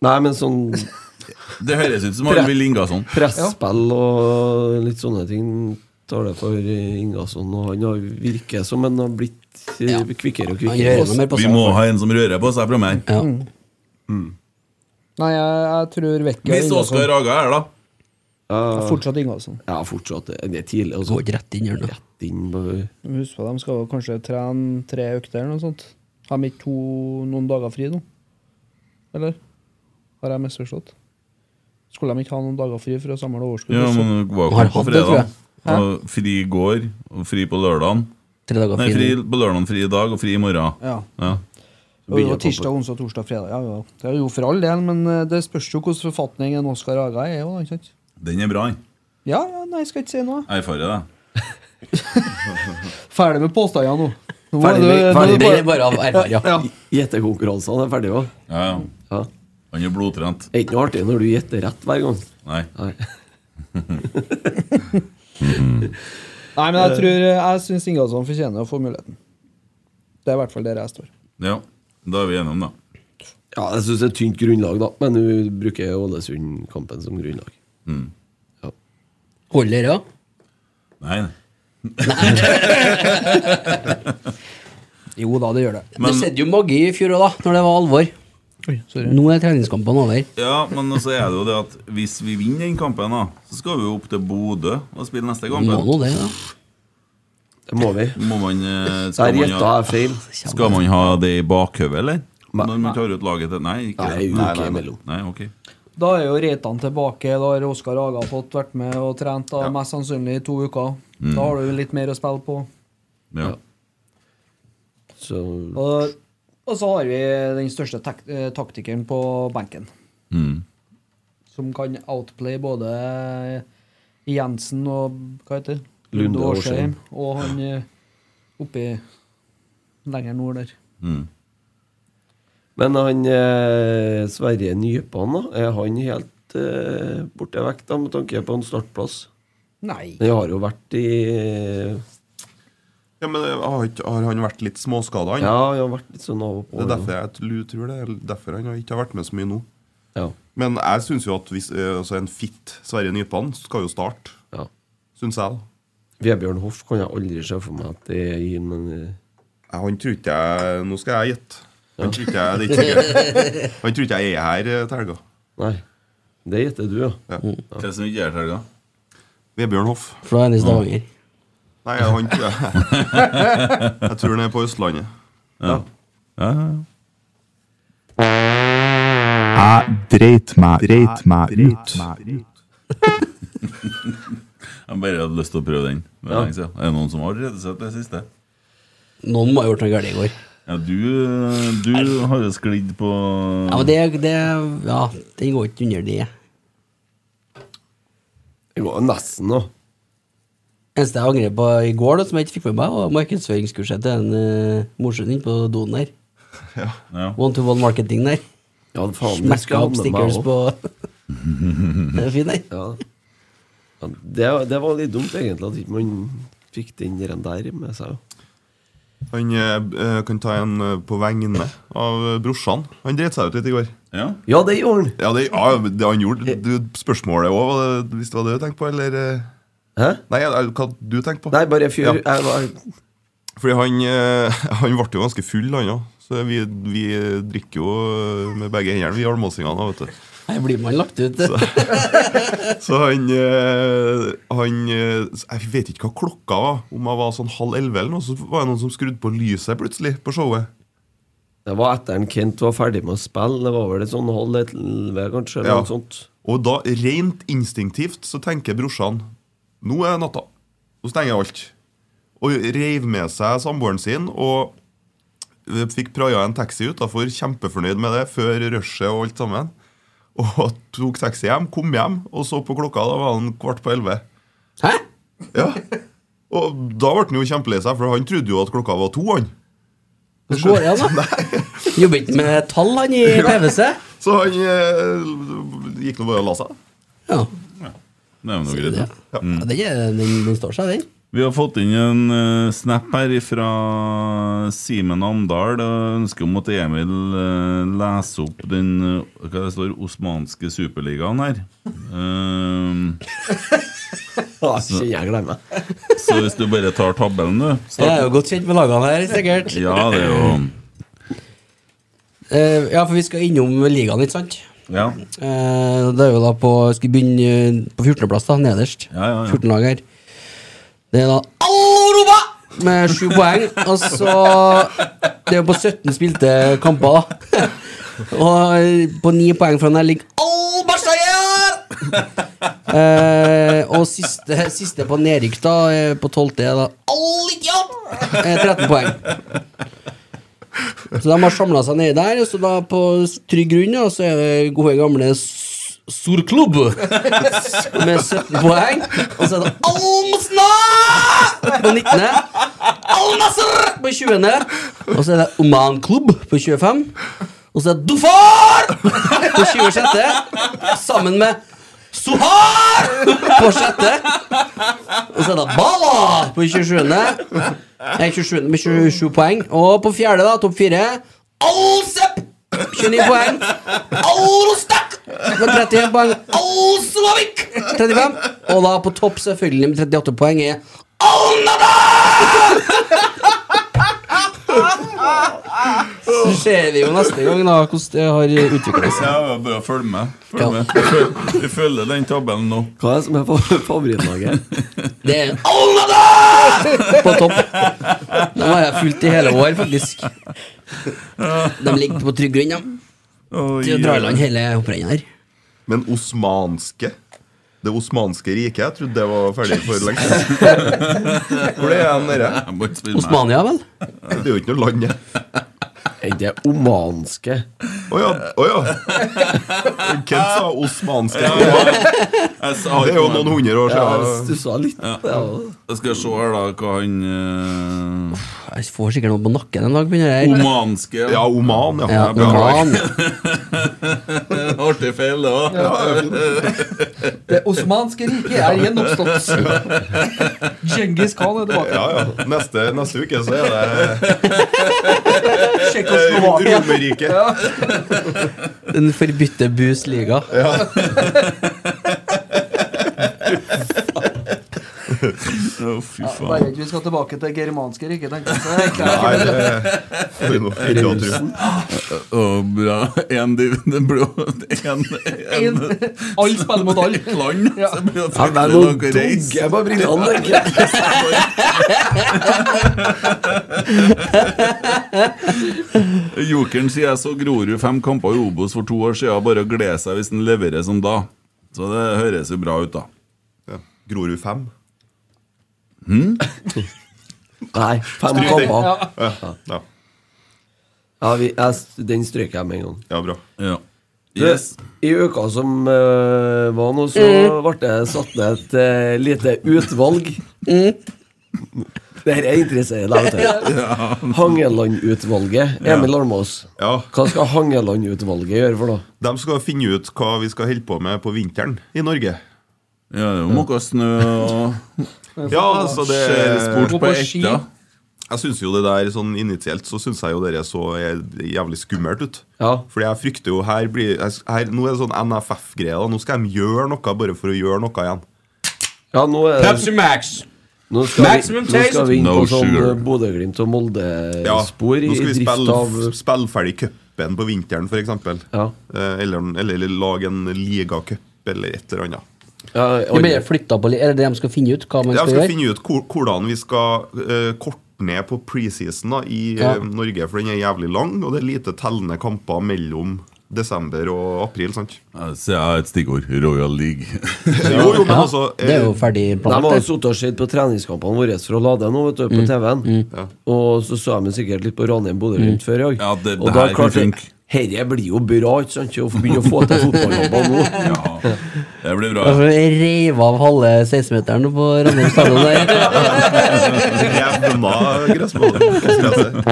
Nei, men sånn Det høres ut som Arvid Ingasson. Presspill og litt sånne ting tar det for Ingasson. Og han har virker som han har blitt eh, kvikkere og kvikkere. Vi må ha en som rører på seg framme her. Mm. Nei, jeg, jeg tror Vekke Hvis Oskar Haga er da Fortsatt sånn. Ingalsson. Ja, fortsatt. Det er tidlig. altså. Går ikke rett inn i hjørnet. Rett inn på- Husk på, de skal jo kanskje trene tre økter eller noe sånt. Har de ikke to noen dager fri nå? Eller? Har jeg misforstått? Skulle de ikke ha noen dager fri for å samle overskudd? Ja, også? men du var Har jo på hatt det, tror jeg. fredag. Hæ? Og fri i går, og fri på lørdagen. Tre dager Nei, fri fri nå. på lørdagen, fri i dag og fri i morgen. Ja. ja. Jo, jo, tirsdag, onsdag, torsdag, fredag. Ja, ja. Det er jo for all del, men eh, det spørs jo hvordan forfatningen Oskar Haga er. Jo, da, ikke sant? Den er bra, den. Ja, ja, nei, skal ikke si noe. Jeg erfarer det. Ferdig med påstandene nå. Nå Ferdig er med- det- nå ferdig er med- det bare av erfaring, ja. Gjettekonkurransene er ferdige òg. Ja, ja. Han er blodtrent. Det er ikke noe artig når du gjetter rett hver gang. Nei. Nei, men Eh. jeg tror Jeg syns Ingalsson fortjener å få muligheten. Det er i hvert fall der jeg står. Ja, da er vi enige om det. Ja, jeg syns det er et tynt grunnlag, da. Men du bruker Ålesund-kampen som grunnlag. Mm. Ja. Holder det, da? Nei, nei. Jo da, det gjør det. Men- det skjedde jo magi i fjor òg, da, når det var alvor. Nå er treningskampene over. Ja, men så er det jo det at hvis vi vinner den kampen, da, så skal vi jo opp til Bodø og spille neste kamp. Må nå det, da. Det må vi. Må man, eh, Der man gjetta ha- jeg feil. Skal man ha det i bakhodet, eller? Når man tar ut laget til Nei, ikke Nei, det. uke imellom. Nei, ok. Da er jo Reitan tilbake. Da har Oskar Aga fått vært med og trent da, mest sannsynlig i to uker. Mm. Da har du jo litt mer å spille på. Ja. Så Og, og så har vi den største tak eh, taktikeren på benken, Mm. som kan outplay både Jensen og hva heter det? Lunde Lunde og Åsheim, og han eh, oppi lenger nord der. Mm. Men han eh, Sverre Nypan, da, er han helt eh, borte vekk da, med tanke på en startplass? Nei. Han har jo vært i Ja, men eh, har, ikke- har han vært litt småskada, han? Ja, han har vært litt sånn av og på. Det er ja. derfor jeg tl- tror det er derfor han ikke har vært med så mye nå. Ja. Men jeg syns jo at hvis, eh, altså en fit Sverre Nypan skal jo starte. Ja. Syns jeg, da. Vebjørn Hoff kan jeg aldri se for meg at det gir eh, men Han tror ikke jeg Nå skal jeg gjette. Han tror ikke jeg, det er ikke sikkert. Han tror ikke jeg er her eh, til helga. Nei. Det gjetter du, ja. Hva er det som ikke er til helga? Vebjørn Hoff. For da er det i Stavanger. Nei, han tror jeg Jeg tror han er på Østlandet. Ja. Ja, ja, ja. Jeg dreit meg, dreit meg ut. Jeg bare hadde lyst til å prøve den. Det Ja. er lenge siden. Er det noen som har allerede sett det siste? Noen må ha gjort noe galt i går. Ja, du, du har jo sklidd på Ja, men det, det Ja, den går ikke under det. Det går jo nesten, da. eneste jeg angrer på i går, da, som jeg ikke fikk med meg, var markedsføringskurset til en uh, morsom inn på doen der. Ja. One-to-one marketing der. Ja, faen, det Smekka skal jeg opp ha med meg stickers på Det er fin, den. Ja, Det, det var litt dumt, egentlig, at ikke man fikk den der med seg. Han eh, eh, kan ta en eh, på vegne av eh, brorsan. Han dreit seg ut litt i går. Ja, det gjorde han. Ja, det, ja, det han gjorde du, Spørsmålet òg, hvis det var det du tenkte på, eller eh? Hæ? Nei, eller hva du tenkte på? Nei, bare fyr. Ja. Jeg var Fordi han, eh, han ble jo ganske full, han òg. Så vi, vi drikker jo eh, med begge hendene, vi almåsingene. vet du. Her blir man lagt ut. Så han, eh, han eh, Jeg vet ikke hva klokka var, om jeg var sånn halv elleve eller noe, så var det noen som skrudde på lyset plutselig på showet. Det var etter en Kent var ferdig med å spille. Det var vel et sånn halv elleve, kanskje? Eller Ja. noe sånt. Og da, rent instinktivt, så tenker brorsan Nå er det natta. Nå stenger jeg alt. Og reiv med seg samboeren sin og fikk praia en taxi utafor, kjempefornøyd med det, før rushet og alt sammen. Og tok taxi hjem, kom hjem, og så på klokka, da var han kvart på elleve. Hæ? Ja. Og da ble han jo kjempelei seg, for han trodde jo at klokka var to, han. Så går det an, da. Jobber ikke med tall, han i PwC. Så han eh, gikk nå bare og la seg. Ja. Det er jo noe greit. da. Ja, Den, er- den, den står seg, den. Vi har fått inn en eh, snap her fra Simen Amdal og ønsker om at Emil eh, leser opp den eh, hva det står, osmanske superligaen her. Ehm, Så jeg glemmer. så hvis du bare tar tabellen, du Jeg er jo godt kjent med lagene her, sikkert. Ja, det er jo Eh, ja, for vi skal innom ligaen, ikke sant? Ja. Eh, det er jo da på Skal begynne eh, på 14.-plass, da, nederst. ja, ja. 14 lag her. Det er da Alloroba! Med sju poeng. Og så Det er jo på 17 spilte kamper, da. Og eh, på ni poeng fra den her ligger eh, Og siste, siste på nedrykk, da, eh, på 12. er da eh, 13 poeng. Så de har samla seg nedi der, så da på trygg grunn da, så er det gode gamle S- Surklubb med 17 poeng. Og så er det Almsna på 19. Alnasr på på 20. Og så er det Oman Club på 25. Og så er det Dufar på 26. Sammen med Suhar på 6. Og så er det Bala på 27. Nei, 27 med 27 poeng. Og på fjerde, da, topp fire, Alsep! 29 poeng. Alrostak med 31 poeng. Alslavik 35. Og da på topp, selvfølgelig, med 38 poeng, er Så ser vi jo neste gang da hvordan det har utviklet seg. Ja, bare følg med. Følg med. Vi føl- Vi følger den tabellen nå. Hva er det som er fa- favorittlaget? Det er På topp. De har jeg fulgt i hele år, faktisk. De ligger på trygg grunn, ja. Til å dra i land hele hopprennet her. Men osmanske? Det osmanske riket? Jeg trodde det var ferdig for lenge siden. Hvor er den dere? Osmania, vel? Det er jo ikke noe land, det. Er det omanske? Å ja. å ja. Hvem sa osmanske? Ja, Jeg sa Det er jo ikke noe. noen hundre år siden. Ja. Jeg skal se her, da, hva han eh, Jeg får sikkert noe på nakken en dag. på denne her. Omanske. Ja, Oman, ja. Ja, Jeg beklager. Oman. Artig feil, det òg. Det osmanske riket er gjenoppstått. Djengis Khan er tilbake. Ja, ja. Neste, neste uke så er det Tsjekkoslovakia. Romerriket. Den forbudte bus liga. Å, fy Ja, faen. bare ikke vi skal tilbake til germanske riket, tenker jeg. Så det er Nei, klart. det får vi nå ikke å tro. Å, bra. En div... Det blir jo en, en, Alle spiller mot alle. Et land. Ja. Så blir det Ja, det fryktelig er noen noe reis. dogger på brillene, tenker jeg. Jokeren sier jeg så Grorud fem kamper i Obos for to år siden. Bare å glede seg hvis den leverer som da. Så det høres jo bra ut, da. Ja. Grorud 5. Nei, fem Stryk den. kamper. Ja. Ja. Ja, vi, jeg, s- den strøk jeg med en gang. ja, bra. Ja. Du, Yes. I uka som eh, var nå, så Mm. ble det satt ned et eh, lite utvalg. Mm. Dette interesserer deg, vet du. Hangeland-utvalget. Emil Almås, Ja. hva skal Hangeland-utvalget gjøre for noe? De skal finne ut hva vi skal holde på med på vinteren i Norge. Ja, det er jo noe snø og Ja, altså det Skjellsport Gå på på ski. ekta. Jeg syns jo det der sånn initielt så syns jeg jo dere så jævlig skummelt ut. Ja. Fordi jeg frykter jo her blir her, Nå er det sånn NFF-greie. da. Nå skal de gjøre noe bare for å gjøre noe igjen. Eh, ja, nå er det Max. nå skal, vi, Maximum nå skal vi inn taste. på No sånn sugar. eh, Bodø-Glimt og Ja, Molde-spor nå i skal vi drift spille, av spille ferdig cupen på vinteren, f.eks. Ja. Eller, eller lage en ligacup eller et eller annet. ja, De alle- blir flytta på li- Er det det de skal finne ut? Hva man Jeg skal skal gjøre? finne ut hvor- hvordan vi skal eh, korte ned på preseason da, i eh, Ja. Norge, for den er jævlig lang, og det er lite tellende kamper mellom desember og april. sant? Ja, Så jeg har et stikkord. Royal League. Jo, jo, men Ja, altså det er eh, jo ferdig De har jo planlagt. det. Mm. sittet og sett på treningskampene våre for å lade nå, vet du, på TV-en. Og så så de sikkert litt på Ranheim Mm. Bodø-Glimt før i dag. Ja, det- og det da her klarte kan jeg, Herre blir jo bra, ikke sant? Å begynne å få til fotballjobber nå. Ja, det blir bra. Altså, jeg reiv av halve 16-meteren på Ranheim stadion der. Jevna gressbanen. Gresset.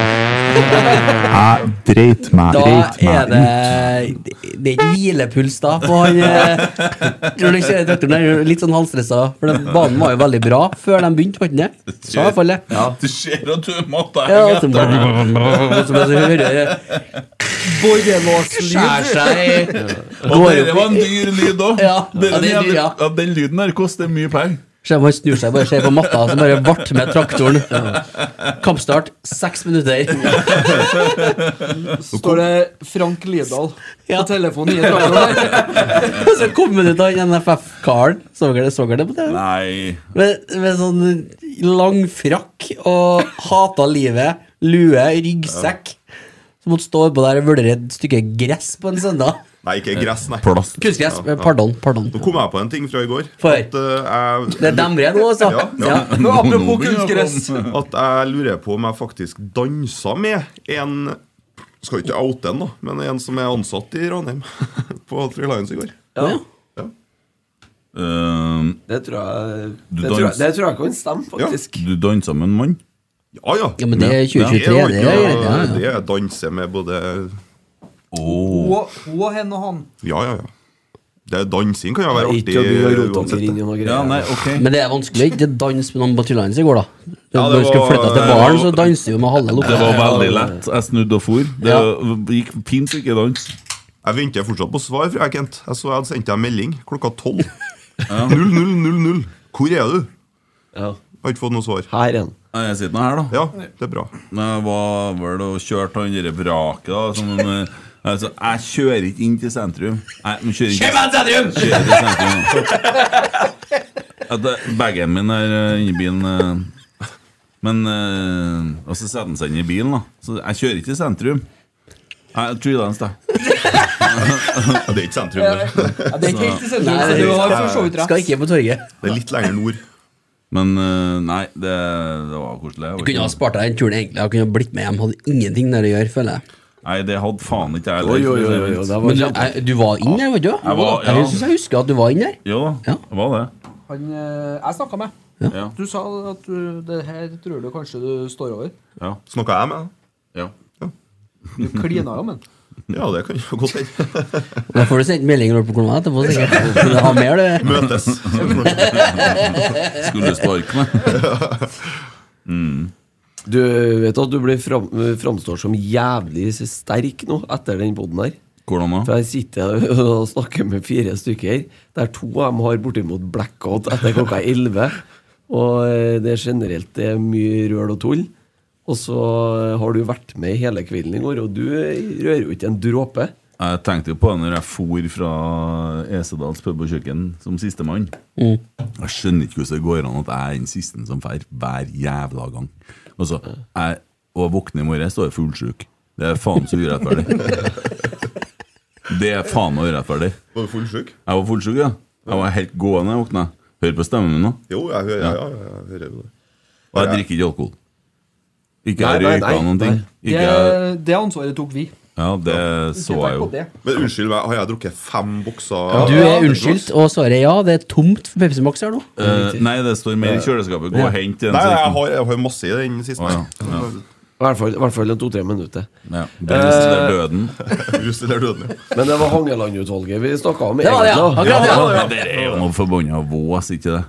Jeg dreit meg, Da dreit er meg ut. det Det er hvilepuls da på han eh, Når du ser traktoren der, litt sånn halvstressa. For den banen var jo veldig bra før de begynte, var den ikke det? Så i hvert fall det. Du ser at du måtte Ja, henge og så etter. hører Skjærer seg Og Går det opp var en i- dyr lyd òg. Ja, ja, det er dyr, ja. Den lyden der koster mye penger. Skjønner man snur seg, bare ser på matta, så bare vart med traktoren. Kampstart seks minutter. Står det Frank Lidahl på Ja. telefonen i traktoren der? Så kommer det ut han NFF-karen. Så dere så dere det på TV? Nei Med, med sånn lang frakk og hata livet, lue, ryggsekk. Som måtte stå på der og vurdere et stykke gress på en søndag. Nei, ikke gress, nei. Plast. Kunstgress. Ja, ja. Pardon. pardon Nå kom jeg på en ting fra i går. For? At, eh, jeg- Det er dem igjen nå, altså. Ja, Ja. ja. Nå, apropos begynner jeg å kunstgress. at jeg lurer på om jeg faktisk dansa med en Skal ikke oute en, da, men en som er ansatt i Ranheim på Free Lions i går. Ja. Ehm, Det tror jeg Du eh, det tror jeg, dans- det tror jeg kan stemme, faktisk. du dansa med en mann? Ja, ja. Ja, men det er 2023, jo ikke det er greit, ja, ja. Det er danse med både Hun hun og henne og han. Ja, ja, ja. Det er dansing kan jo være Ikke artig. å begynne å rote uansett. omkring i noe greier. Ja, nei, ok. Men det er vanskelig ikke dans med noen på Tylands i går, da. Ja, Når det du skal var- sånn flytte til baren, så danser vi med halve lokket. Det var veldig lett. Jeg snudde og for. Det Ja. gikk fint å ikke danse. Jeg venter fortsatt på svar fra deg, Kent. Jeg så jeg hadde sendt deg en melding klokka tolv. 0000. Hvor er du? Har ikke fått noe svar. Her igjen. Ja, Jeg sitter nå her, da. Ja, det er bra. Jeg var vel og kjørte han derre vraket, da. Som, eh, altså, jeg kjører ikke inn til sentrum. Nei, men kjører ikke Kjøp inn sentrum! Kjører til sentrum ja. At, eh, Bagen min er eh, inni bilen. eh, Men eh, Og så setter han seg inn i bilen, da. Så jeg kjører ikke til sentrum. Jeg tror det er en sted. Det er ikke sentrum, det. Ja, det er ikke helt i sentrum, Nei, så det er du har ikke- for så vidt rett. Skal ikke på torget. Det er litt lenger nord. Men eh, nei, det, det var koselig. Jeg kunne ha spart deg den turen, egentlig. Jeg kunne ha blitt med hjem. Hadde ingenting der å gjøre, føler jeg. Nei, det hadde faen ikke jeg Oi, oi, oi, oi, oi, det var Men du- kjempe- jeg- du var inne, var du? Jeg var, ja. Jeg synes jeg husker at du var inne der. Jo da, jeg var det. Han eh, jeg snakka med. Ja. Du sa at du, det her tror du kanskje du står over. Ja. Snakka jeg med deg? Ja. Du klina jo, men. Ja, det kan jo godt hende. Da får du sendt melding når du kommer deg etterpå, sikkert. Skal du ha mer, du? Møtes. Skulle sparke meg. Du vet at du blir fram, framstår som jævlig sterk nå etter den poden her. Hvordan da? For jeg sitter og snakker med fire stykker, der to av dem har bortimot blackout etter klokka 11. Og eh, det er generelt det er mye røl og tull. Og så har du vært med hele kvelden i går, og du rører jo ikke en dråpe. Jeg tenkte jo på det når jeg for fra Esedals pub og kjøkken som sistemann. Mm. Jeg skjønner ikke hvordan det går an at jeg er den siste som drar hver jævla gang. Og så, jeg, og jeg våkner i morges og er fullsjuk. Det er faen så urettferdig. Det er faen meg urettferdig. Var du fullsjuk? Jeg var fullsjuk, ja. Jeg var helt gående da jeg våkna. Hør på stemmen min nå. Jo, jeg hører, ja, ja, jeg hører jo det. Og jeg drikker ikke alkohol. Ikke Nei, jeg nei, røyka nei, noen ting. nei. Ikke Det, jeg det ansvaret tok vi. Ja, det så tenk jeg jo. på det. Men unnskyld meg, har jeg drukket fem bokser Du er unnskyldt, og svaret er ja. Det er tomt for Pepsi Max her nå. Eh, nei, det står mer i kjøleskapet. Gå og hent en. Nei, så jeg ikke- har, jeg har masse i den siste. Å, ja. Ja. I hvert fall, i hvert fall en to-tre minutter. Ja, Brus til Eh, døden. Brus til døden, ja. Men det var Hangeland-utvalget vi snakka om. Det var det, ja. egentlig, da. Akkurat, ja. Men dere er jo noe forbanna vås, ikke det?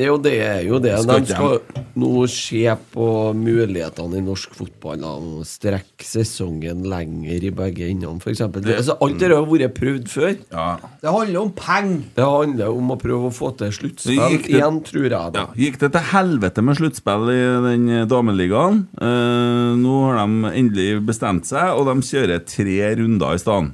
Det er jo det. Er jo det. Skal De ikke skal nå se på mulighetene i norsk fotball da, og strekke sesongen lenger i begge endene, f.eks. Altså, alt det der har vært prøvd før. Det handler om penger. Det handler om å prøve å få til sluttspill Gikk det- igjen, tror jeg. da Ja, gikk det til helvete med sluttspill i den dameligaen? Eh, nå har de endelig bestemt seg, og de kjører tre runder i stedet.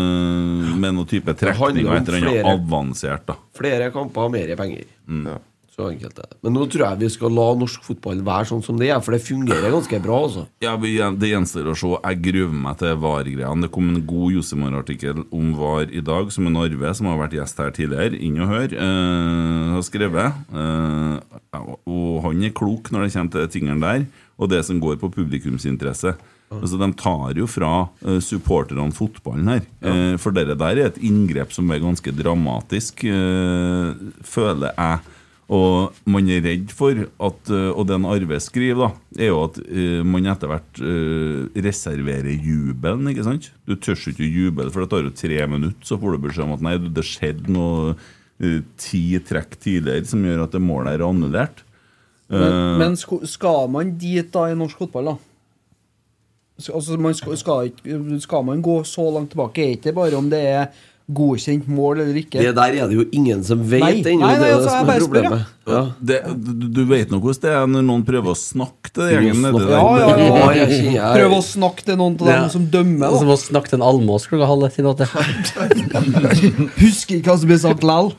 Eh, med noen type trekning og et eller annet flere. avansert. da Flere kamper, mer penger. Mm. Så enkelt er det. Men nå tror jeg vi skal la norsk fotball være sånn som det er, for det fungerer ganske bra. altså Ja, vi, Det gjenstår å se. Jeg gruer meg til VAR-greiene. Det kom en god Josemar-artikkel om VAR i dag, som en Arve, som har vært gjest her tidligere, inn og hør, eh, har skrevet. Eh, ja, og han er klok når det kommer til tingene der, og det som går på publikumsinteresse. Altså, De tar jo fra eh, supporterne fotballen her. Eh, for det der er et inngrep som er ganske dramatisk, eh, føler jeg. Og man er redd for at eh, Og den Arve skriver, da, er jo at eh, man etter hvert eh, reserverer jubelen, ikke sant? Du tør jo ikke å juble, for det tar jo tre minutter, så får du beskjed om at nei, du, det skjedde noe eh, ti trekk tidligere som gjør at det målet er annullert. Men, Eh, men sko- skal man dit da i norsk fotball, da? Sk- Altså, man skal, skal, ikke- skal man gå så langt tilbake? Er ikke det bare om det er godkjent mål eller ikke? Det der er det jo ingen som vet Nei, ennå. nei, det nei, er altså, det jeg som bare er spør, problemet. Ja. Det, du, du vet nå hvordan det er når noen prøver å snakke til den gjengen nedi der. Ja, ja, ja. Ja, jeg kjenner- jeg- Prøv å snakke til noen av dem Ja. som dømmer. Og Da. så må vi snakke til en almås klokka halv ett i natt. Husker ikke hva som ble sagt lell.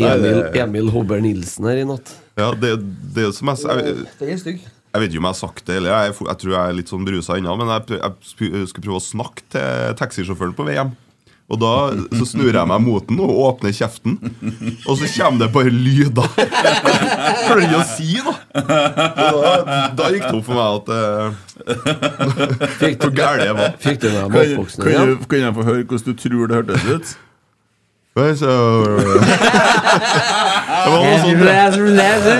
Nei, det- Emil, Emil Hobber Nilsen her i natt. Ja, det, det er som jeg, jeg Den er stygg. Jeg vet ikke om jeg har sagt det, eller jeg, jeg tror jeg er litt sånn brusa ennå, men jeg, prø- jeg spu- skulle prøve å snakke til taxisjåføren på vei hjem. Og da så snur jeg meg mot den og åpner kjeften, og så kommer det bare lyder. Klarer ikke å si, da! Og da, da gikk det opp for meg at eh, Hvor gæren jeg var. Fikk du med Kan, kan, du- kan jeg få høre hvordan du tror det hørtes ut? Nei, så- Det var noe sånn sånt, ja. Det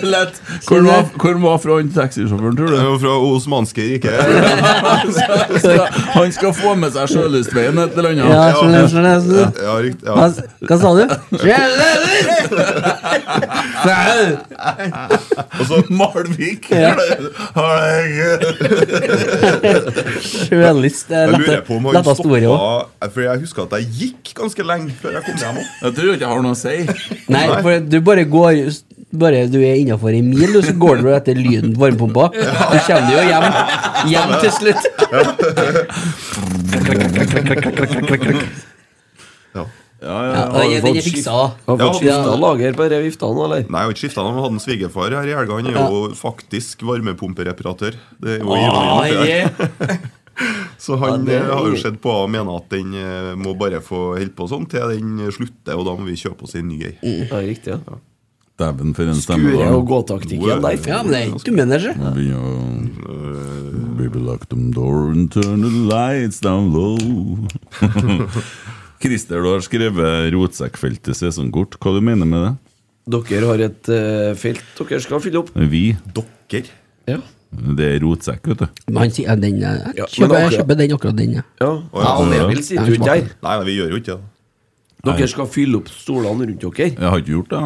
er lett. Hvor var, hvor var fra han taxisjåføren, tror du? Fra Osmanske riket. Han skal- Han skal få med seg sjølystveien et eller annet. Ja, skjønner jeg, skjønner jeg, skjønner jeg. Ja, riktig, ja. Hva, hva sa du? Og så Malvik! Ja. Sjølyst. Sjølyst, det er Jeg lurer letta- på om han letta store også. stoppa For jeg husker at jeg gikk ganske lenge før jeg kom hjem òg. Jeg tror ikke jeg har noe å si. Nei, for du bare går Bare du er innafor ei mil, og så går du etter lyden på varmepumpa. Så kommer du jo hjem, hjem til slutt. Ja. Ja, Har Ja, den- du fått den er skift- fiksa. har du fått skiftet lager på vifta nå, eller? Nei, jeg har ikke skifta den. Jeg hadde en svigerfar her i helga. Han er jo faktisk varmepumpereparatør. Det er jo Ah, ironien oppi der. Så han Ja, det er eh, har jo ironi. sett på og mener at den eh, må bare få holde på sånn til den slutter, og da må vi kjøpe oss en ny ei. Ja, riktig, ja. Dæven, for en stemme. Skure da. og gå-taktikken der. Ja, men det er ikke du mener det. Begynner å- Baby lock them door and turn the lights down low. Christer, du har skrevet rotsekkfeltet sesongkort. Hva du mener med det? Dere har et eh, felt dere skal fylle opp. Vi. Dere? Ja. Det er rotsekk, vet du. Men han sier ja, den er- Ja, Jeg kjøper, men jeg kjøper den, akkurat den. Ja. Ja, og Emil sitter jo ikke der. Nei, nei, vi gjør jo ikke det. Dere skal fylle opp stolene rundt dere. Jeg har ikke gjort det.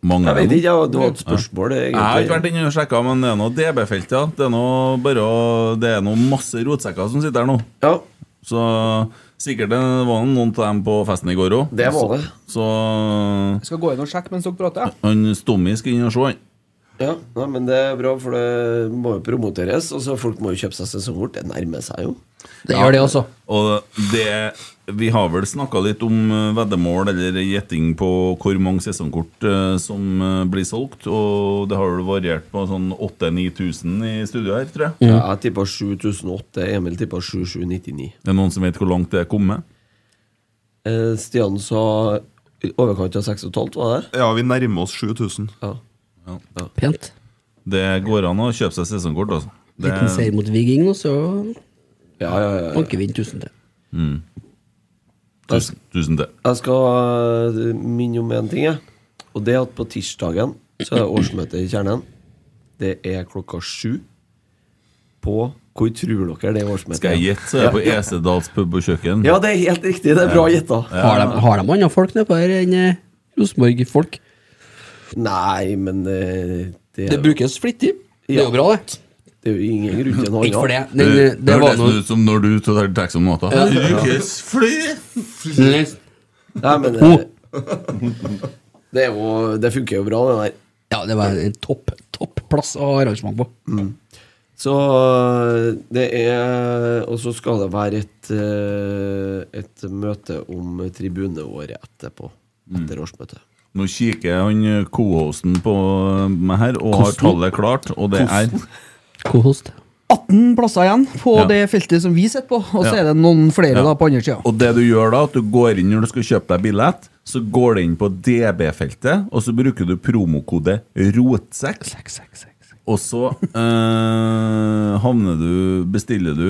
Mange Jeg vet av dem. ikke, ja, det var et spørsmål, Ja. Jeg egentlig. har ikke vært inne og sjekka, men det er noe DB-felt, ja. Det er noe bare å- Det er noe masse rotsekker som sitter her nå. Så sikkert det var noen av dem på festen i går òg. Det var det. Så, Jeg skal gå inn og sjekke mens dere prater. så han Stommi skal inn og se, han. Ja, nei, men det er bra, for det må jo promoteres. Og så folk må jo kjøpe seg sesongkort. Det nærmer seg jo. Det gjør det også. Og det, vi har vel snakka litt om eh, veddemål eller gjetting på hvor mange sesongkort eh, som eh, blir solgt, og det har vel variert på sånn 8000-9000 i studio her, tror jeg. Ja, jeg tippa 7008. Emil tippa 7799. Det er noen som vet hvor langt det er kommet? Eh, Stian sa i overkant av 6,5, var det? Ja, vi nærmer oss 7000. Ja. Pent. Det går an å kjøpe seg sesongkort, altså. Det, Liten seier mot Viking, og så banker vi inn 1000 til. mm. tusen, tusen til. Jeg skal eh, minne om én ting, jeg. Og det er at på tirsdagen så er det årsmøte i Kjernen. Det er klokka sju. På Hvor tror dere det årsmøtet Skal jeg gjette, så er det på Ja. Esedals pub og kjøkken. Ja, det er helt riktig. Det er bra gjetta. Har de, har de andre folk nedpå her enn eh, Rosenborg-folk? Nei, men det, det, Det brukes flittig. Det er jo bra, det. Det er jo ingen grunn til noe Ikke for det. annet. Nei, nei, eh, det Det var hørtes noe- ut som når du tar taxi om natta. Ja. Brukes Yes. Nei, men det, det, er jo, det funker jo bra, det der. Ja, det var en topp, topp plass å ha arrangement på. Så eh, det er Og så skal det være et, eh, et møte om tribuneåret etterpå. Mm. Etter årsmøtet. Nå kikker han co-hosten på eh, meg her og har Kosten? tallet klart, og det er Kosten? 18 plasser igjen på Ja. det feltet som vi sitter på, og så Ja. er det noen flere Ja. da på andre sida. Og det du gjør da, at du går inn når du skal kjøpe deg billett, så går du inn på DB-feltet, og så bruker du promokode ROTSEKK. Og så eh, havner du Bestiller du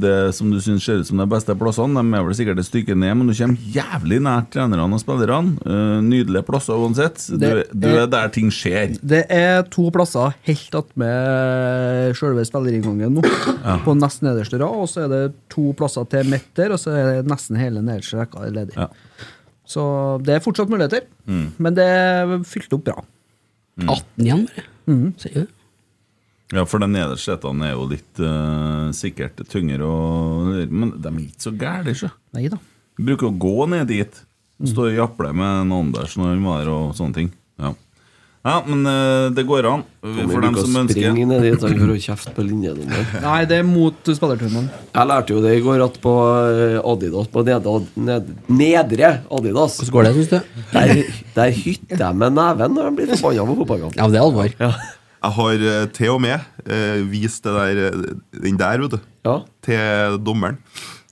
det som du syns ser ut som de beste plassene. De er vel sikkert et stykke ned, men du kommer jævlig nært trenerne og spillerne. Eh, nydelige plasser uansett. Du, Det du er- er der ting skjer. Det er to plasser helt attmed sjølve spillerinngangen nå, på nest nederste rad, og så er det to plasser til midt der, og så er det nesten hele nederste rekka ledig. Så det er fortsatt muligheter, Mm. men det er fylt opp bra. 18 igjen, bare. Mhm. Sier du det? Ja, for de nederste setene er jo litt eh, sikkert tyngre og Men de er ikke så gærne, ikke? Nei da. Bruker å gå ned dit. Stå og japle med en Anders når han var der og sånne ting. Ja, ja men eh, det går an. Tommy For dem bruker å som ønsker springe ned dit han, for å kjefte på linjedommeren. Nei, det er mot spillerturnen. Jeg lærte jo det i går at på eh, Adidas På nedre, ned, nedre Adidas Hvordan går det, syns du? Der, der hytter jeg med neven når de blir forbanna på fotballkamp. Ja, men det er alvor. Jeg har eh, til og med eh, vist det der, eh, den der, vet du, til dommeren.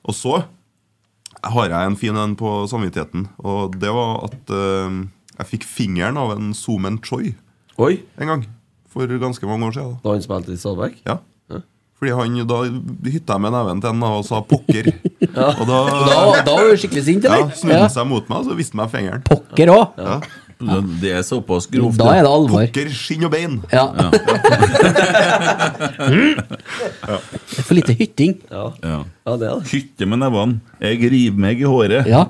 Og så har jeg en fin en på samvittigheten, og det var at eh, jeg fikk fingeren av en Zoomen Choi Oi. en gang. For ganske mange år siden. Da han spilte i Stabæk? Ja. Fordi han, da hytta jeg med neven til en og sa 'pokker'. Og da, Da- da var du skikkelig sint, eller? Ja, snudde Ja. han seg mot meg, og så viste han meg fingeren. Pokker òg! Ja. Det er såpass grovt, Da det. er det alvor. Pokker, skinn og bein. Ja. Ja. Det er for lite hytting. Ja. Hytte med nevene. Jeg river meg i håret. Ja.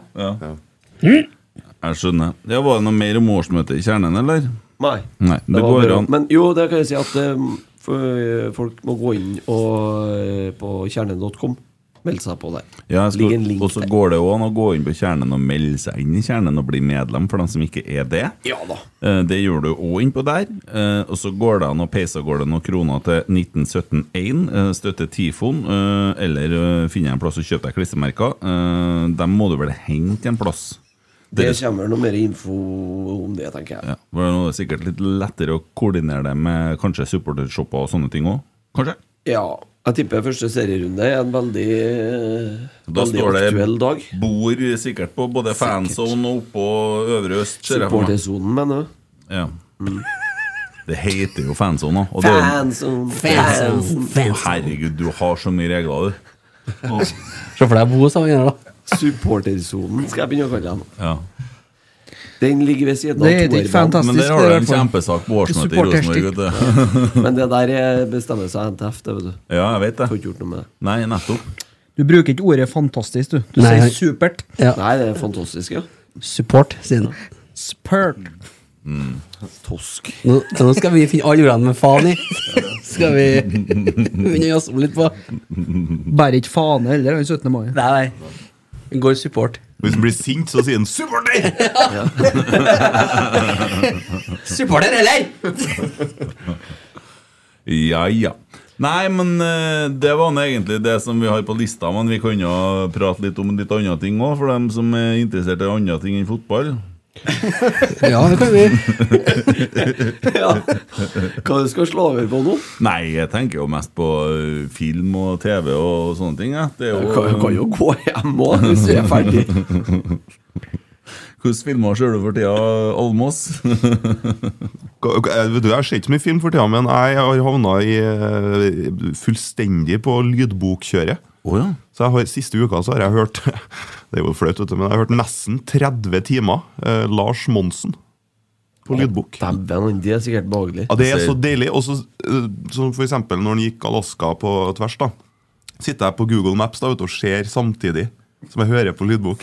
Jeg skjønner. Det var det noe mer om årsmøtet i kjernen, eller? Nei. Nei, det var går bare- an. Men jo, det kan jeg si at eh, for- eh, folk må gå inn og, eh, på kjernen.com. Melde seg på der. Ja, jeg skal, og så går det jo an å gå inn på kjernen og melde seg inn i kjernen og bli medlem, for dem som ikke er det. Ja da. Eh, Det gjør du òg innpå der. Eh, Og så går det an å peise av gårde noen kroner til 1917.1, eh, støtte Tifon, eh, eller eh, finne en plass og kjøpe deg klistremerker. Eh, Dem må du vel hente en plass. Det Dere- kommer noe mer info om det, tenker jeg. Ja, for det er sikkert litt lettere å koordinere det med kanskje supportershopper og sånne ting òg. Kanskje? Ja. Jeg tipper første serierunde er en veldig, eh, Da veldig står det aktuell dag. bord sikkert på både fanzone og oppå Øvre Øst. ser jeg for meg. Supportersonen, mener du? Ja. Mm. Det heter jo fanzone. da, og det- Fanzone, fanzone, fanzone. Herregud, du har så mye regler, du. Se for deg Bo som gjør det, da. Supportersonen skal jeg begynne å kalle den. Ja. Den ligger ved siden av Det heter ikke toerbanen. fantastisk, Men der har det er du i en hvert fall. kjempesak på årsmøtet i Rosenborg, vet du. Ja. Men det der eh, bestemmer seg NTF, det, vet du. Ja, jeg vet det. Får ikke gjort noe med det. Nei, nettopp. Du bruker ikke ordet fantastisk, du. Du Nei. sier supert. Nei, det er fantastisk, ja. Support, sier han. Spurt. Tosk. Nå, så nå skal vi finne alle ordene med faen i. Skal vi begynne å jazze litt på. Bærer ikke fane heller, den 17. mai. Nei, nei. Den går support. Hvis han blir sint, så sier han 'supporter'! Supporter, eller? Ja, ja. Nei, men eh, det var nå egentlig det som vi har på lista. Men vi kan jo prate litt om litt andre ting òg, for dem som er interessert i andre ting enn fotball. Ja, det kan vi. ja. Hva du skal slå over på nå? Nei, jeg tenker jo mest på eh, film og TV og sånne ting. Ja. Det er jo, Du kan, kan jo gå hjem òg, hvis du er ferdig. Hvordan filmer ser du for tida, Almås? Jeg eh, vet du, jeg ser ikke så mye film for tida, men jeg har havna i, eh, fullstendig på lydbokkjøret. Så jeg har, Siste uka så har jeg hørt Det er jo flaut, vet du, men jeg har hørt nesten 30 timer eh, Lars Monsen på lydbok. Dæven, det er sikkert behagelig. Ja, det er så deilig. Og så, eh, som for eksempel når han gikk Alaska på tvers, da. Sitter jeg på Google Maps da, vet du, og ser samtidig som jeg hører på lydbok.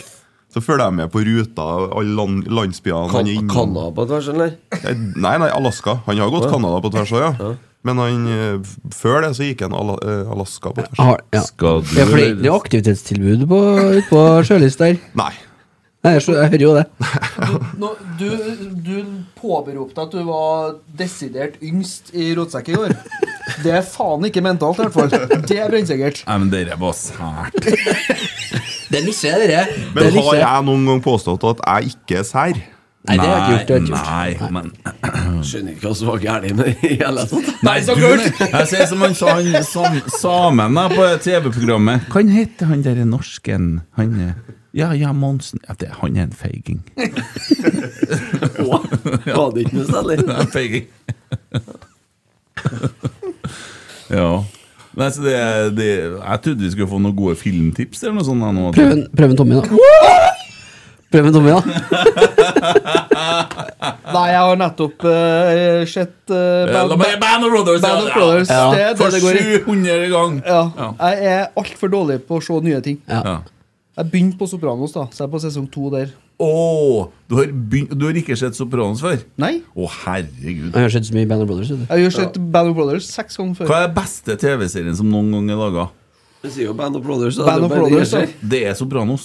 Så følger jeg med på ruta, alle land, landsbyene Kan- han er innom. Canada på tvers, eller? Eh, Nei, nei, Alaska. Han har gått Å, ja. Canada på tvers òg, ja. Men han, eh, f- før det så gikk han Ala eh, Alaska på tvers. Har, ja. ja, for det det er aktivitetstilbud på, ut på sjølyst der. Nei. Nei, jeg, skjø- jeg hører jo det. Nå, du, du påberopte at du var desidert yngst i rotsekk i går. Det er faen ikke mentalt, i hvert fall. Det er brennsikkert. Nei, men dere var sært. Det misser jeg, dere. Men har jeg noen gang påstått at jeg ikke er sær? Nei, det har jeg ikke gjort, det har jeg ikke gjort. Nei, men Skjønner ikke hva som var gærent med det i hele tatt. Nei, du, jeg sier som han sa, han sam, samen da, på TV-programmet. Kan hete han derre norsken? Han eh, Ja, ja, Monsen. Ja, det, han er en feiging. Var det ikke noe særlig? Nei, feiging. Ja. Nei, så det, det, jeg trodde vi skulle få noen gode filmtips eller noe sånt. da, nå. Prøv en, prøv en Tommy, da. Prøv en Tommy, da. Nei, jeg har nettopp eh, sett eh, Eh, La meg Band of Brothers! Band of Brothers, Ja. det er det For det går i. 700 gang! Ja. Jeg er altfor dårlig på å se nye ting. Ja. Jeg begynte på Sopranos, da, så jeg er på sesong to der. Åh, du, har begynt, du har ikke sett Sopranos før? Nei. Å, herregud. Jeg har sett så mye Band of Brothers. vet du. Jeg har sett Band of Brothers seks ganger før. Hva er den beste TV-serien som noen gang er laga? Du sier jo Band of Brothers. da. Band Det of er bare Brothers, det da. jeg sier. Det er Sopranos.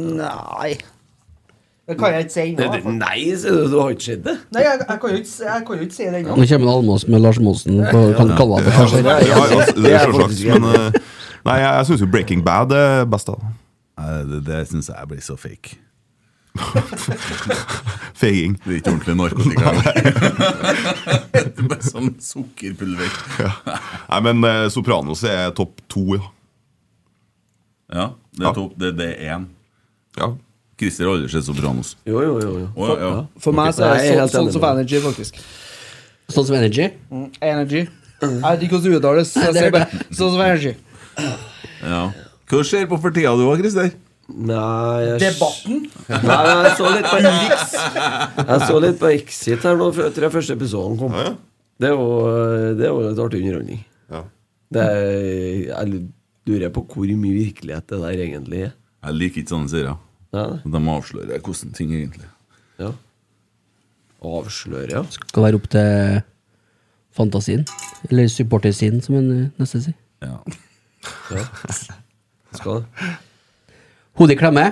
Nei. Det kan jeg ikke si Nei, det- Nei, sier du. Du har ikke sett det? Nei, jeg, jeg, kan jo ikke, si- jeg kan jo ikke si det Nå kommer Almås med Lars Monsen på kan kalle han på kanskje. Ja, altså, det er selvsagt, faktisk- men eh, Nei, jeg, jeg syns jo Breaking Bad er best, da. Nei, Det, det syns jeg blir så fake. Feiging. Det er ikke ordentlig narkotika. det er bare sånn sukkerpulver. Nei, men eh, Sopranos er topp to, ja. Ja, det er topp. Det, det er én. Ja. Christer har aldri sett Sopranos. Jo, jo, jo. jo. Å, ja, ja. For meg så er Nei, jeg er det helt så, sånn enig som med Energy, faktisk. Sånn som Energy. Mm, energy. Jeg vet ikke hvordan det uttales. så Jeg sier bare sånn som Energy. Ja. Hva skjer på for tida du òg, Christer? Nei, jeg Debatten? Nei, nei, jeg så litt på X. Jeg så litt på Exit her nå etter den første episoden kom. Det er jo- det er jo litt artig underholdning. Det er, jeg lurer på hvor mye virkelighet det der egentlig er. Jeg liker ikke sånne serier. De avslører hvordan ting egentlig Ja. Avslører, ja. Skal være opp til fantasien. Eller supportersiden, som en eh, neste sier. Ja. Skal det. Hodet i klemme.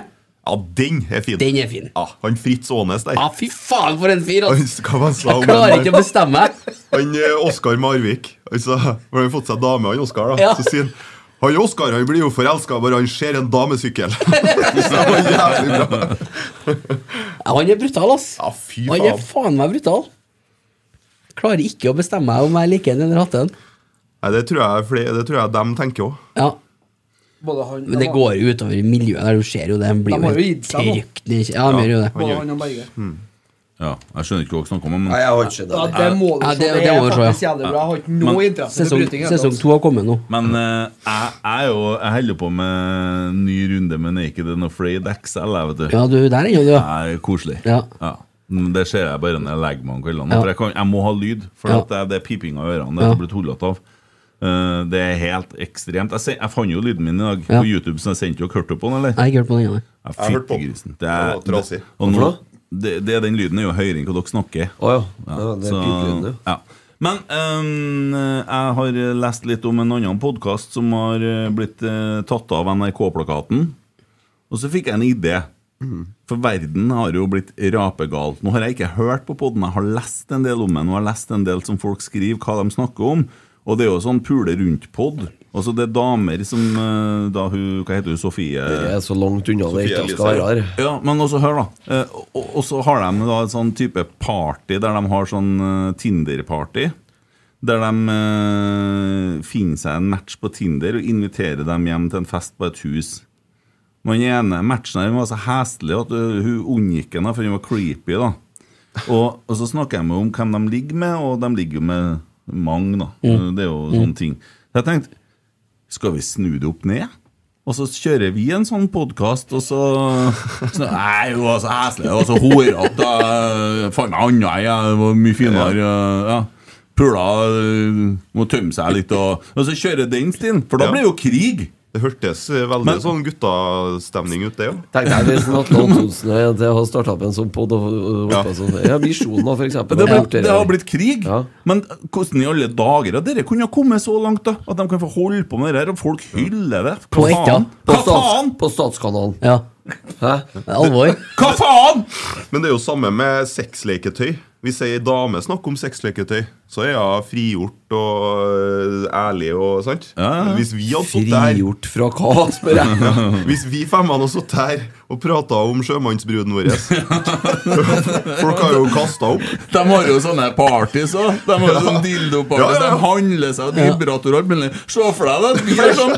Ja, den er fin. Den er fin. Ja, han Fritz Aanes der. Ja, fy faen, for en fyr! altså. Hva man sa om Jeg klarer han ikke der? å bestemme meg. Han eh, Oskar Marvik. Altså, hvor han har fått seg dame, han Oskar. da Ja. Så sier han han Oskar han blir jo forelska bare han ser en damesykkel. Så det var jævlig bra. Ja, han er brutal, ass. faen. Han er faen meg brutal. Klarer ikke å bestemme meg om jeg liker den eller hater den. Nei, det tror jeg, fle- det tror jeg dem tenker òg. Ja. Både han, Men det går jo utover i miljøet der, du ser jo det. Han blir De har jo jo gitt helt seg nå. trygt ned. Ja, han gjør jo det. Både han og Berge. Ja, Jeg skjønner ikke hva dere snakker om. Men... Nei, jeg har ikke skjønt Ja, det må du Ja, se. det- Det det er må du se, ja. faktisk jævlig bra. Jeg har ikke noe Men- interesse for Sesong- bryting. altså. Sesong to har kommet nå. Men eh, jeg, jeg, er jo, jeg holder på med en ny runde med Naked and Afraid XL. Jeg, vet du. Ja, du, der er jo du, ja. Det er koselig. Ja. Men Det ser jeg bare når jeg legger meg om kveldene. Ja. For jeg, kan, jeg må ha lyd, for Ja. at det, det er piping av ørene. Det Ja. er blitt hullete av. Eh, det er helt ekstremt. Jeg, se, jeg fant jo lyden min i dag Ja. på YouTube, så jeg sendte jo Kurt opp på den, eller? Jeg har ikke hørt på den ennå. Ja, Jeg hørte på den. fyttegrisen. Det er, Det var trasig. og nå, Hvorfor det, det, er den lyden er jo høyere enn hva dere snakker. Oh, ja. Ja, det er så- pipelyden, det. ja. Men øhm, jeg har lest litt om en annen podkast som har øh, blitt øh, tatt av NRK-plakaten. Og så fikk jeg en idé. Mm. For verden har jo blitt rapegal. Nå har jeg ikke hørt på podden, jeg har lest en del om den, og jeg har lest en del som folk skriver hva de snakker om. Og det er jo sånn pule rundt-pod. Altså det er damer som øh, da hun, Hva heter hun? Sofie? Det er så langt unna det ikke skal være her. Ja, men også hør, da. Eh, Og, og så har de da en sånn type party der de har sånn eh, Tinder-party. Der de eh, finner seg en match på Tinder og inviterer dem hjem til en fest på et hus. Men den ene matchen her var så heslig at eh, hun unngikk henne, for hun var creepy. da og, og så snakker jeg med om hvem de ligger med, og de ligger jo med mange. da Mm. Det er jo Mm. sånne ting. Så jeg tenkte skal vi snu det opp ned? Og så kjører vi en sånn podkast, og så, så Nei, hun var så heslig, og så horete. øh, Faen meg anna, jeg det var mye finere. øh, Ja. Pula øh, må tømme seg litt, og, og så kjører den stien, for da Ja. blir det jo krig. Det hørtes veldig sånn guttastemning ut, det òg. Tenk deg hvis Atle Antonsen og jeg har starta opp en sånn pod og og- og hoppa sånn Ja, Visjonen, for eksempel. Det, har ble, gjort det det har der. blitt krig. Men hvordan i alle dager har dere kunnet komme så langt da at de kan få holde på med det her, og folk hyller det? Hva På faen? ekte? På Hva faen? stats- På Statskanalen. Ja. Hæ? Alvor. Hva faen?! Men det er jo samme med sexleketøy. Hvis ei dame snakker om sexleketøy, så er hun frigjort og øh, ærlig og sant? Hvis vi hadde sittet her Frigjort fra hva, spør jeg? Ja, Hvis vi fem hadde sittet her og prata om sjømannsbruden vår Folk har jo kasta opp. De har jo sånne parties òg. De har jo Ja. sånn dildoparty. Ja, ja, ja. De handler seg og Ja. vibrator og alt mulig. Se for deg det! Vi har sånn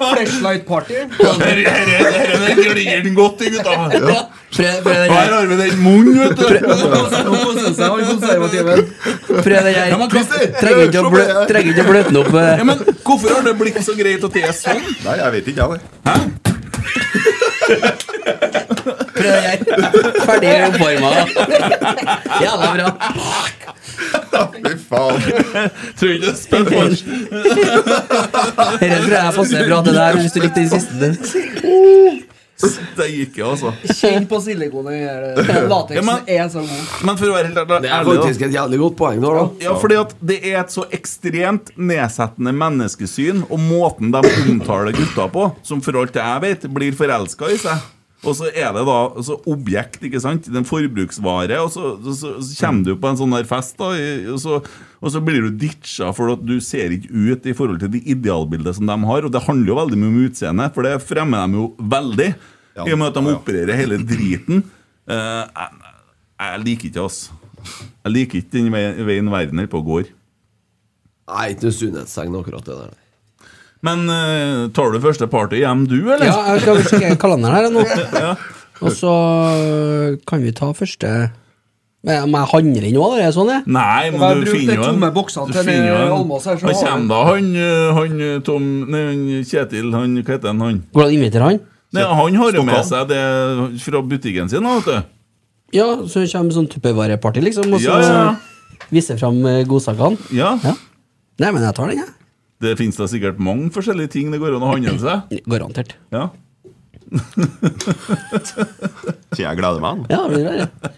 Flashlight party. Dette glir den godt i, gutta. Ja. Prøv, Her har vi den munnen, vet du. Prøv den her. Ja, men Christer, Trenger ikke å se på blø- det her. trenger ikke å bløte den opp. eh. Ja, men Hvorfor har det blitt så greit at det er sånn? Nei, jeg vet ikke, jeg. Prøv den her. Ferdig oppvarma. Jævla bra. Fy faen. Tror ikke det er spent på Dette tror jeg passer bra til deg hvis du likte den siste. Det gikk jo, altså. Kjenn på silikonet. i den her. Ja, Lateksen er så god. Men for å være helt ærlig Det er ærlig, da. faktisk et jævlig godt poeng der, da. Ja, fordi at det er et så ekstremt nedsettende menneskesyn, og måten de omtaler gutta på, som for alt jeg vet, blir forelska i seg. Og så er det da så objekt, ikke sant? Den forbruksvare, og så, så, så kommer du på en sånn der fest, da, i- og så, og så blir du ditcha for at du ser ikke ut i forhold til det idealbildet som de har, og det handler jo veldig mye om utseende, for det fremmer de jo veldig, i og med at de opererer hele driten. Eh, jeg, jeg liker ikke, altså. Jeg liker ikke den veien, veien verden holder på og går. Nei, ikke noe sunnhetstegn akkurat det der. Men eh, tar du første party hjem, du, eller? Ja, jeg skal øh, sjekke kalenderen her nå. Og så kan vi ta første Men Må jeg handle inn òg, er det sånn det? Nei, Jeg men du brukte finner jo en tomme boksene du til finner jo en- Almås her, så Hva har kommer jeg- da, han, eh, han eh, Tom Nei, han Kjetil, han, hva heter han? han? Går det an å invitere han? Nei, han har jo Stockholm. med seg det fra butikken sin, da, vet du. Ja, så kommer sånn tuppervareparty, liksom, og så Ja, ja. viser fram eh, godsakene? Ja. Nei, men jeg tar den, jeg. Det finnes da sikkert mange forskjellige ting det går an å handle seg. Garantert. Ja. Så jeg gleder meg. nå. Ja, det blir det.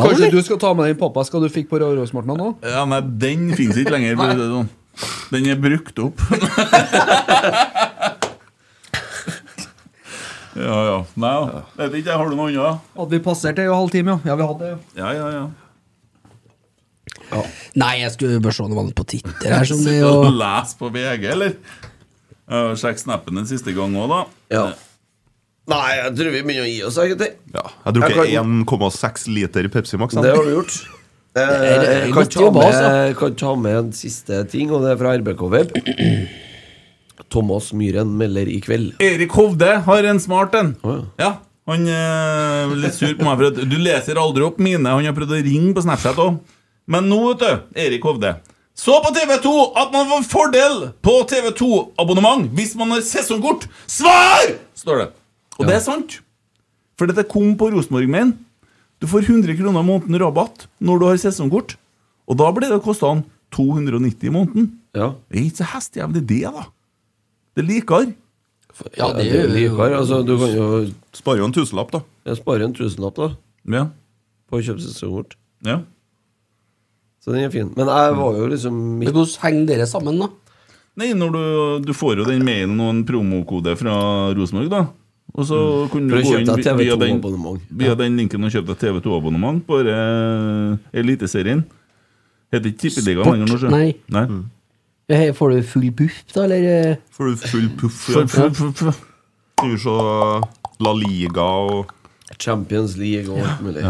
Kanskje du skal ta med den pappeska du fikk på Rørosmartna nå? Ja, nei, den finnes ikke lenger. for å si det sånn. Den er brukt opp. ja, ja. Nei, da. vet ikke, har du noe annet? Hadde vi passert det i halv time, ja? Ja, vi hadde det. ja. Ja, ja, ja. Nei, jeg skulle bare se om det var noe på Twitter her. Som det, Sitter og og... leser på VG, eller? Uh, Sjekk snappen den siste gang òg, da. Nei, jeg tror vi begynner å gi oss, jeg, gutter. Jeg drukket Jeg 1,6 liter Pepsi Max. Sånn. jeg. Det har du gjort. Eh, Jeg kan ta, altså. med, kan ta med en siste ting, og det er fra RBK-web. Thomas Myhren melder i kveld. Erik Hovde har en smart en. Ja, Han eh, er litt sur på meg for at du leser aldri opp mine. Han har prøvd å ringe på Snapchat òg. Men nå, vet du, Erik Hovde Så på TV2 at man får fordel på TV2-abonnement hvis man har sesongkort! Svar! står det. Og det er sant. For dette kom på Rosenborg-mail. Du får 100 kroner i måneden rabatt når du har sesongkort. Og da blir det kosta 290 i måneden. Det er ikke så hestejevn i det, da. Det er likere. Ja, det er jo likere. Altså, du kan jo Sparer jo en tusenlapp, da. Jeg sparer en tusenlapp, da. Ja. På å kjøpe sesongkort. Ja. Så den er fin. Men jeg var jo liksom Men Hvordan henger dere sammen, da? Nei, når du, du får jo den mailen og en promokode fra Rosenborg, da. Og så kunne du For å gå kjøpe inn deg vi- via den, TV2-abonnement. via den linken og kjøpe deg TV2-abonnement på eh, Eliteserien. Heter ikke Tippeligaen Sport? lenger nå, sjø. Nei. Nei. Eh, Får du full puff, da, eller? eh? Får du full puff? Full puff, puff, puff. Kan du se La Liga og Champions League og alt mulig.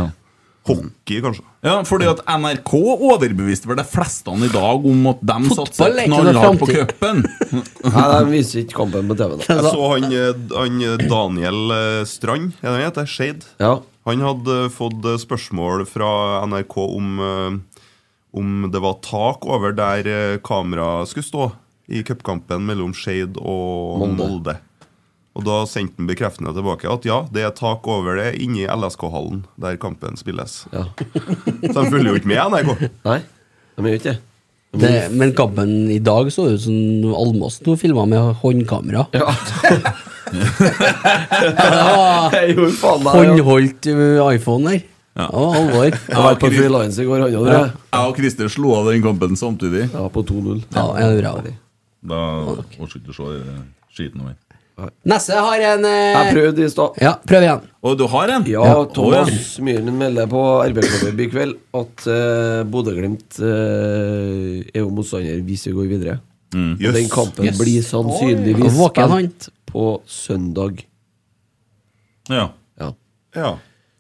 Hockey, kanskje. Ja, fordi at NRK overbeviste vel de fleste i dag om at de satser er ikke noe knallhardt på framtid. cupen. Nei, de viser ikke kampen på TV. Jeg Altså- så han, eh, han eh, Daniel eh, Strand, er det han heter? Shade. Han hadde eh, fått eh, spørsmål fra NRK om eh, om det var tak over der eh, kamera skulle stå i cupkampen mellom Shade og Molde. Molde. Og da sendte han bekreftende tilbake at ja, det er tak over det inni LSK-hallen der kampen spilles. Så de følger jo ikke med, NRK. Nei, de gjør ikke det. Det, men kampen i dag så sånn ut som noe Almås nå filma med håndkamera. Ja. Jeg gjorde faen meg det, ja. Håndholdt eh, iPhone der. Ja. Det var alvor. Jeg var på Free Lines i går, han Ja. Jeg og Christer slo av den kampen samtidig. Ja, på 2-0. Ja, jeg er bra. Da orker ikke å se eh, skiten over. Nesse har en eh, Jeg prøvde i stad. Ja, prøv igjen. Og du har en? Ja, Thomas Myhren melder på RBK-web i kveld at uh, Bodø-Glimt eh, er jo motstander hvis vi går videre. Mm. Og Den Jøss. kampen Jøss. blir sannsynligvis Oi. Våken han. spilt på søndag. Ja. Ja. Ja.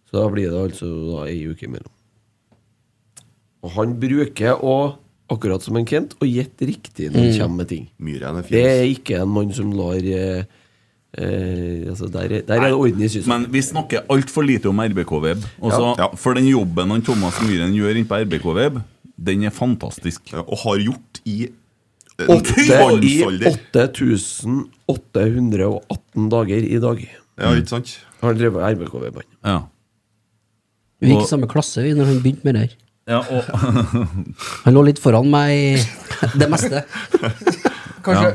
Så da blir det altså da ei uke imellom. Og han bruker å, akkurat som en Kent, å gjette riktig når Mm. han kommer med ting. Myhren er fin. Det er ikke en mann som lar eh, eh, altså der, er- der er det orden i systemet. Men vi snakker altfor lite om RBK-web. Ja. Ja. For den jobben han Thomas Myhren gjør inne på RBK-web, den er fantastisk. og har gjort i eh, Åtte i 8818 dager i dag. Ja, ikke sant? Har drevet RBK-veibann. Ja. Vi gikk Og- i samme klasse vi når han begynte med det her. Ja, og Han lå litt foran meg i det meste. Kanskje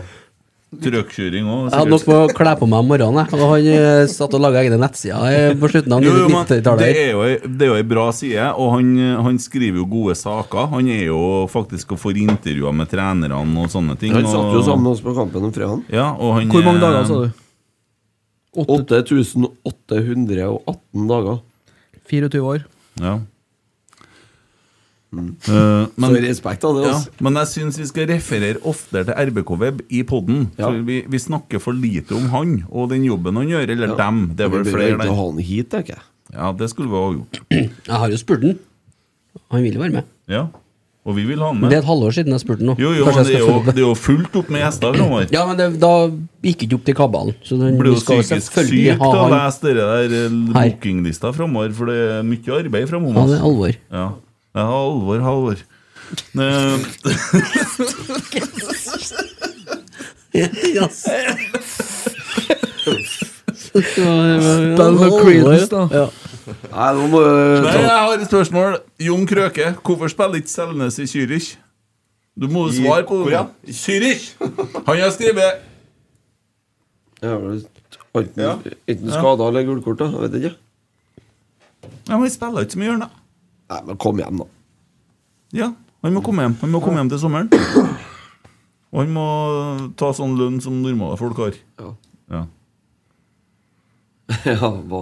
Trøkkjøring òg. Jeg hadde nok med å kle på meg om morgenen, jeg. og han eh, satt og laga egne nettsider eh, på slutten av Jo, jo, men det 90-tallet. er jo, ei- det er jo ei bra side, og han, han skriver jo gode saker. Han er jo faktisk og får intervjuer med trenerne og sånne ting. Han satt jo og- sammen med oss på kampen om fredagen. Ja, og han, Hvor mange dager sa du? 8818 dager. 24 år. Ja. Mm. Eh, Så respekt av det, altså. men jeg syns vi skal referere oftere til RBK-web i poden. For vi, vi snakker for lite om han og den jobben han gjør, eller dem. Det er Vi vel burde flere egentlig der. ha han hit, tenker jeg. Ja, det skulle vi ha gjort. Jeg har jo spurt han. Han vil jo være med. Ja. Og vi vil ha han Det med. er et halvår siden jeg spurte nå. Jo, jo, Kanskje men jeg det er skal jo, følge det er jo fullt opp med gjester framover. Ja, men det, da gikk ikke opp til kabalen. Så den, blir vi jo skal psykisk selvfølgelig sykt ha å han. lese det der eh, bookinglista framover, for det er mye arbeid framover. Ja, det er alvor. Ja, Eh, det er alvor, alvor. Yes. Spill med Creedence, da. Ja. Nei, nå må Nei, jeg har et spørsmål. Jon Krøke, hvorfor spiller ikke Selnes i Zürich? Du må I- svare på hvor det. da? Zürich! Han har skrevet Ja, vel, Enten, Ja. enten Ja. skada eller gulkort, da. Jeg vet ikke. Ja, men vi spiller ikke så mye, da. Nei, men kom hjem, da. Ja, han må komme hjem. Han må komme hjem til sommeren. Og han må ta sånn lønn som normale folk har. Ja. ja, hva,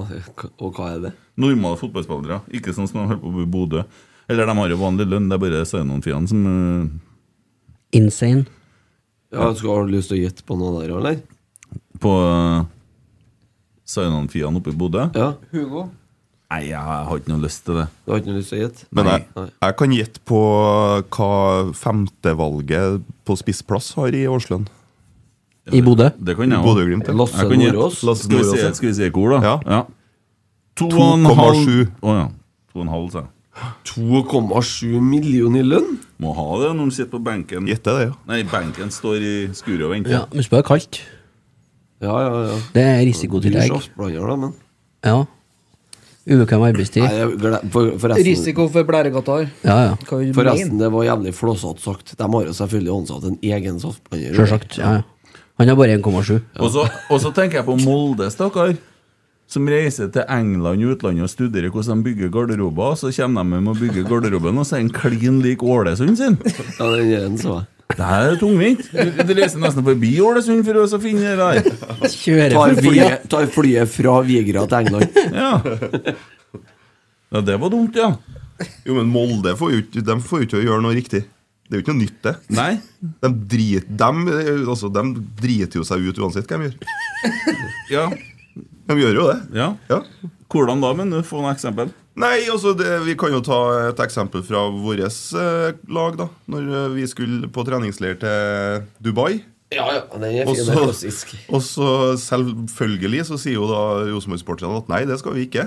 og hva er det? Normale fotballspillere, ikke sånn som de holder på med i Bodø. Eller de har jo vanlig lønn, det er bare Sainon-firene som eh, Insane. Ja, skal, Har du lyst til å gjette på noe der, eller? På eh, Sainon-firene oppe i Bodø. Hugo. Nei, jeg har ikke noe lyst til det. Du har ikke noe lyst til å gjette? Men jeg, jeg kan gjette på hva femtevalget på spissplass har i årslønn. I Bodø? Det kan jeg også. Bodø-Glimt. ja. Jeg kan gjette. Skal vi se- Skal vi se hvor, da? Ja. Ja. To og en halv- 2,7. Å ja. 2,5, sa jeg. 2,7 millioner i lønn? Må ha det når de sitter på benken. Nei, benken står i skuret og venter. Ja, men spør kaldt. Ja, ja, ja. Det er risikotillegg. Dyr saftblander, da, men Ja. Ubekvem arbeidstid. Nei, altså- jeg glem- for, forresten, Risiko for blæregatar. Ja, ja. Hva vi Forresten, mener. det var jævlig flåsete sagt. De har jo selvfølgelig ansatt en egen saftblander. Sjølsagt. Ja, ja. Han har bare 1,7. Og så, og så tenker jeg på Molde, stakkar. Som reiser til England og utlandet og studerer hvordan de bygger garderober. Og så kommer de hjem og bygger garderoben, og så er den klin lik Ålesund sin. Ja, den er den så Det her er tungvint. Du, du reiser nesten forbi Ålesund for å så finne det der. Kjører Tar forbi, ja. flyet, tar flyet fra Vigra til England. Ja. Ja, det var dumt, ja. Jo, men Molde får jo ikke, de får jo ikke gjøre noe riktig. Det er jo ikke noe nytt, det. Nei. De, drit, dem, eh, altså, dem driter jo seg ut uansett hva de gjør. Ja. De gjør jo det. Ja. Hvordan da, men du? Få noe eksempel. Nei, altså, det, Vi kan jo ta et eksempel fra vårt eh, lag. da Når eh, vi skulle på treningsleir til Dubai. Ja, ja, den er fin, Og den er så, klassisk. og så selvfølgelig så sier jo da Rosenborg-sportslederen at nei, det skal vi ikke.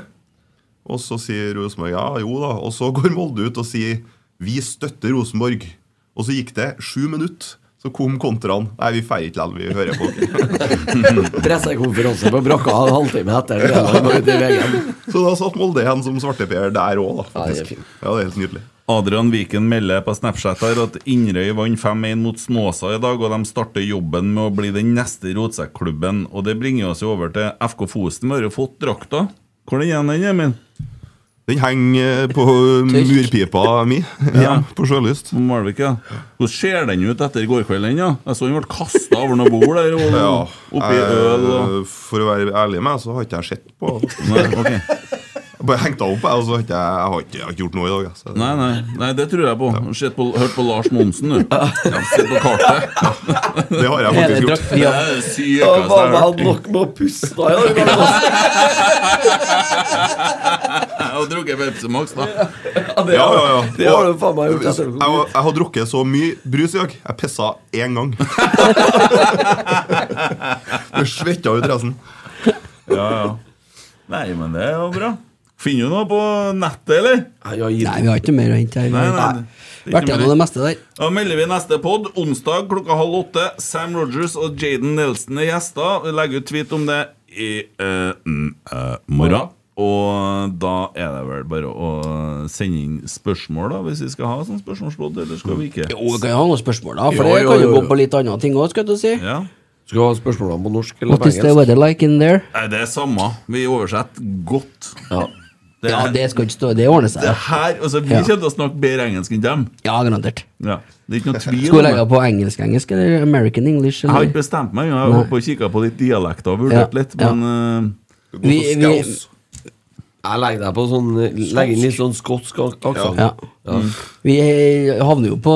Og så sier Rosenborg ja, jo da. Og så går Molde ut og sier vi støtter Rosenborg. Og så gikk det sju minutter. Så kom kontraen. Nei, vi feier ikke likevel, vi hører på. Pressekonferanse på brakka en halvtime etter. Det var bare ut i veien. Så da satt Molde igjen som svarteper der òg, da. Ja, det er Faktisk. Ja, det er helt nydelig. Adrian Viken melder på Snapchat her at Inderøy vant 5-1 mot Snåsa i dag, og de starter jobben med å bli den neste rotsekklubben. Og det bringer oss jo over til FK Fosen. Vi har jo fått drakta. Hvor er den igjen, Emil? Den henger på eh, murpipa mi Ja. på Sjølyst. Malvik, ja. Hvordan ser den ut etter i går kveld, den? Ja? Jeg så den ble kasta over noe bord der, og Ja, oppi jeg- øl og Eh, For å være ærlig med deg, så har ikke jeg sett på Nei, ok. Jeg bare hengte opp, jeg, og så har ikke jeg, jeg, har ikke, jeg har ikke gjort noe i dag. jeg, Så. Nei, nei, nei, det tror jeg på. Sett på hørt på Lars Monsen, du. Ja, Sett på kartet. Det har jeg faktisk gjort. Det er det sykeste jeg Ja, faen, har jeg hørt. hadde nok med å puste. Ja, Og drukket Pepsi Max, da. det, Ja, ja, ja. det har du Og- faen meg gjort. altså. Jeg, etter- har- jeg har drukket så mye brus i dag. Jeg pissa én gang. Det svetta ut resten. Ja, ja. Nei, men det er jo bra. Finner du noe på nettet, eller? Nei, vi har ikke mer å hente her. Nei, nei, det er ikke Vært gjennom det mer. meste der. Da melder vi neste pod onsdag klokka halv åtte. Sam Rogers og Jaden Nelson er gjester. Vi legger ut tweet om det i eh, mm, eh, morgen. Og da er det vel bare å sende inn spørsmål, da, hvis vi skal ha sånn spørsmålsbod, eller skal vi ikke? Jo, vi kan jo ha noen spørsmål, da. Jo, For det jo, kan jo jo, gå jo. på litt andre ting òg, skal du si. Ja. Skal du ha spørsmålene på norsk eller What på is the engelsk? weather like in there? Nei, det er samme. Vi oversetter godt. Det Ja, er- det skal ikke stå Det ordner seg. Det her, altså Vi Ja. kommer til å snakke bedre engelsk enn dem. Ja, garantert. Ja, Det er ikke noe tvil. Skal vi om legge det. på engelsk-engelsk eller American English? Jeg har ikke Eller? bestemt meg. Jeg har Nei. holdt på og kikka på litt dialekter og vurdert Ja, litt, ja. men eh, Vi, vi, Jeg legger deg på sånn Legg inn litt sånn skotsk aksent. Ja. vi havner jo på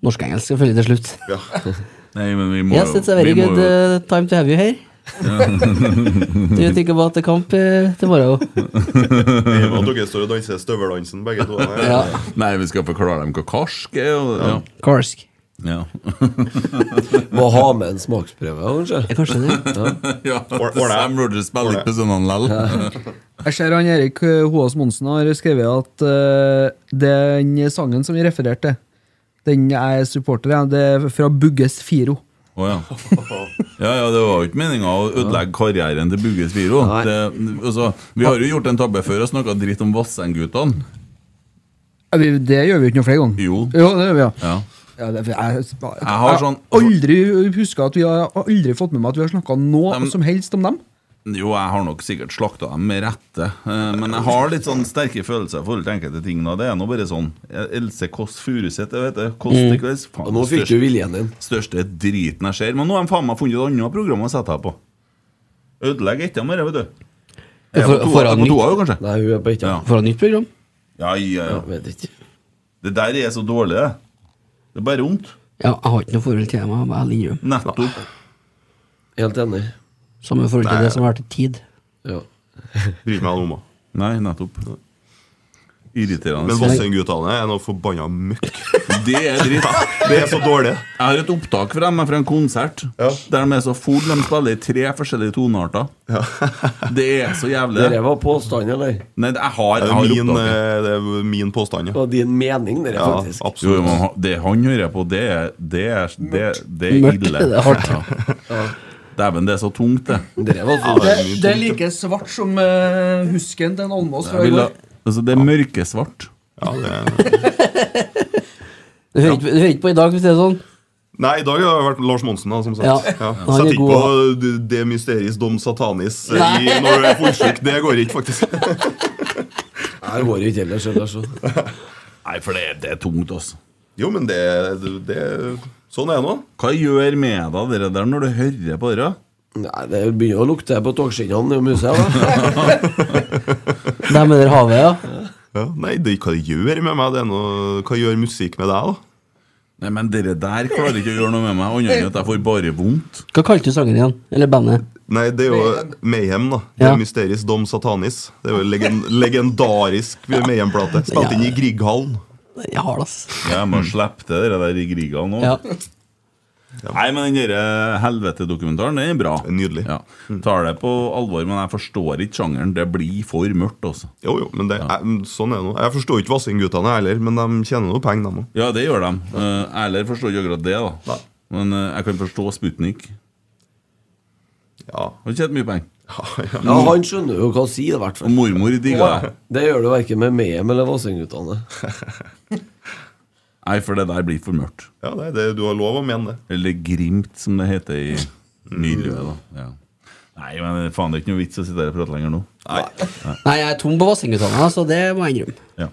norsk-engelsk selvfølgelig til slutt. Nei, men vi må yes, jo it's a very vi må good eh. jo- uh, time to have you here. Du tenker på at det er kamp uh, eh, til morgen? I og med at dere står og danser støveldansen, begge to. Nei, Nei, vi skal forklare dem hva karsk er. Og, ja. Karsk. Ja. Må ha med en smaksprøve, kanskje. Kanskje det. ja, Sam Rogers spiller ikke på sånn søndagen likevel. Jeg ser han Erik eh, Hoas Monsen har skrevet at eh, den sangen som vi refererte til, den jeg er supporter av, det er fra Bugges Firo. Å ja. ja. Ja, det var jo ikke meninga å ødelegge karrieren til Bugges Viro. Det, altså, vi har jo gjort en tabbe før og snakka dritt om Vassendguttene. Ja, vi- Det gjør vi Sånn. jo ikke noe flere ganger. Jo. det gjør vi, ja. Ja. Ja, det, jeg, jeg, jeg har sånn- aldri huska at vi har aldri fått med meg at vi har snakka noe som helst om dem. Jo, jeg har nok sikkert slakta dem med rette, eh, men jeg har litt sånn sterke følelser i forhold til enkelte ting. nå. Det er nå bare sånn Else Kåss Furuseth, jeg vet det. Kåss Mm. til kvelds. Faen, Og nå fikk du viljen din. Største driten jeg ser. Men nå har de faen meg funnet et annet program å sette her på. Ødelegger ikke dem her, vet du. Jeg er på toa- jeg er på toa, jo, kanskje? Nei, hun er på ikke. Får han nytt program? Ja, ja, ja. vet ikke. Det der er så dårlig, det. Det er bare vondt. Ja, jeg har ikke noe forhold til dem. Jeg må ærlig innrømme. Nettopp. Helt enig. Samme forhold til Nei. det som har vært i tid. Ja. Bryr meg om henne. Nei, nettopp. Irriterende. Men Vassendguttene er noe forbanna møkk. Det er dritt. Det er så dårlig. Jeg har et opptak fra dem fra en konsert der de er så full, de spiller i tre forskjellige tonearter. Det er så jævlig. Dette var påstand, eller? Nei, jeg har, Det er jeg har jo min, opptaket. eh, det er jo min påstand, Det ja. var din mening, det, Ja, faktisk. Jo, jo, absolutt. men han- det han hører på, det er, det er, det, det er Mørkt. ille. Det er hardt. Ja. Dæven, det er så tungt, det. Det var Ja, det er mye Det, det er tungt. like svart som eh, husken til en Almås fra Jeg i vil går. ha- altså, det er mørkesvart. Ja, det er Du hører ikke, du hører ikke på i dag, hvis det er sånn? Nei, i dag har det vært Lars Monsen, da, som sagt. Ja. Ja. Han er Sett ikke god, på du, De mysteris dom satanis eh, Nei. i, når du er fullsjuk. Det går ikke, faktisk. Nei, det går ikke ellers. ellers så. Nei, for det, det er tungt, altså. Jo, men det, det Sånn er det nå. Hva gjør med deg dere der når du hører på det? Nei, det begynner å lukte på togskinnene i musa. da. Nei, men der havet, ja. Ja, nei, det, hva det gjør med meg? Det er noe, hva gjør musikk med deg, da? Nei, men dere der klarer ikke å gjøre noe med meg, annet enn at jeg får bare vondt. Hva kalte du sangen igjen? Eller bandet? Nei, det er jo Mayhem, da. Ja. Det er Mysteris dom satanis. Det er jo legen, legendarisk Mayhem-plate. Spilt inn i Grieghallen. Jeg har det, ass. Jeg må slippe til dere der i Griga nå. Ja. Nei, men den der helvete-dokumentaren den er bra. Nydelig. Ja. Tar det på alvor, men jeg forstår ikke sjangeren. Det blir for mørkt, altså. Jo, jo, men det, er- sånn er det nå. Jeg forstår ikke Vassendguttene heller, men de tjener noe penger, de òg. Ja, det gjør de. Eh, Erler forstår ikke akkurat det, da. Men eh, jeg kan forstå Sputnik. Ja. Har ikke hatt mye penger. Ja, Han skjønner jo hva han sier, i hvert fall. Og mormor digga det. Det gjør du verken med Mehem eller Vassendguttene. Nei, for det der blir for mørkt. Ja, det, det, du har lov å mene det. Eller Grimt, som det heter i Nydrøe, da. Ja. Nei, men faen, det er ikke noe vits å sitte her og prate lenger nå. Nei, jeg er tom på Vassendguttene, så det må jeg innrømme. Ja.